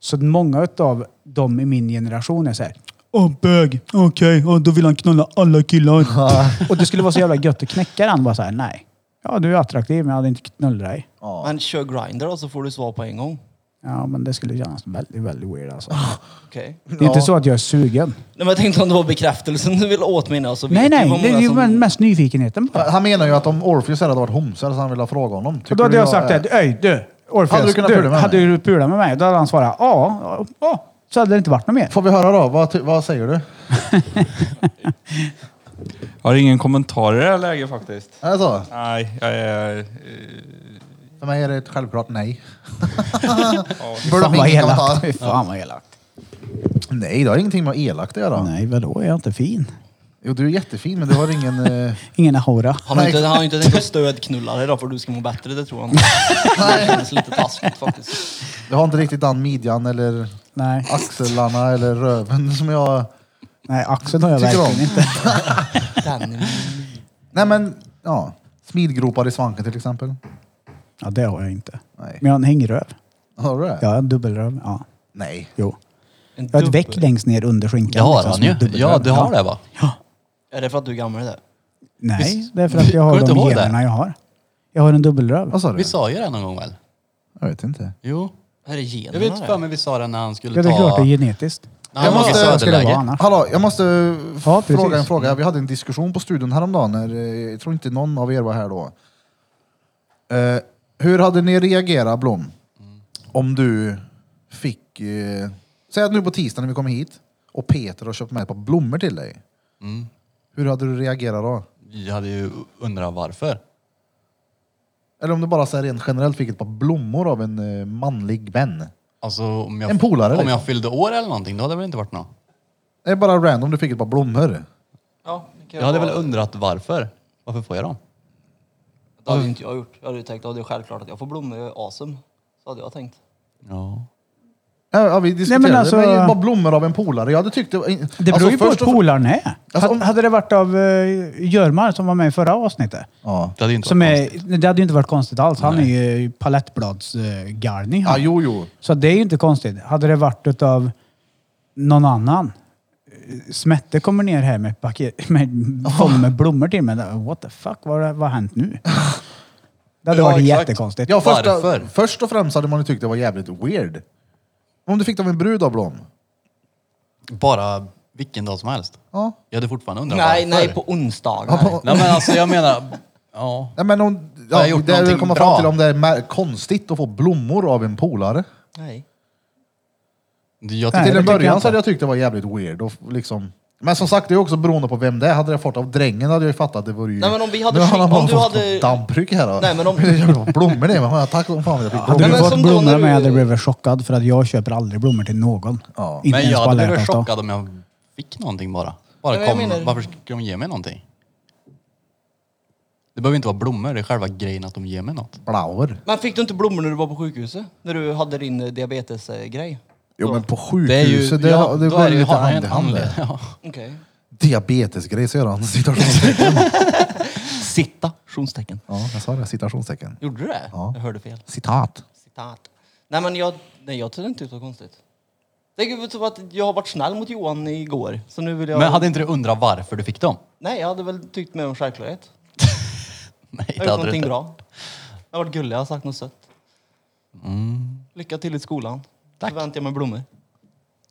B: Så många av dem i min generation är så här. Åh, bög! Okej, okay, då vill han knulla alla killar. och det skulle vara så jävla gött att knäcka den. Bara så här, nej. Ja, du är attraktiv, men jag hade inte knullat dig.
D: Men kör grinder då så får du svar på en gång.
B: Ja, men det skulle kännas väldigt, väldigt weird alltså.
D: Okej.
B: Det är inte så att jag är sugen.
D: Nej men jag tänkte om det var bekräftelsen du ville åt mig nu så vet
B: Nej,
D: du
B: nej.
D: vad
B: Det är
D: många
B: ju
D: som-
B: mest nyfikenheten bara.
A: Han menar ju att om Orpheus hade varit homse hade han velat fråga honom. Tycker
B: Och då hade
A: du
B: jag sagt
A: är-
B: det. Öj, du! Orpheus,
A: Hade du kunnat pula med
B: hade
A: mig?"
B: du pulat med mig? Då hade han svarat ja. ja, ja. Så hade det inte varit något mer.
A: Får vi höra då? Vad, ty- vad säger du?
G: Jag har ingen kommentar i det här läget faktiskt.
A: Är det så?
G: Nej, jag är... eh,
A: Alltså, För mig är det ett självklart nej.
B: Fan vad
A: ingen
B: elakt.
A: kommentar.
B: Fy Fan vad elakt.
A: Nej, det har ingenting med elakt att göra.
B: Nej, vadå? Är jag inte fin?
A: Jo, du är jättefin, men du har ingen... eh,
B: Ingen hora.
D: Han har ju inte, han har ju inte tänkt att stödknulla dig då för du ska må bättre, det tror han. Det känns lite taskigt faktiskt.
A: du har inte riktigt den midjan eller
B: Nej.
A: axlarna eller röven som jag...
B: Nej, axeln har jag
A: Tycker
B: verkligen
A: om.
B: inte.
D: Den,
A: Nej,
B: Mm.
A: men ja. Smidgropar i svanken till exempel.
B: Ja, det har jag inte.
A: Nej.
B: Men jag har en hängröv.
A: Har du det?
B: Jag har en dubbelröv. Ja.
A: Nej.
B: Jo.
D: en
B: Jag har ett
D: dubbel.
B: veck längst ner under skinkan.
C: Det har
B: liksom,
C: han
B: som
C: ju.
B: en dubbelröv.
C: Ja, du har det va?
D: Är det för att du är gammal det?
B: Nej,
C: Visst.
B: det är för att jag har
C: Går det
B: de
C: inte att ha det?
B: generna jag har. Jag har en dubbelröv.
A: Vad sa du?
C: Vi sa ju det någon gång väl?
A: Jag vet inte.
C: Jo.
D: Är det generna
C: Jag vet
D: det?
C: för mig vi sa det när han skulle
B: Ja, det är klart det
C: ta...
B: är genetiskt.
A: Jag måste,
B: skulle det vara annars?
A: hallå, jag måste
B: Ja, precis. Mm.
A: fråga en fråga. Vi hade en diskussion på studion häromdagen. När, eh, jag tror inte någon av er var här då. Eh, hur hade ni reagerat Blom?
C: Mm.
A: Om du fick... Eh, säg att nu på tisdag när vi kommer hit och Peter har köpt med ett par blommor till dig.
C: Mm.
A: Hur hade du reagerat då?
C: Jag hade ju undrat varför.
A: Eller om du bara så här, rent generellt fick ett par blommor av en eh, manlig vän.
C: Alltså om jag,
A: En polare,
C: Om
A: liksom.
C: jag fyllde år eller någonting, då hade det väl inte varit något.
A: Det är bara random du fick ett par blommor.
D: Ja, det kan
C: Jag hade
D: vara-
C: väl undrat varför. Varför får jag dem?
D: Det hade ju inte jag gjort. Jag hade ju tänkt att det är självklart att jag får blommor, jag är awesome. Så hade jag tänkt.
C: Ja.
A: Ja, ja, vi diskuterade
B: men
A: men
B: alltså-
A: det är bara blommor av en polare. Jag hade tyckt det var... Alltså, Det
B: Det beror ju på hur polaren är.
A: Alltså, om-
B: Hade- Hade det varit av uh, Görmar som var med i förra avsnittet?
A: Ja.
C: Det hade ju inte
B: Som
C: varit
B: är,
C: konstigt.
B: det hade ju inte varit konstigt alls. Han är ju palettbladsgarning.
A: Ja, jo, jo.
B: Så det är ju inte konstigt. Hade det varit utav någon annan. eh, Smette kommer ner här med ett paket med, fång med blommor till mig. What the fuck, vad har vad har hänt nu? Det hade
C: Ja,
B: varit
C: exakt.
B: jättekonstigt.
A: Ja, första,
C: Varför?
A: först och främst hade man ju tyckt det var jävligt weird. Om du fick det av en brud av Blom.
C: Bara vilken dag som helst.
A: Ja.
C: Jag hade fortfarande undrat
D: Nej,
C: varför.
D: nej, på onsdagar.
A: Ja, på,
C: nej men alltså jag menar, ja.
A: nej, men om,
C: Har
A: ja,
C: jag gjort
A: det jag vill
C: någonting
A: komma
C: bra?
A: fram till om det är mär- konstigt att få blommor av en polare.
D: nej.
C: Jag
A: till
B: Nej, det
A: en
B: tycker jag
A: början
B: inte.
A: så hade jag tyckt det var jävligt weird. Och f- liksom. Men som sagt, det är också beroende på vem det är. Hade jag fått av drängen hade jag ju fattat. Det vore ju...
D: Nej, men om vi hade
A: nu har
D: skick-
A: han bara
D: om du
A: fått
D: hade-
A: något dampryck här. då.
D: Nej, men om-
A: Jag vill ha blommor det, men jag tack som fan jag fick
B: Hade
A: blommor.
D: Nej,
B: du
D: men
B: fått
D: som då
B: blommor
D: när
B: med
D: du-
B: hade jag blivit chockad för att jag köper aldrig blommor till någon.
A: Ja.
B: Inte
C: Men
B: ens
C: jag
B: på
C: hade
B: alla
C: blivit
B: hjärtans dag.
C: chockad om jag fick någonting bara.
D: Ja, men
C: bara
D: jag
C: kom,
D: menar-
C: varför skulle de ge mig någonting? Det behöver inte vara blommor, det är själva grejen att de ger mig något.
A: Blauer.
D: Men fick du inte blommor när du var på sjukhuset? När du hade din eh, diabetesgrej?
A: Jo men på
C: Det är ju,
A: sjukhuset, det,
C: ja,
A: det
C: då
A: går
C: är det
A: ju
C: ju-
A: lite
C: har jag
A: hand i
C: en
A: hand.
C: anledning.
A: det.
C: Ja.
D: Okej.
A: Diabetesgrej säger han. Citationstecken.
D: Sitta! Tionstecken.
A: ja, jag sa det. Citationstecken.
D: Gjorde du det?
A: Ja.
D: Jag hörde fel.
A: Citat.
D: Citat. Nej men jag, nej, jag tyckte inte ut det var konstigt. Det är ju så att jag har varit snäll mot Johan igår. Så nu vill jag...
C: Men hade inte du undrat varför du fick dem?
D: Nej, jag hade väl tyckt mer om självklarhet.
C: Nej,
D: Jag
C: det
D: har gjort
C: hade du
D: någonting
C: inte.
D: bra. Jag har varit gullig, jag har sagt något sött. Lycka till i skolan. Tack. Förväntar jag mig blommor.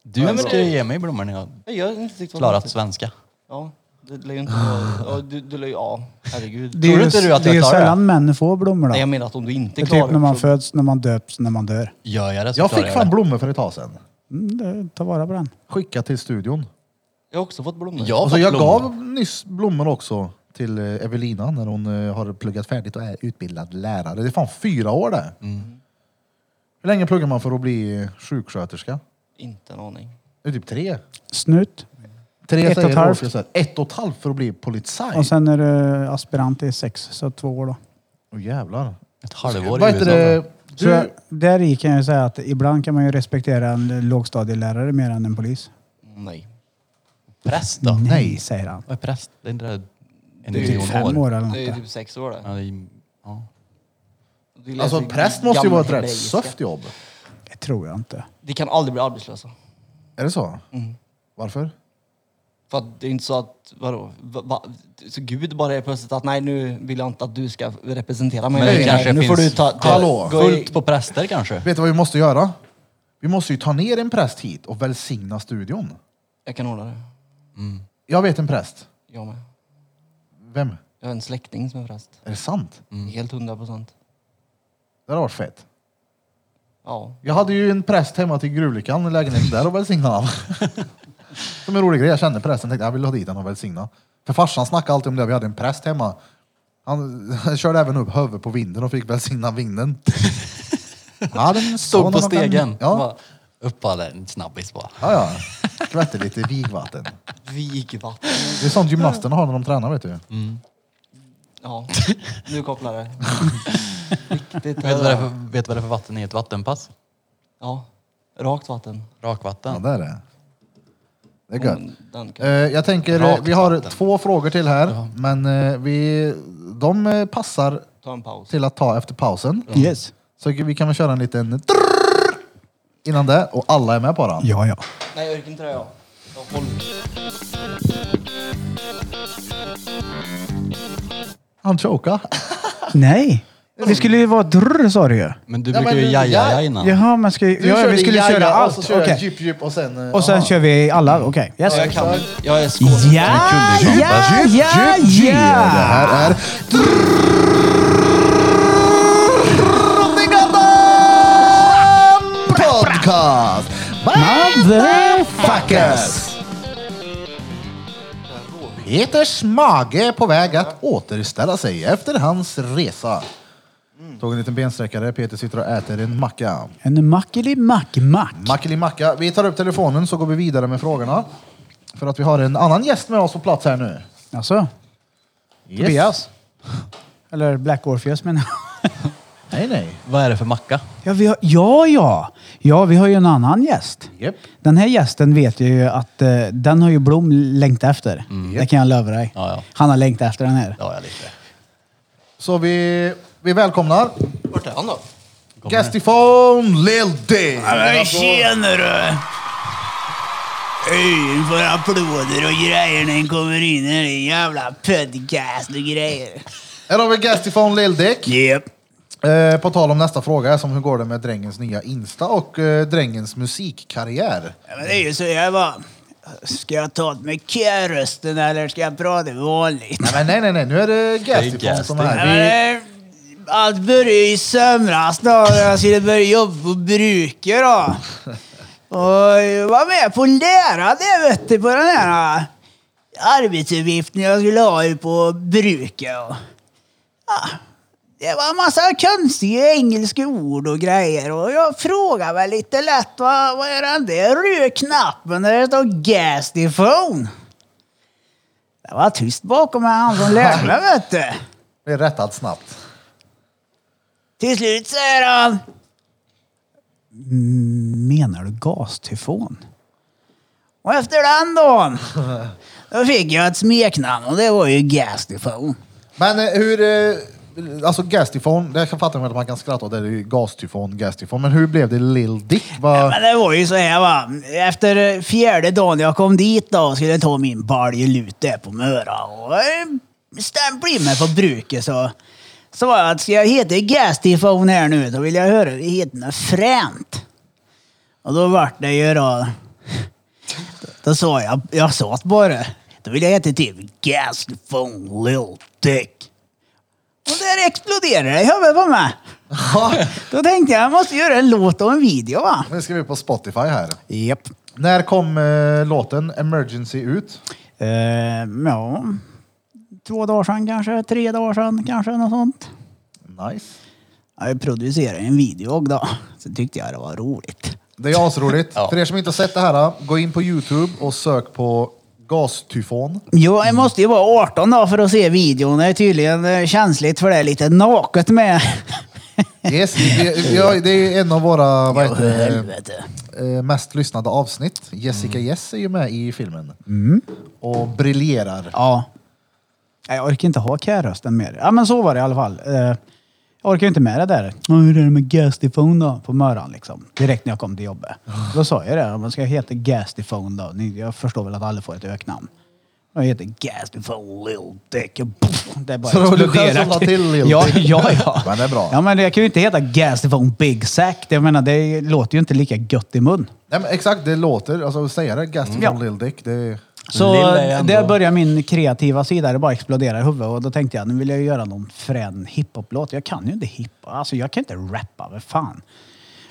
C: Du
D: men
C: ska
D: det-
C: ju ge mig blommor när jag
D: Nej, jag har inte tyckt det var
C: klarat
D: konstigt.
C: svenska.
D: Ja, det lär ju inte vara... Ja, du, du lär ju... Ja, herregud.
B: Det är
C: Tror
B: ju-
C: inte du att
B: det
C: jag
B: är
C: klarar det?
B: sällan män får blommor då.
D: Nej, jag menar att om du inte
B: Det är
D: klarar
B: typ när man
D: så-
B: föds, när man döps, när man dör.
C: Gör jag det så
A: Jag
C: klarar
A: fick
C: jag
A: fan blommor för ett tag sedan.
B: Mm, det- ta vara på den.
A: Skicka till studion.
D: Jag har också fått blommor.
C: det. Jag, har
A: Alltså,
C: fått
A: jag
C: blommor.
A: gav nyss blommor också till eh, Evelina när hon eh, har pluggat färdigt och är utbildad lärare. Det är fan fyra år det.
C: Mm.
A: Hur länge pluggar man för att bli eh, sjuksköterska?
D: Inte en aning.
A: Det är typ tre.
B: Snut.
A: Tre
B: Ett och
A: säger
B: ett halvt.
A: årskursen. Ett och ett halvt för att bli politsaj.
B: Och sen är du aspirant i sex, så två år då.
A: Åh jävlar.
C: Ett halvår
A: Vad
C: i
A: heter
C: USA.
A: det?
B: Så jag,
A: Du,
B: där i kan jag ju säga att ibland kan man ju respektera en lågstadielärare mer än en polis.
D: Nej.
C: Präst då?
B: Nej, säger han.
C: Vad är präst? Det är inte det en
B: Det är typ fem
C: miljon
B: år
C: år?
B: eller något.
D: Det är
B: där.
D: typ sex år
C: Ja,
D: det. liksom
C: det är, ja.
D: Du läser
A: alltså präst måste ju vara ett rätt
D: gammalhebreiska.
A: söft jobb.
B: Det tror jag inte.
D: De kan aldrig bli arbetslösa.
A: Är det så? Varför?
D: För att det är inte så att, vadå? Va, va, så Gud bara är plötsligt att nej nu vill jag inte att du ska representera mig.
C: Men det
D: Nej,
C: kanske
D: nu får du
C: finns-
D: ta, ta,
A: Hallå,
D: gå i-
C: Fullt på präster kanske?
A: Vet du vad vi måste göra? Vi måste ju ta ner en präst hit och välsigna studion.
D: Jag kan ordna det.
A: Jag vet en präst.
D: Jag med.
A: Vem?
D: Jag har en släkting som är präst.
A: Är det sant?
D: Helt hundra procent.
A: Det hade varit fett.
D: Ja.
A: Jag hade ju en präst hemma till gruvlyckan i lägenheten där och välsignade han. Som en rolig grej. Jag kände prästen tänkte jag vill ha dit honom och välsigna. För farsan snackade alltid om det. Vi hade en präst hemma. Han, han körde även upp huvudet på vinden och fick välsigna vinden. Ja, den
C: Stod på
A: sonen och den-
C: stegen.
A: Ja,
C: Ja. Uppade en snabbis bara.
A: ja. ja. Skvätte lite vigvatten.
D: Vigvatten.
A: Det är sånt gymnasterna har när de tränar vet du.
D: Ja. Nu kopplar det. Riktigt.
C: Vet du vad det är för, vet du vad det är för vatten i ett vattenpass?
D: Ja. Rakt vatten.
A: Ja,
C: Rakvatten.
A: det är det. Det är gött.
D: Den kan...
A: Eh, jag tänker, eh, vi har två frågor till här, men eh, vi, de eh, passar
D: Ta en paus.
A: till att ta efter pausen.
B: Yes.
A: Så vi kan väl köra en liten drrrr innan det, och alla är med på den.
B: Ja, ja.
D: Nej, jag orkar inte det jag. jag håller...
A: Han choka.
B: Nej. Det skulle ju vara drr sa du ju.
C: Men du
A: Ja,
C: brukar
A: men
C: ju
A: du-
C: jaja
A: ja.
C: ja. innan.
B: Jaha, men ska,
A: Du
B: ja,
A: körde
B: vi skulle
A: jaja,
B: köra
A: Och
B: allt.
A: så
B: Okej.
A: körde jag djup, djup och sen... eh,
B: Och sen
A: aha.
B: kör vi alla? Okej. Yes.
D: Jag kan, jag är
B: Ja,
D: skådis.
B: ja, ja,
A: Djup,
B: ja,
A: djup, djup. Det här är... Drottninggatan Podcast! Motherfuckers! Peters mage på väg att återställa sig efter hans resa. Tog en liten bensträckare. Peter sitter och äter en macka.
B: En mackeli mack mack.
A: Mackelimacka. Vi tar upp telefonen så går vi vidare med frågorna. För att vi har en annan gäst med oss på plats här nu.
B: Alltså,
A: Yes.
B: Tobias. Eller Black Orpheus menar jag.
A: Nej, nej.
C: Vad är det för macka?
B: Ja, vi har, ja, ja. Ja, vi har ju en annan gäst.
A: Japp.
B: Den här gästen vet jag ju att eh, den har ju Blom längtat efter. Det kan jag lova dig.
C: Ja, ja.
B: Han har längtat efter den här.
C: Ja, jag lite.
A: Så vi, vi välkomnar
D: Vart är han då?
A: gäst ifrån Lil D.
B: Tjenare! Öyn får applåder och grejer när den kommer in här i jävla podcast och grejer.
A: Här har vi gäst ifrån Lil Dick.
B: Yep.
A: Eh, på tal om nästa fråga, som hur går det med drängens nya Insta och eh, drängens musikkarriär?
B: Ja, men det är ju så jag bara... Ska jag ta åt mig körrösten eller ska jag prata vanligt?
A: Nej, men nej, nej, nej. Nu är det gäst
C: Det är
A: ifrån som
C: gäst.
A: är
B: Nej, men
A: här. Vi,
B: det- Allt började i sömras då, när jag skulle börja jobba på bruket då. Och jag var med på att lära det vet du, på den här äh, arbetsuppgiften jag skulle ha ju på bruket. Och, ja, det var en massa konstiga engelska ord och grejer och jag frågade väl lite lätt vad, vad är den där röda knappen där det står gas the phone? Det var tyst bakom mig, han som lärde mig vet du.
A: vi är rättad snabbt.
B: Till slut säger han... Menar du gastifon? Och efter den dagen, då fick jag ett smeknamn och det var ju gastifon.
A: Men eh, hur... Eh, alltså gastifon, det kan fatta med att man kan skratta åt det. Det är ju gastifon, gastifon. Men hur blev det Lil Dick? Vad-
B: Men det var ju så här va, efter fjärde dagen jag kom dit då och skulle ta min baljelut där på Möra och eh, stämpla in mig på bruket så så var jag att ska jag heta gastifon här nu då vill jag höra det heter något fränt. Och då vart det ju då, då sa jag, jag sa att bara, då vill jag heta typ gastifon Lil Dick. Och där exploderade det i huvudet på mig. Då tänkte jag, jag måste göra en låt och en video va.
A: Nu ska vi på Spotify här.
B: Japp.
A: När kom eh, låten Emergency ut?
B: Eh, ja, två dagar sedan kanske, tre dagar sedan kanske, något sånt.
A: Nice.
B: Jag producerade en video då, så tyckte jag det var roligt.
A: Det är asroligt. För er som inte har sett det här, gå in på Youtube och sök på gastyfon.
B: Jo, jag måste ju vara 18 då för att se videon. Det är tydligen eh, känsligt för det är lite naket med.
A: Yes, det, ja, det är en av våra vad
B: Jo,
A: heter, det,
B: helvete. Mm.
A: eh, mest lyssnade avsnitt. Jessica Jess är ju med i filmen. Och briljerar.
B: Ja. Nej, Jag orkar inte ha kärrösten mer. Ja, men så var det i alla fall. Eh, Jag orkar ju inte med det där. "Ja, Hur är det med gastifon då? På morgonen liksom. Direkt när jag kom till jobbet. Då sa jag det. "Ja, Man ska heta gastifon då. Ni- Jag förstår väl att alla får ett öknamn. Jag heter gastifon Lil Dick. Och pff, Det bara
A: Så det var du själv som la till Lil
B: ja,
A: Dick.
B: ja, ja.
A: Men det är bra.
B: Ja, men jag kan ju inte heta gastifon Big Sack. Jag menar, det låter ju inte lika gött i mun.
A: Nej, men exakt, det låter. Alltså säga det, gastyfon
B: Mm. Ja.
A: Lil Dick. Det är...
B: Så
C: Lilla är ändå-
B: där började min kreativa sida, det bara exploderade i huvudet. Och då tänkte jag, nu vill jag ju göra någon frän hiphop-låt. Jag kan ju inte hiphop, alltså jag kan inte rappa, vad fan. Jag
A: Ja,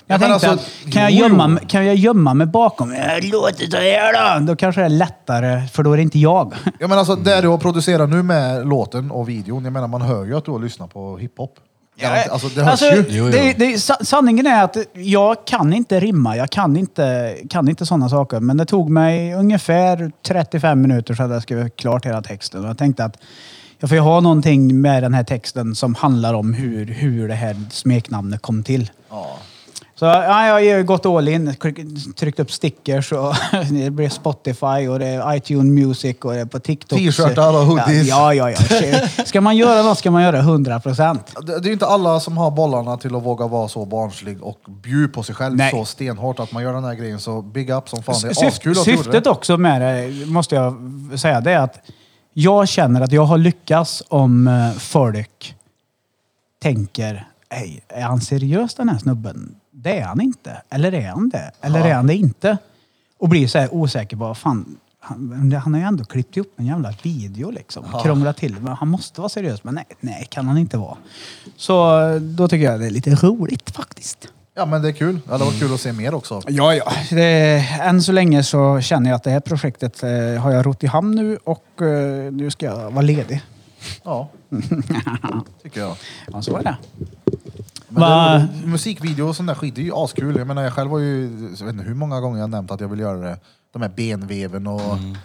A: men
B: tänkte,
A: alltså,
B: att, kan, jag
A: jo, jo.
B: gömma, mig- kan jag gömma mig bakom "Äh, låter så här då? Då kanske det är lättare, för då är det inte jag.
A: Ja, men alltså,
B: Mm.
A: det du har producerat nu med låten och videon, jag menar man hör ju att du har lyssnat på hiphop. Ja, alltså, det hörs
B: Alltså,
A: ju.
C: Jo, jo.
B: det, det, sa- sanningen är att jag kan inte rimma, jag kan inte, kan inte sådana saker. Men det tog mig ungefär 35 minuter så att jag skrev klart hela texten. Och jag tänkte att jag får ju ha någonting med den här texten som handlar om hur, hur det här smeknamnet kom till. Så ja, jag har ju gått all in, klick- tryckt upp stickers och det blir Spotify och det är iTunes Music och det är på TikTok.
A: T-shirtar och hoodies.
B: Ja, ja, ja. Ska man göra något ska man göra 100 procent.
A: Det det är ju inte alla som har bollarna till att våga vara så barnslig och bjuda på sig själv
B: Nej.
A: så stenhårt att man gör den här grejen. Så big up som fan. Det är
B: Syft-
A: askul att du gjorde
B: syftet
A: det.
B: också med det, måste jag säga, det är att jag känner att jag har lyckats om eh, folk tänker, "Ey, är han seriös den här snubben? Det är han inte. Eller är han det? Eller är han det inte? Och blir så här osäker på, fan, han, han har ju ändå klippt ihop en jävla video liksom. Krånglat till men Han måste vara seriös, men nej, nej, kan han inte vara. Så då tycker jag det är lite roligt faktiskt.
A: Ja, men det är kul. Ja, det var kul att se mer också.
B: Ja, ja. Det, än så länge så känner jag att det här projektet eh, har jag rott i hamn nu och eh, nu ska jag vara ledig.
A: Ja, tycker jag.
B: Ja, så är det.
A: Mm. Men
B: Va-
A: det, det- musikvideo och sån där skit, det är ju askul. Jag menar, jag själv har ju, jag vet inte hur många gånger jag har nämnt att jag vill göra det. De här benveven och
C: Mm.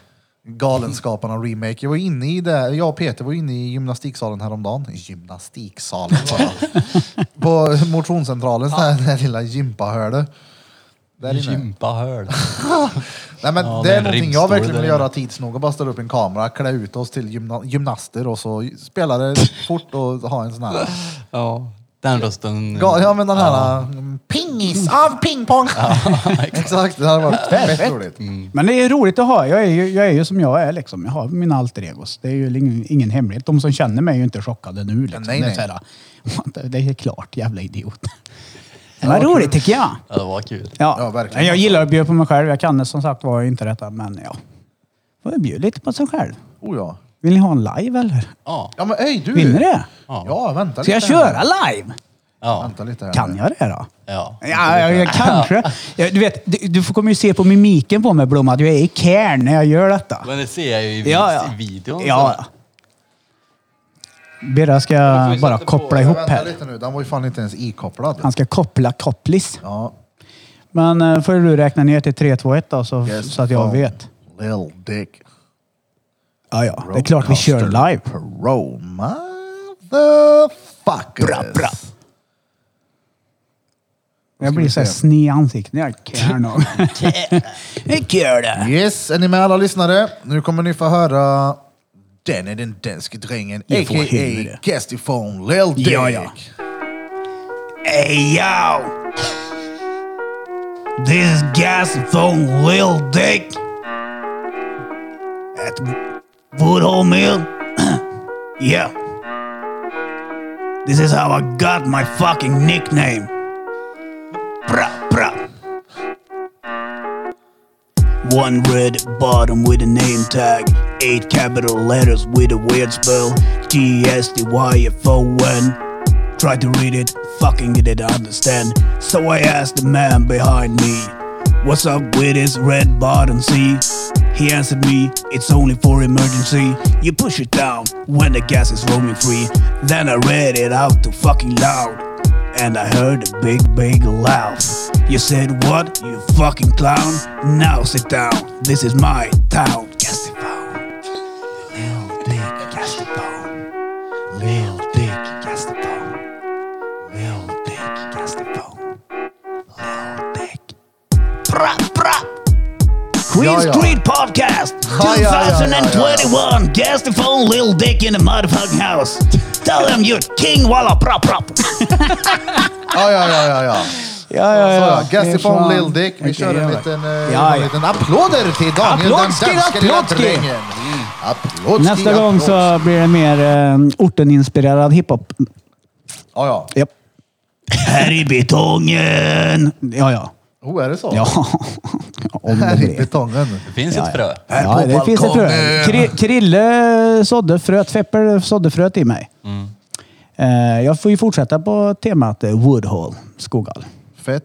A: Galenskaparna och remake. Jag var inne i det, jag och Peter var inne i gymnastiksalen häromdagen. Gymnastiksalen sa jag. På motionscentralen, ja. den där lilla gympahörde. Där inne.
C: Gympahörd.
A: Nej, men
C: Ja,
A: det
C: det
A: är
C: är en
A: någonting
C: ribbstol
A: jag verkligen vill
C: där
A: göra
C: inne.
A: tids nog. Och bara ställa upp en kamera, klä ut oss till gymna- gymnaster och så spela det fort och ha en sån här.
C: Ja. Den rösten.
A: Ga- Ja men den här mm, pingis av pingpong. Exakt, det hade varit fett roligt.
B: Men det är roligt att ha. Jag är ju, jag är ju som jag är liksom. Jag har mina alter egos. Det är ju ingen, ingen hemlighet. De som känner mig är ju inte chockade nu. Liksom.
A: Nej, nej.
B: Det, är så här, det är klart, jävla idiot. Det var roligt tycker jag.
C: Ja, det var kul.
B: Ja,
A: Ja, verkligen.
B: Jag gillar att bjuda på mig själv. Jag kan som sagt var inte detta, men ja. Får jag bjuda lite på sig själv.
A: Oh, ja.
B: Vill ni ha en live eller?
C: Ja.
A: ja men öj du!
B: Vill ni det?
A: Mm. Ja, vänta
B: Ska jag
A: lite.
B: köra live?
C: Ja.
A: Vänta lite här.
B: Kan jag det då?
C: ja.
B: Ja, jag, jag kanske. Ja, Du vet, du, du får- kommer ju se på mimiken på mig Blom, att jag är i cairn när jag gör detta.
C: Men det ser jag ju i, vid-
B: Ja, ja.
C: i videon.
A: alltså?
B: Ja, ja. Birra ska bara koppla ihop
A: Vänta
B: här.
A: lite nu, den var ju fan inte ens ikopplad.
B: Han ska koppla kopplis.
A: Ja.
B: Men eh, får du räkna ner till 3, 2, 1 då, så,
A: Yes,
B: så att jag
A: fan.
B: vet.
A: Lil Dick.
B: Ja, ja. Det är klart vi kör
A: Roadcaster
B: live.
A: Pro motherfuckers.
B: Bra, bra. Jag
A: ska
B: blir
A: vi
B: så här
A: se.
B: sned i ansiktet när jag cairn. om. Det gör det.
A: Yes, är ni med alla lyssnare? Nu kommer ni få höra den är den danske drängen,
B: Ja, för
A: a.k.a.
B: helvete.
A: Gastifone Lil Dick.
B: Ja, ja. Hey yo! This is Gas from Lil Dick at Woodhull Mill. yeah. This is how I got my fucking nickname. Bruh, bruh. One red bottom with a name tag. Eight capital letters with a weird spell. G S D Y F O N. Try to read it, fucking didn't understand. So I asked the man behind me, What's up with this red bottom C? He answered me, It's only for emergency. You push it down when the gas is roaming free. Then I read it out to fucking loud. And I heard a big, big laugh. You said, What, you fucking clown? Now sit down, this is my town. Castaphone. Lil Dick Castaphone. Lil Dick Castaphone. Lil Dick Castaphone. Lil Dick. Bra, bra! Queen
A: Ja, ja.
B: Street Podcast
A: Ja, ja, ja, ja, ja.
B: 2021. Guess the phone, Lil Dick in the motherfucking house. Tell them you're king, walla, prop, prop.
A: Ja, ja, ja, ja, ja.
B: Ja, ja,
A: Så ja,
B: ja.
A: Gastifone Lil Dick. Vi
B: Okej,
A: kör en
B: jävlar.
A: liten, eh,
B: Ja,
A: en
B: ja.
A: liten applåder till Daniel
B: Applådski,
A: den danske lilla
B: applådski. Mm.
A: drängen. Applådski,
B: Nästa gång
A: applådski.
B: så blir det mer eh, orteninspirerad hiphop.
A: Ja, ja.
B: Japp. Här i betongen! Ja, ja.
A: Oh, är det så?
B: Ja. Om det
A: Här i
B: blir.
A: betongen.
C: Det finns ett frö.
B: Ja, det finns ett frö. Kri- Krille sådde fröet, Fepper sådde fröet i mig. Eh, Jag får ju fortsätta på temat eh, Woodhall, Skoghall,
A: Fett.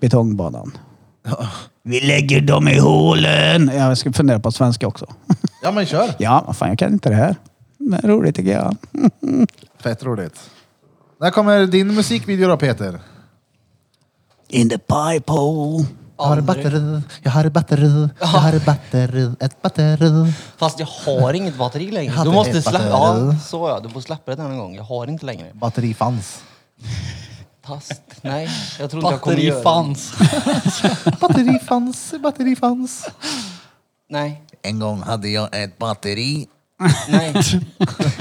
B: betongbanan. Vi lägger dem i hålen! Jag ska fundera på svenska också.
A: Ja, men kör.
B: Ja, vad fan, jag kan inte det här. Men roligt tycker jag.
A: Fett roligt. När kommer din musikvideo då, Peter?
B: In the pipe hole.
A: Jag har batteri, jag har batteri, jag har batteri, ett batteri.
D: Fast jag har inget batteri längre.
A: hade
D: Du måste
A: ett
D: släppa...
A: batteri.
D: Ja, så ja. Du får släppa det den en gång. Jag har inte längre.
A: Batteri fanns.
D: Fast, nej. Jag tror inte jag kommer
C: Batteri
D: göra det.
C: fanns.
A: Batteri fanns, batteri fanns.
D: Nej,
I: En gång hade jag ett batteri.
D: nej,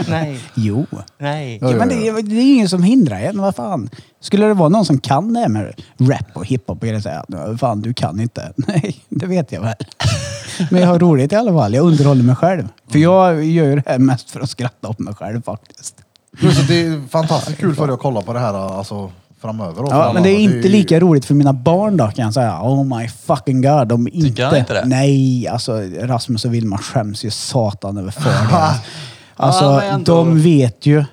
D: nej,
B: Jo.
D: nej.
B: Ja, men det, är- det är ingen som hindrar en. Vad fan. Skulle det vara någon som kan det här med rap och hiphop och grejer säga "Nej, fan du kan inte. Nej, det vet jag väl. Men jag har roligt i alla fall. Jag underhåller mig själv. För jag gör ju det här mest för att skratta åt mig själv faktiskt.
A: Plus att det är fantastiskt kul för dig att kolla på det här alltså, framöver. och för
B: Ja,
A: alla.
B: men det är
A: ju-
B: inte lika roligt för mina barn då kan jag säga. Oh my fucking god. De inte...
C: han inte det?
B: Nej, alltså Rasmus och Vilma skäms ju satan över för det. Alltså,
C: Ja, men ändå.
B: de vet ju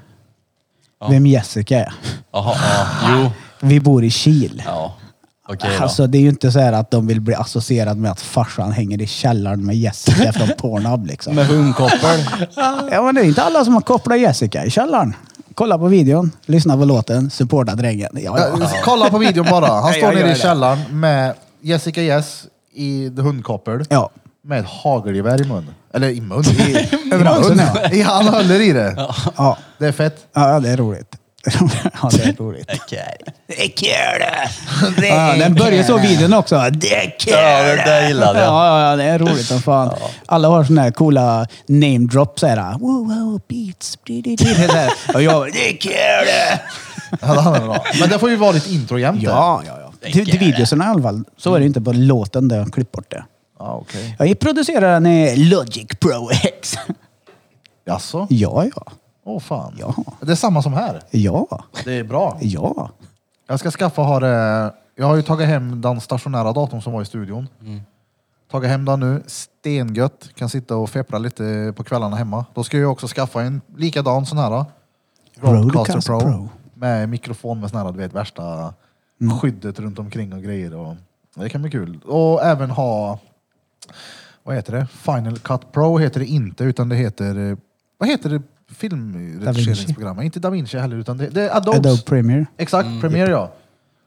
B: vem Jessica är.
C: Jaha, ja. Jo.
B: Vi bor i Kil.
C: Ja. Okej då.
B: alltså, det är ju inte så här att de vill bli associerade med att farsan hänger i källaren med Jessica från Pornhub liksom.
D: Med hundkoppel.
B: Ja, men det är inte alla som har kopplat Jessica i källaren. Kolla på videon, lyssna på låten, supporta drängen. Ja, ja.
A: Ja, Kolla på videon bara. Han
B: jag
A: står
B: gör
A: nere i
B: det.
A: källaren med Jessica Jess i The hundkoppel.
B: Ja.
A: Med hagelgevär i mun. Eller i mun? I,
B: munnen,
A: över mun. Ja, han håller i det.
B: Ja.
A: Det är fett.
B: Ja, det är roligt. Ja, det är roligt. Det är kul! Ja, den börjar så videon också. Det är kul!
C: Ja, det där gillade jag.
B: Ja, ja, ja, det är roligt som fan. Alla har såna här coola name drops. Så här, wow, wow, beats. di, di, di, så här. Och jag, det är kul!
A: Ja, det handlar bra. Men det får ju vara ditt intro jämte.
B: Ja, ja, ja. Till, till videosen i alla fall. Så är det ju inte på låten där jag klippt bort det.
A: Ah, Okej.
B: Jag producerar den i Logic Pro X.
A: Jaså?
B: Ja, ja.
A: Åh fan.
B: Ja.
A: Det är samma som här.
B: Ja.
A: Det är bra.
B: Ja.
A: Jag ska skaffa och ha det. Jag har ju tagit hem den stationära datorn som var i studion. Tagit hem den nu. Stengött. Kan sitta och feppra lite på kvällarna hemma. Då ska jag också skaffa en likadan sån här. Roadcaster
B: Rodecaster
A: Pro,
B: Pro.
A: Med mikrofon med sån här, du vet, värsta skyddet runt omkring och grejer. Och, det kan bli kul. Och även ha, vad heter det? Final Cut Pro heter det inte, utan det heter, eh, vad heter det? Filmredigeringsprogrammet. Inte Da Vinci heller, utan det, det är Adobe.
B: Adobe Premiere.
A: Exakt, Premiere ja.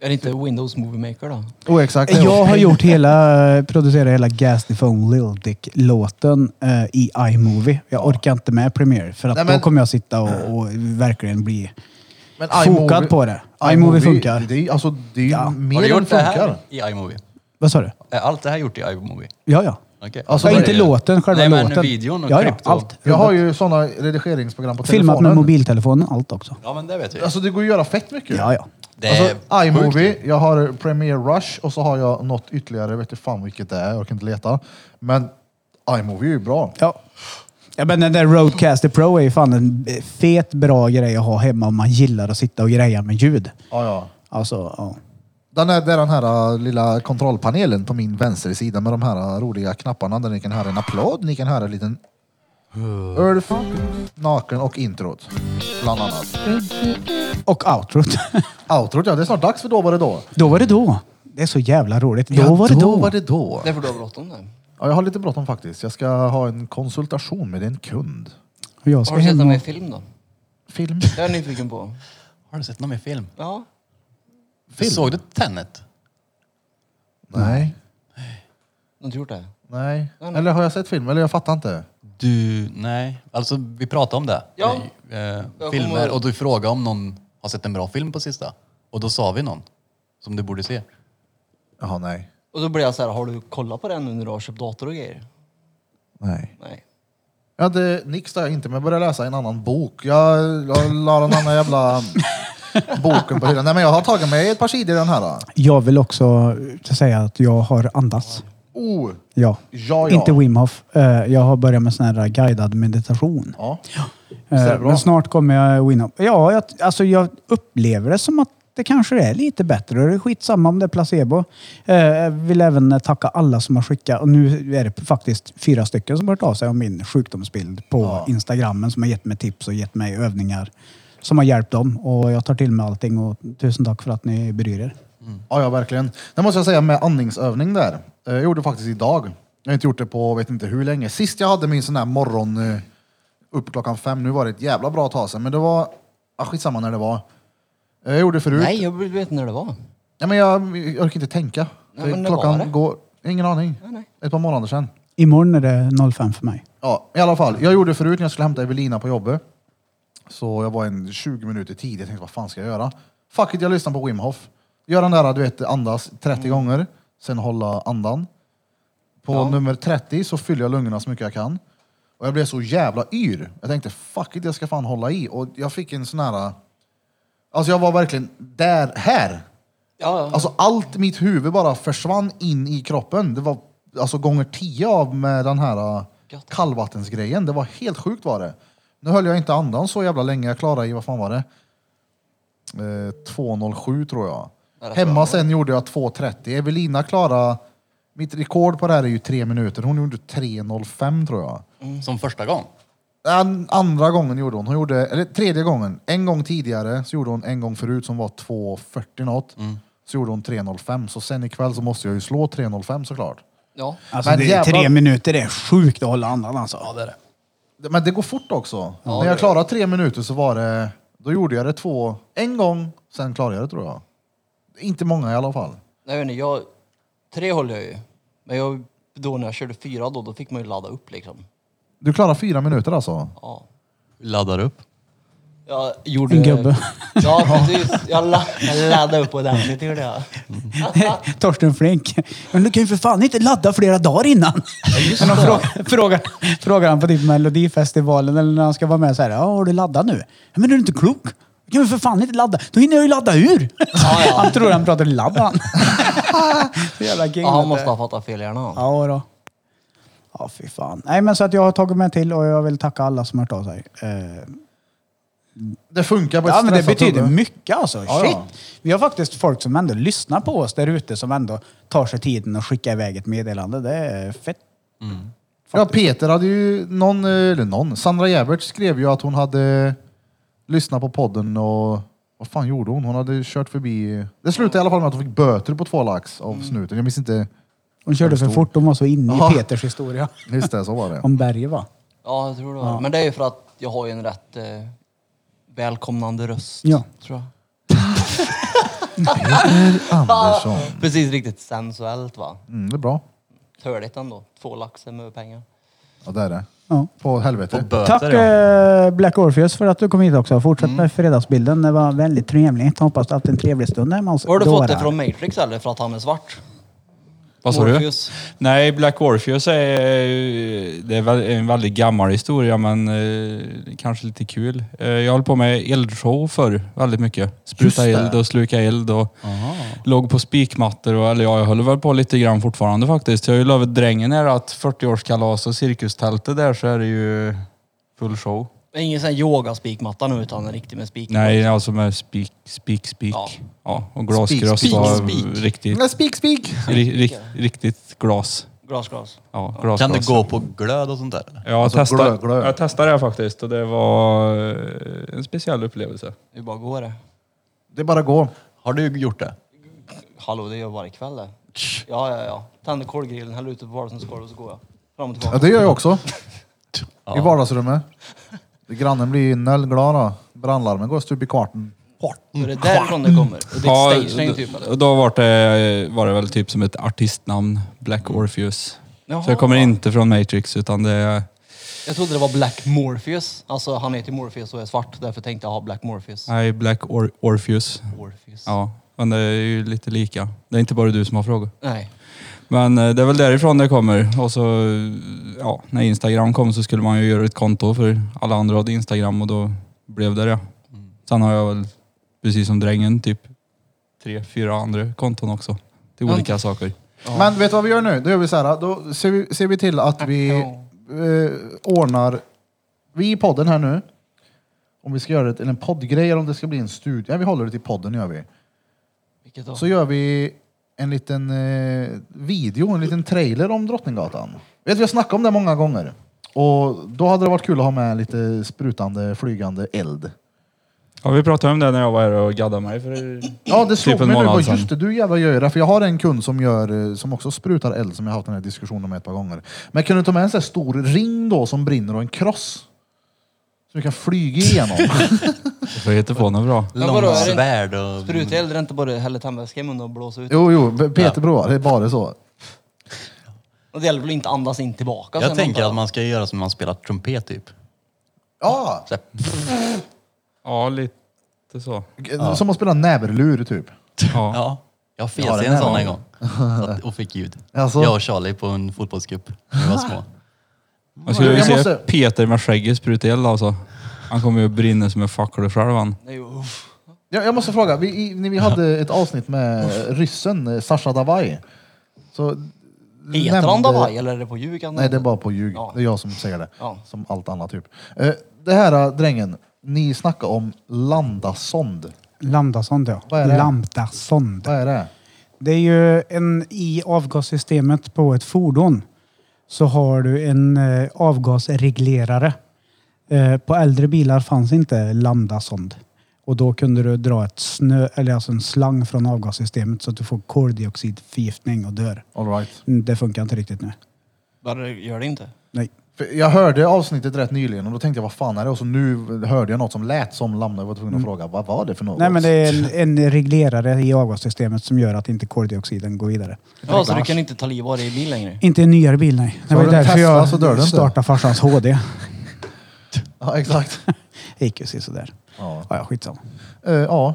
D: Är det inte Windows Movie Maker då?
A: Oh, exakt. det är
B: Jag
A: också.
B: har gjort hela, producerat hela Gasty Phone Lil Dick-låten eh, i iMovie. Jag orkar inte med Premiere för att
A: Nej, men-
B: då kommer jag sitta och, och verkligen bli...
A: Men
B: fokad
A: iMovie-
B: på det. iMovie funkar.
A: Det är, alltså, det är ju
B: Ja.
A: mer
C: Har du
A: än
C: gjort det här
A: funkar.
C: i iMovie?
B: Vad sa du?
C: Är allt det här gjort i iMovie?
B: Ja, ja.
C: Okej.
A: Alltså,
B: ja
A: vad
B: inte
A: är
B: låten, själva
C: Nej, men
B: låten.
C: videon och
B: ja, ja,
C: klippt och-
B: allt.
A: Jag har ju sådana redigeringsprogram på
B: Filmat med
A: telefonen.
B: mobiltelefonen, allt också.
C: Ja, men det vet jag.
A: Alltså det går ju att göra fett mycket.
B: Ja, ja.
C: Det är
A: Alltså, iMovie, jag har Premiere Rush och så har jag något ytterligare, jag vet inte fan vilket det är, jag kan inte leta. Men iMovie är ju bra.
B: Ja. Ja, men den där Rodecaster Pro är ju fan en fet bra grej att ha hemma om man gillar att sitta och greja med ljud.
A: Ja, ja.
B: Alltså, ja.
A: Den är, det är den här äh, lilla kontrollpanelen på min vänstersida med de här äh, roliga knapparna där ni kan höra en applåd, ni kan höra en liten Ulf, naken och introt. Bland annat.
B: Och outrot.
A: Outrot ja, det är snart dags för Då var det då.
B: då var det då. Det är så jävla roligt. Då
A: ja,
B: var det då.
A: var det då.
D: Det är för du har bråttom nu.
A: Ja, jag har lite bråttom faktiskt. Jag ska ha en konsultation med en kund.
B: Och jag ska
D: Har du sett
B: hem
D: den
B: och...
D: med film då?
A: Film.
D: Det är jag nyfiken på.
C: Har du sett någon mer film?
D: Ja.
C: film? Såg du Tenet?
A: Nej.
D: Du har inte gjort det?
A: Nej.
D: nej.
A: Eller har jag sett film? Eller jag fattar inte.
C: Du, nej. Alltså, vi pratade om det.
D: Ja.
C: Eh,
D: kommer
C: filmer.
D: ihåg.
C: Och du frågade om någon har sett en bra film på sista. Och då sa vi någon som du borde se.
A: Jaha, nej.
D: Och då blev jag så här, har du kollat på den nu när du har köpt dator och grejer?
A: Nej.
D: Nej.
A: Jag hade nix där inte, men jag började läsa en annan bok. Jag, jag la den andra jävla boken på hyllan. Nej, men jag har tagit mig ett par sidor i den här. då.
B: Jag vill också eh, säga att jag har andats.
A: Oh,
B: Ja.
A: ja, ja.
B: Inte Wim Hof. Eh, Jag har börjat med sån här guidad meditation.
A: Ja.
B: Eh,
A: är det bra?
B: Men snart kommer jag Wim Hof. Ja, jag, alltså jag upplever det som att det kanske är lite bättre. Och det är skitsamma om det är placebo. Eh, Jag vill även eh, tacka alla som har skickat. Och nu är det faktiskt fyra stycken som har hört av sig om min sjukdomsbild på Instagrammen som har gett mig tips och gett mig övningar som har hjälpt dem. Och jag tar till mig allting och tusen tack för att ni bryr er.
A: Ja, ja, verkligen. Det måste jag säga med andningsövning där. Eh, Jag gjorde det faktiskt idag. Jag har inte gjort det på vet inte hur länge. Sist jag hade min sån här morgon eh, upp klockan fem, nu var det ett jävla bra tag sedan, men det var, ah, skitsamma när det var. Eh, Jag gjorde det förut.
D: Nej, jag vet inte när det var.
A: Ja, men jag, jag orkar inte tänka.
D: Nej, men när
A: klockan
D: var det?
A: går, ingen aning. Ett par månader sedan.
B: Imorgon är det 05 för mig.
A: Ja, i alla fall. Jag gjorde det förut när jag skulle hämta Evelina på jobbet. Så jag var en 20 minuter tidig. Jag tänkte, vad fan ska jag göra? Fuck it, jag lyssnar på Wim Hof. Gör den där, du vet, andas 30 gånger. Sen hålla andan. På nummer 30 så fyller jag lungorna så mycket jag kan. Och jag blev så jävla yr. Jag tänkte, fuck it, jag ska fan hålla i. Och jag fick en sån här... Alltså jag var verkligen där, här.
D: Ja, ja.
A: Alltså allt mitt huvud bara försvann in i kroppen. Det var alltså gånger tio av med den här äh,
D: Gött.
A: kallvattensgrejen. Det var helt sjukt var det. Nu höll jag inte andan så jävla länge. Jag klarade i, vad fan var det? Eh, 2.07 tror jag. Hemma sen gjorde jag 2.30. Evelina klarade, mitt rekord på det här är ju tre minuter. Hon gjorde 3.05 tror jag.
C: Som första gång.
A: An, andra gången gjorde hon, hon gjorde, eller tredje gången, en gång tidigare så gjorde hon en gång förut som var 2.40 något.
B: Mm.
A: Så gjorde hon 3.05, så sen ikväll så måste jag ju slå 3.05 såklart.
D: Ja.
B: Alltså,
A: Men
B: det,
A: jävlar-
B: Tre minuter det är sjukt att hålla andan alltså. Ja, det är det.
A: Det- Men det går fort också. När jag klarade tre minuter så var det, då gjorde jag det två, en gång, sen klarade jag det tror jag. Inte många i alla fall.
D: Jag vet inte, jag, tre höll jag ju. Men jag, då när jag körde fyra då, då fick man ju ladda upp liksom.
A: Du klarar fyra minuter alltså?
D: Ja.
C: Laddar upp.
D: Jag gjorde...
B: En gubbe.
D: Ja, precis. Jag, la, jag laddade upp ordentligt gjorde jag.
B: Torsten Flink. Men du kan ju för fan inte ladda flera dagar innan. Men de frågar, frågar, frågar han på typ Melodifestivalen eller när han ska vara med så här. Ja, har du laddat nu? "Ja, Men är du inte klok? Du kan ju för fan inte ladda. Då hinner jag ju ladda ur.
D: ja.
B: Han tror han pratar ladd han. Så jävla king. vet
D: Ja,
B: du.
D: han måste ha fattat fel gärna han.
B: Ja då. Ja fy fan. Nej men så att jag har tagit mig till och jag vill tacka alla som har hört av sig. Eh,
A: Det funkar på ett
B: Ja, men det
A: stressat
B: betyder
A: huvud.
B: mycket alltså.
A: Ja,
B: Shit.
A: ja.
B: Vi har faktiskt folk som ändå lyssnar på oss där ute som ändå tar sig tiden att skicka iväg ett meddelande. Det är fett.
A: Ja, Peter hade ju någon, eh, eller någon, Sandra Jävert skrev ju att hon hade lyssnat på podden och vad fan gjorde hon? Hon hade kört förbi. Det slutade i alla fall med att hon fick böter på två lax av
B: Mm.
A: snuten. Jag minns inte.
B: Hon körde för fort, hon var så inne
A: Ja.
B: i Peters historia.
A: Just det, så var det.
B: Om berget va?
D: Ja, jag tror det var det. Men det är ju för att jag har ju en rätt eh, välkomnande röst.
B: Ja.
D: Tror jag.
A: Andersson.
D: Precis, riktigt sensuellt va.
A: Mm, det är bra.
D: Töligt ändå. Två laxer med pengar.
A: Ja, det är det.
B: Ja.
A: På helvete.
C: Böter
B: Tack eh, Black Orpheus för att du kom hit också. Fortsätt med fredagsbilden. Det var väldigt trevligt. Hoppas du haft en trevlig stund hemma hos
D: Har du fått det
B: dårar.
D: från Matrix eller? För att han är svart?
G: Vad sa du?
D: Morpheus.
G: Nej, Black Orpheus är, eh, det är väl- en väldigt gammal historia men eh, kanske lite kul. Eh, jag höll på med eldshow förr väldigt mycket. Spruta eld och sluka eld och låg på spikmattor. Och, eller ja, jag höll väl på lite grann fortfarande faktiskt. Jag har ju lovat drängen här att 40-årskalas och cirkustältet där så är det ju full show.
D: Ingen sån här yogaspikmatta nu utan en riktig med spik.
G: Nej, alltså med spik, spik, spik.
D: Ja.
G: Ja. och glaskröst
A: Spik,
G: var
D: spik, spik.
G: riktigt,
A: Nej, Spik, spik!
G: ri, ri, riktigt glas.
D: Glas, glas.
G: Ja, glasglas.
C: Kan det gå på glöd och sånt där?
G: Ja,
A: Alltså,
G: testa,
A: glö, glö.
G: jag testade det här faktiskt och det var eh, en speciell upplevelse.
D: Hur bara går det?
A: Det är bara att gå.
C: Har du gjort det?
D: Hallå, det gör jag varje kväll det. Ja, ja, ja. Tänder kolgrillen, häller ut det på vardagsrumsgolvet och så går jag. Fram och
A: Ja,
D: tillbaka.
A: det gör jag också. I vardagsrummet. Grannen blir ju noll glad då. Brandlarmen går stup i kvarten.
D: Så det är därifrån det kommer. Och det är ett stagering typ eller?
G: och då var det, var det väl typ som ett artistnamn, Black Orpheus.
D: Mm. Jaha.
G: Så jag kommer inte från Matrix utan det är...
D: Jag trodde det var Black Morpheus. Alltså han heter Morpheus och är svart. Därför tänkte jag ha Black Morpheus.
G: Nej, Black Or- Orpheus.
D: Morpheus.
G: Ja, men det är ju lite lika. Det är inte bara du som har frågor.
D: Nej.
G: Men eh, det är väl därifrån det kommer. Och så, eh, ja, när Instagram kom så skulle man ju göra ett konto för alla andra hade Instagram och då blev det det. Sen har jag väl, precis som drängen, typ tre, fyra andra konton också. Till olika saker.
A: Men vet du vad vi gör nu? Då gör vi så här. Då ser vi, ser vi till att vi eh, ordnar... Vi i podden här nu. Om vi ska göra det till en poddgrej eller om det ska bli en studie. Ja, vi håller det till podden gör vi.
D: Vilket då?
A: Så gör vi en liten eh, video, en liten trailer om Drottninggatan. Vet, vi har snackat om det många gånger. Och då hade det varit kul att ha med lite sprutande, flygande eld.
G: Ja, vi pratade om det när jag var här och gaddade mig för
A: Ja, det slog
G: typ en
A: mig nu.
G: månad
A: Bara,
G: sedan.
A: just det, du jävlar gör ju det. För jag har en kund som, gör, eh, som också sprutar eld som jag har haft den här diskussionen med ett par gånger. Men kan du ta med en sån här stor ring då som brinner och en kross? Så du kan flyga igenom.
G: För jag hittade på något bra.
D: Men vadå, är det-
C: Långsvärd och...
D: Spruta eld är inte bara hälla tändvätska i munnen och blåsa ut.
A: jo, jo, Peter provar. Det är bara så.
D: Och det gäller väl att inte andas in tillbaka.
C: Jag
D: sen
C: tänker
D: antar
C: att man ska göra som när man spelar trumpet typ.
A: Ja,
C: Så här,
G: Ja, lite så.
A: eh, som att spela näverlur typ.
G: Ja.
C: Ja. Jag fes
A: Ja,
C: i
A: den
C: en
A: där
C: sån
A: var-
C: en gång. Så att- Och fick ljud.
A: Alltså?
C: Jag och Charlie på en fotbollscup när vi var små.
G: Jag skulle vilja
A: Jag
G: se
A: måste-
G: Peter med skägget spruta eld alltså. Han kommer ju att brinna som en fackla själv han.
D: Nej, uff.
A: Jag, jag måste fråga, vi, i, när vi hade ett avsnitt med ryssen eh, Sasha Davai. Så
D: Heter han Davai eller är det på ljug? han
A: Nej, det är
D: heter?
A: bara på ljug.
D: Ja.
A: Det är jag som säger det.
D: Ja.
A: Som allt annat typ. Eh, det här eh, drängen, ni snackar om landasond.
B: Lambdasond ja.
A: Vad är det?
B: Lambdasond.
A: Vad är det?
B: Det är ju en i avgassystemet på ett fordon så har du en eh, avgasreglerare. Eh, på äldre bilar fanns inte lambdasond. Och då kunde du dra ett snö, eller alltså en slang från avgassystemet så att du får koldioxidförgiftning och dör.
A: All right.
B: Mm, Det funkar inte riktigt nu.
D: Bara gör det inte.
B: Nej.
A: För jag hörde avsnittet rätt nyligen och då tänkte jag vad fan är det? Och så nu hörde jag något som lät som Lambda. Jag var tvungen att
D: Mm.
A: fråga vad var det för något?
B: Nej men det är en, en reglerare i avgassystemet som gör att inte koldioxiden går vidare.
D: Ja, så Alltså, du kan inte ta liv av dig i bil längre.
B: Inte i en nyare bil nej. Det
A: Så
B: var
A: har
B: ju
A: du en
B: därför
A: Tesla så dör du
B: jag
A: inte.
B: startade farsans HD.
A: Ja, exakt.
B: Det gick ju sådär.
A: Ja.
B: Ja, ja, skitsamma.
A: Eh, ja.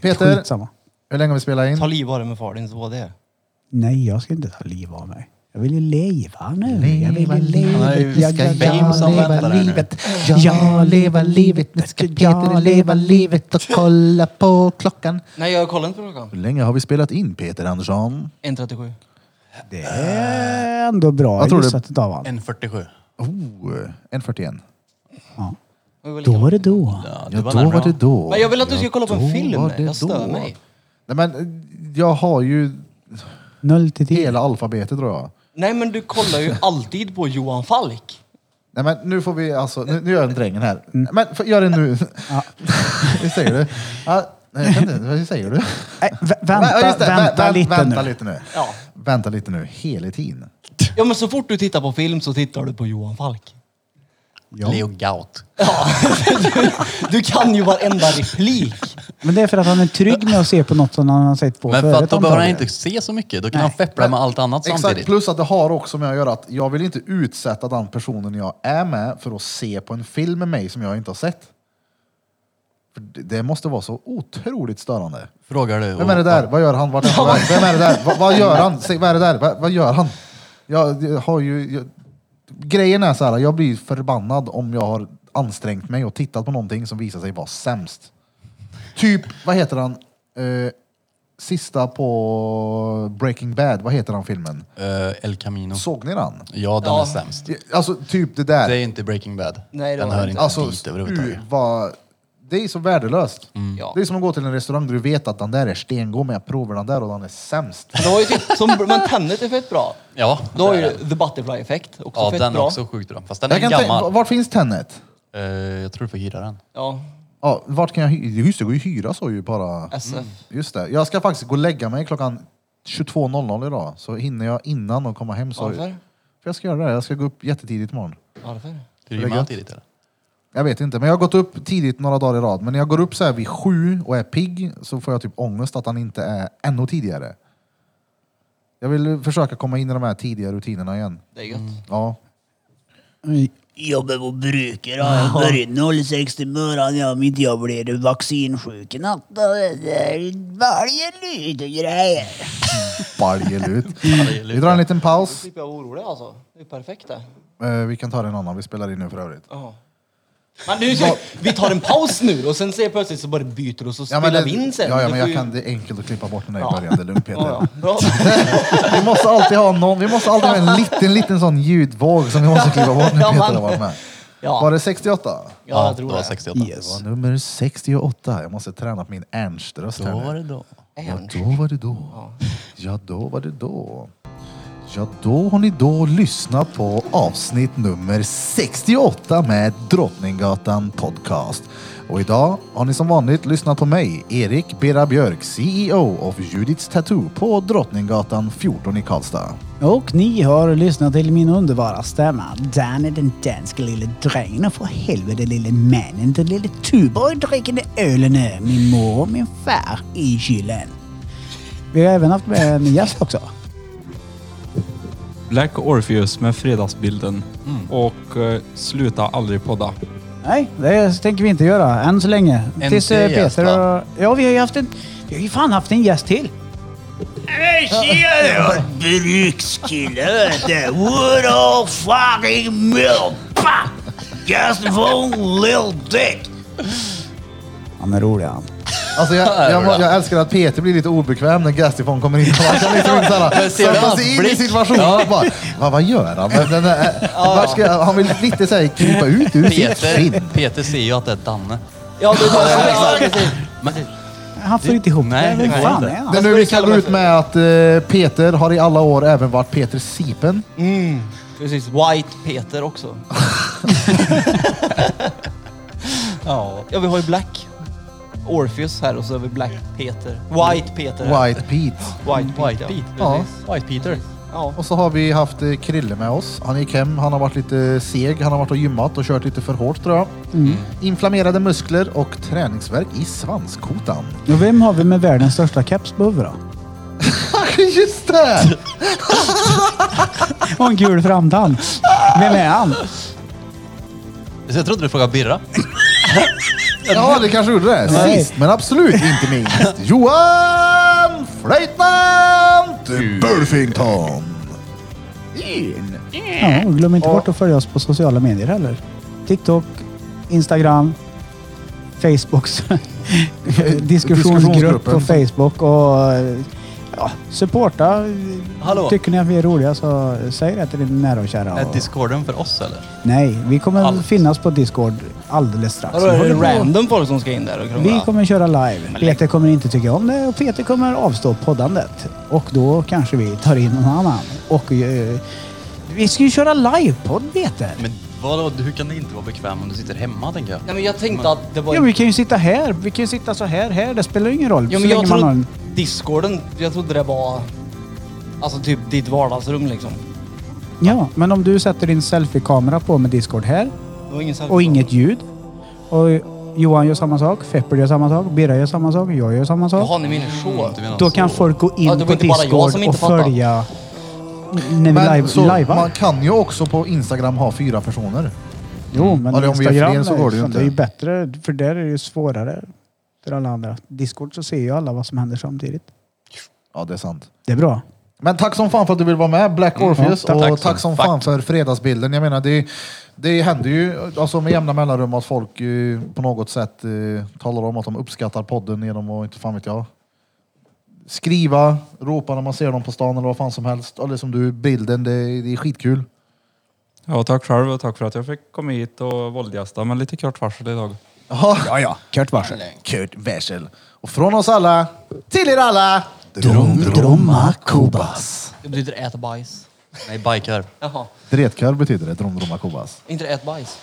A: Peter?
B: Peter? Skitsamma.
A: Hur länge har vi spelat in?
D: Ta liv av dig med far din, så var det.
B: Nej, jag ska inte ta liv av mig. Jag vill ju leva nu. jag vill ju leva.
C: Nej, vi ska
B: jag,
C: Fame som väntar där nu.
B: Jag leva livet. Nu ska Peter leva livet och kolla på klockan.
D: Nej, jag kollar inte på klockan.
A: Hur länge har vi spelat in Peter Andersson?
D: 1.37.
B: Det är ändå bra
A: Jag tror det-
B: gissat utav honom.
C: 1.47.
A: Oh, 1.41.
D: Det var väl
B: Då
D: lika
B: var det då.
C: Ja, det
A: Ja,
C: var
A: då
C: närmare.
A: var det då.
D: Men jag vill att du ska kolla på en
A: då
D: film.
A: var det
D: Jag stör
A: då.
D: mig.
A: Nej, men eh, jag har ju
B: 0 till 10.
A: hela alfabetet tror jag.
D: Nej, men du kollar ju alltid på Johan Falk.
A: Nej men nu får vi alltså, nu, nu gör jag en drängen här. Men för, gör den nu. Hur säger du? Ja, nej, jag kan inte, hur säger du?
B: Nej, vä-
A: Ja,
B: vänta,
A: just det, vä-
B: vänta
A: vä-
B: lite
A: vänta
B: nu.
A: lite nu.
D: Ja.
A: Vänta lite nu, hela tiden.
D: ja, men så fort du tittar på film så tittar du på Johan Falk.
C: Leo Gaut.
D: Du kan ju varenda replik.
B: Men det är för att han är trygg med att se på något som han har sett på
C: Men för
B: förut
C: att då behöver han
B: antagligen.
C: inte se så mycket. Då kan
B: Nej.
C: han feppla med allt annat
A: Exakt,
C: samtidigt.
A: plus att det har också med att göra att jag vill inte utsätta den personen jag är med för att se på en film med mig som jag inte har sett. För det- det måste vara så otroligt störande.
C: Frågar du.
A: Vem är det där? Vad gör han? Vart är han på väg? Vem är det där? Vad, vad gör han? Säg, vad är det där? Vad, vad gör han? Jag, jag har ju... Jag, grejen är så här, jag blir förbannad om jag har ansträngt mig och tittat på någonting som visar sig vara sämst. Typ, vad heter han? Eh, sista på Breaking Bad, vad heter han filmen?
C: Eh, El Camino.
A: Såg ni den?
C: Ja, den
D: Ja.
C: är sämst.
A: Alltså typ det där.
C: Det är inte Breaking Bad.
D: Nej, det
C: den
D: var
C: hör
D: det
C: inte
A: Alltså,
C: dit överhuvudtaget.
A: u- vad, det är så värdelöst.
C: Mm.
D: Ja.
A: Det är som att gå till en restaurang där du vet att den där är stengod, men jag provar den där och den är sämst.
D: Men, det var ju typ, som, men Tenet är fett bra.
C: Ja,
D: Då har
C: det är
D: ju
C: den.
D: The Butterfly Effect också
C: Ja,
D: fett
C: den är
D: bra.
C: också sjukt bra. Fast den
A: Jag
C: är
A: kan tänka,
C: gammal.
A: vart finns Tenet?
C: Eh, jag tror du får hyra den.
D: Ja,
A: Ja, vart kan jag hyra? Just det, går ju att hyra så ju bara.
D: SF.
A: Just det. Jag ska faktiskt gå och lägga mig klockan 22.00 idag. Så hinner jag innan och komma hem. Så...
D: Varför?
A: För jag ska göra det. Jag ska gå upp jättetidigt imorgon.
D: Varför?
C: Ska du gymma tidigt eller?
A: Jag vet inte, men jag har gått upp tidigt några dagar i rad. Men när jag går upp så här vid sju och är pigg så får jag typ ångest att han inte är ännu tidigare. Jag vill försöka komma in i de här tidiga rutinerna igen.
D: Det är gött.
A: Ja.
I: Jobbar på brukare har jag börjat 06 i morgon om inte jag blir vaccinsjuk i natt. Och det där Varje liten grej.
A: Baljelut. Vi drar en liten
D: Då
A: paus.
D: slipper jag vara orolig alltså. Det är perfekt det.
A: Eh, Vi kan ta den annan, vi spelar in nu för övrigt.
D: Jaha. Men nu, ska- vi tar en paus nu och sen ser jag plötsligt så bara byter och så spelar
A: det,
D: vi in sen.
A: Ja, ja,
D: Du
A: men
D: får
A: jag
D: ju-
A: kan, det är enkelt att klippa bort den där i
D: Ja.
A: början, det är lugnt Peter.
D: Ja, ja. Bra.
A: Vi måste alltid ha någon, vi måste alltid ha en liten, liten sån ljudvåg som vi måste klippa bort när
D: Ja,
A: Peter
D: men-
A: har varit med.
D: Ja.
A: Var det 68?
D: Ja, jag tror
C: det. var
D: det.
C: 68.
A: Det var nummer 68. Jag måste träna på min Ernst-röst här
C: Då var
A: nu.
C: det då.
A: Ja, då var det då. Ja, då var det då. Ja, då har ni då lyssnat på avsnitt nummer 68 med Drottninggatan Podcast. Och idag har ni som vanligt lyssnat på mig, Erik Bera Björk, CEO of Judiths Tattoo på Drottninggatan 14 i Karlstad.
B: Och ni har lyssnat till min underbara stämma. Dan är den danske lille drängen och för helvete lille mannen, den lille Tuborg drickande ölen är min mor och min far i kylen. Vi har även haft med en gäst också.
G: Black Orpheus med Fredagsbilden. Och eh, Sluta aldrig podda.
B: Nej, det tänker vi inte göra än så länge.
C: En
B: Tills eh,
C: till gäst,
B: Peter
C: va?
B: och... Ja, vi har ju haft en... Vi har ju fan haft en gäst till.
I: Tjena brukskille. Det wood all fucking milk. Just von Lil Dick.
B: Han är rolig han.
A: Alltså jag, jag, må- jag älskar att Peter blir lite obekväm när Gastifon kommer in. Han kan liksom inte såhär,
C: Jag ser det i
A: sätta
C: hans
A: sig in i
C: blick.
A: situationen. och Bara, vad, vad gör han? Men den där, vart ska, jag- han vill lite såhär krypa ut ur sitt skinn.
C: Peter, Peter ser ju att det är Danne.
D: Ja, det är det.
C: Men,
B: Han får inte ihop
C: Nej,
B: det. Vem
C: alltså, det går
B: fan
C: inte.
B: är han?
A: Det är nu vi kan gå ut med att eh, Peter har i alla år även varit Peter Sipen.
D: Mm, precis. White Peter också.
C: ja.
D: Ja, vi har ju Black Orpheus här och så har vi Black Peter. White Peter. här.
A: White Pete.
D: White Pete.
C: White Pete.
A: Ja.
D: Precis.
C: White Peter.
D: Ja.
A: Och så har vi haft eh, Krille med oss. Han gick hem, han har varit lite seg, han har varit och gymmat och kört lite för hårt tror jag. Inflammerade muskler och träningsvärk i svanskotan.
B: Och vem har vi med världens största keps på huvudet? då?
A: Just det!
B: Och en gul framtand. Vem är han?
C: Jag trodde du frågade Birra.
A: Ja, det kanske gjorde det.
B: Nej.
A: Sist men absolut inte minst. Johan Flöjtnant Burfington! In.
B: Ja, och glöm inte bort att följa oss på sociala medier heller. TikTok, Instagram, Facebooks diskussionsgrupp
A: Diskussionsgruppen.
B: på Facebook och ja, supporta.
C: Hallå.
B: Tycker ni att vi är roliga så säg det till din nära och kära.
C: Är
B: Och,
C: discorden för oss eller?
B: nej, vi kommer
C: Allt.
B: finnas på Discord alldeles strax.
D: Vadå, är
B: Vi
D: det
B: håller på-
D: random folk som ska in där och
B: Vi
D: krångla?
B: kommer köra live. Peter kommer inte tycka om det och Peter kommer avstå poddandet. Och då kanske vi tar in någon annan. Och eh, vi ska ju köra livepodd Peter.
C: Men vadå, hur kan det inte vara bekväm om du sitter hemma tänker jag?
D: Nej, men jag tänkte att det var...
B: Ja, vi kan ju sitta här. Vi kan ju sitta så här, här. Det spelar ju ingen roll.
D: Ja,
B: så
D: men
B: länge
D: jag
B: man har
D: trodde
B: en...
D: discorden, jag trodde det var alltså typ ditt vardagsrum liksom.
B: Ja, men om du sätter din selfie-kamera på med Discord här
D: Det var ingen selfie-
B: och inget ljud. Och Johan gör samma sak, Fepper gör samma sak, Birra gör samma sak, jag gör samma sak.
D: Jaha, ni menar så.
C: Mm, Du menar
B: Då
C: så.
B: kan folk gå in
D: Ja, det var
B: på
D: inte bara jag
B: Discord
D: som inte
B: och
D: fattar.
B: följa när vi
A: Men
B: live,
A: så,
B: lajvar.
A: man kan ju också på Instagram ha fyra personer.
B: Jo, men
A: Ja, det- om vi är
B: Instagram
A: fler så
B: är-
A: går det ju
B: fan,
A: inte.
B: Det är ju bättre, för där är det ju svårare för alla andra. Discord så ser ju alla vad som händer samtidigt.
A: Ja, det är sant.
B: Det är bra.
A: Men tack som fan för att du vill vara med, Black Orpheus.
B: Ja,
A: och
B: tack.
A: tack, som fan för fredagsbilden. Jag menar, det, det händer ju alltså, med jämna mellanrum att folk eh, på något sätt eh, talar om att de uppskattar podden genom att, inte fan vet jag, skriva, ropa när man ser dem på stan eller vad fan som helst. Eller som du, bilden, det, det är skitkul.
G: Ja, tack själv och tack för att jag fick komma hit och våldgästa med lite kort varsel idag.
A: Ja, ja. Kurt varsel. Kurt varsel. Och från oss alla, till er alla, Drom, Dromma Kobas.
D: Det betyder äta bajs.
C: Nej, bikar.
D: Jaha,
A: Dretkör betyder det, Drom, Dromma Kobas.
D: inte ät bajs.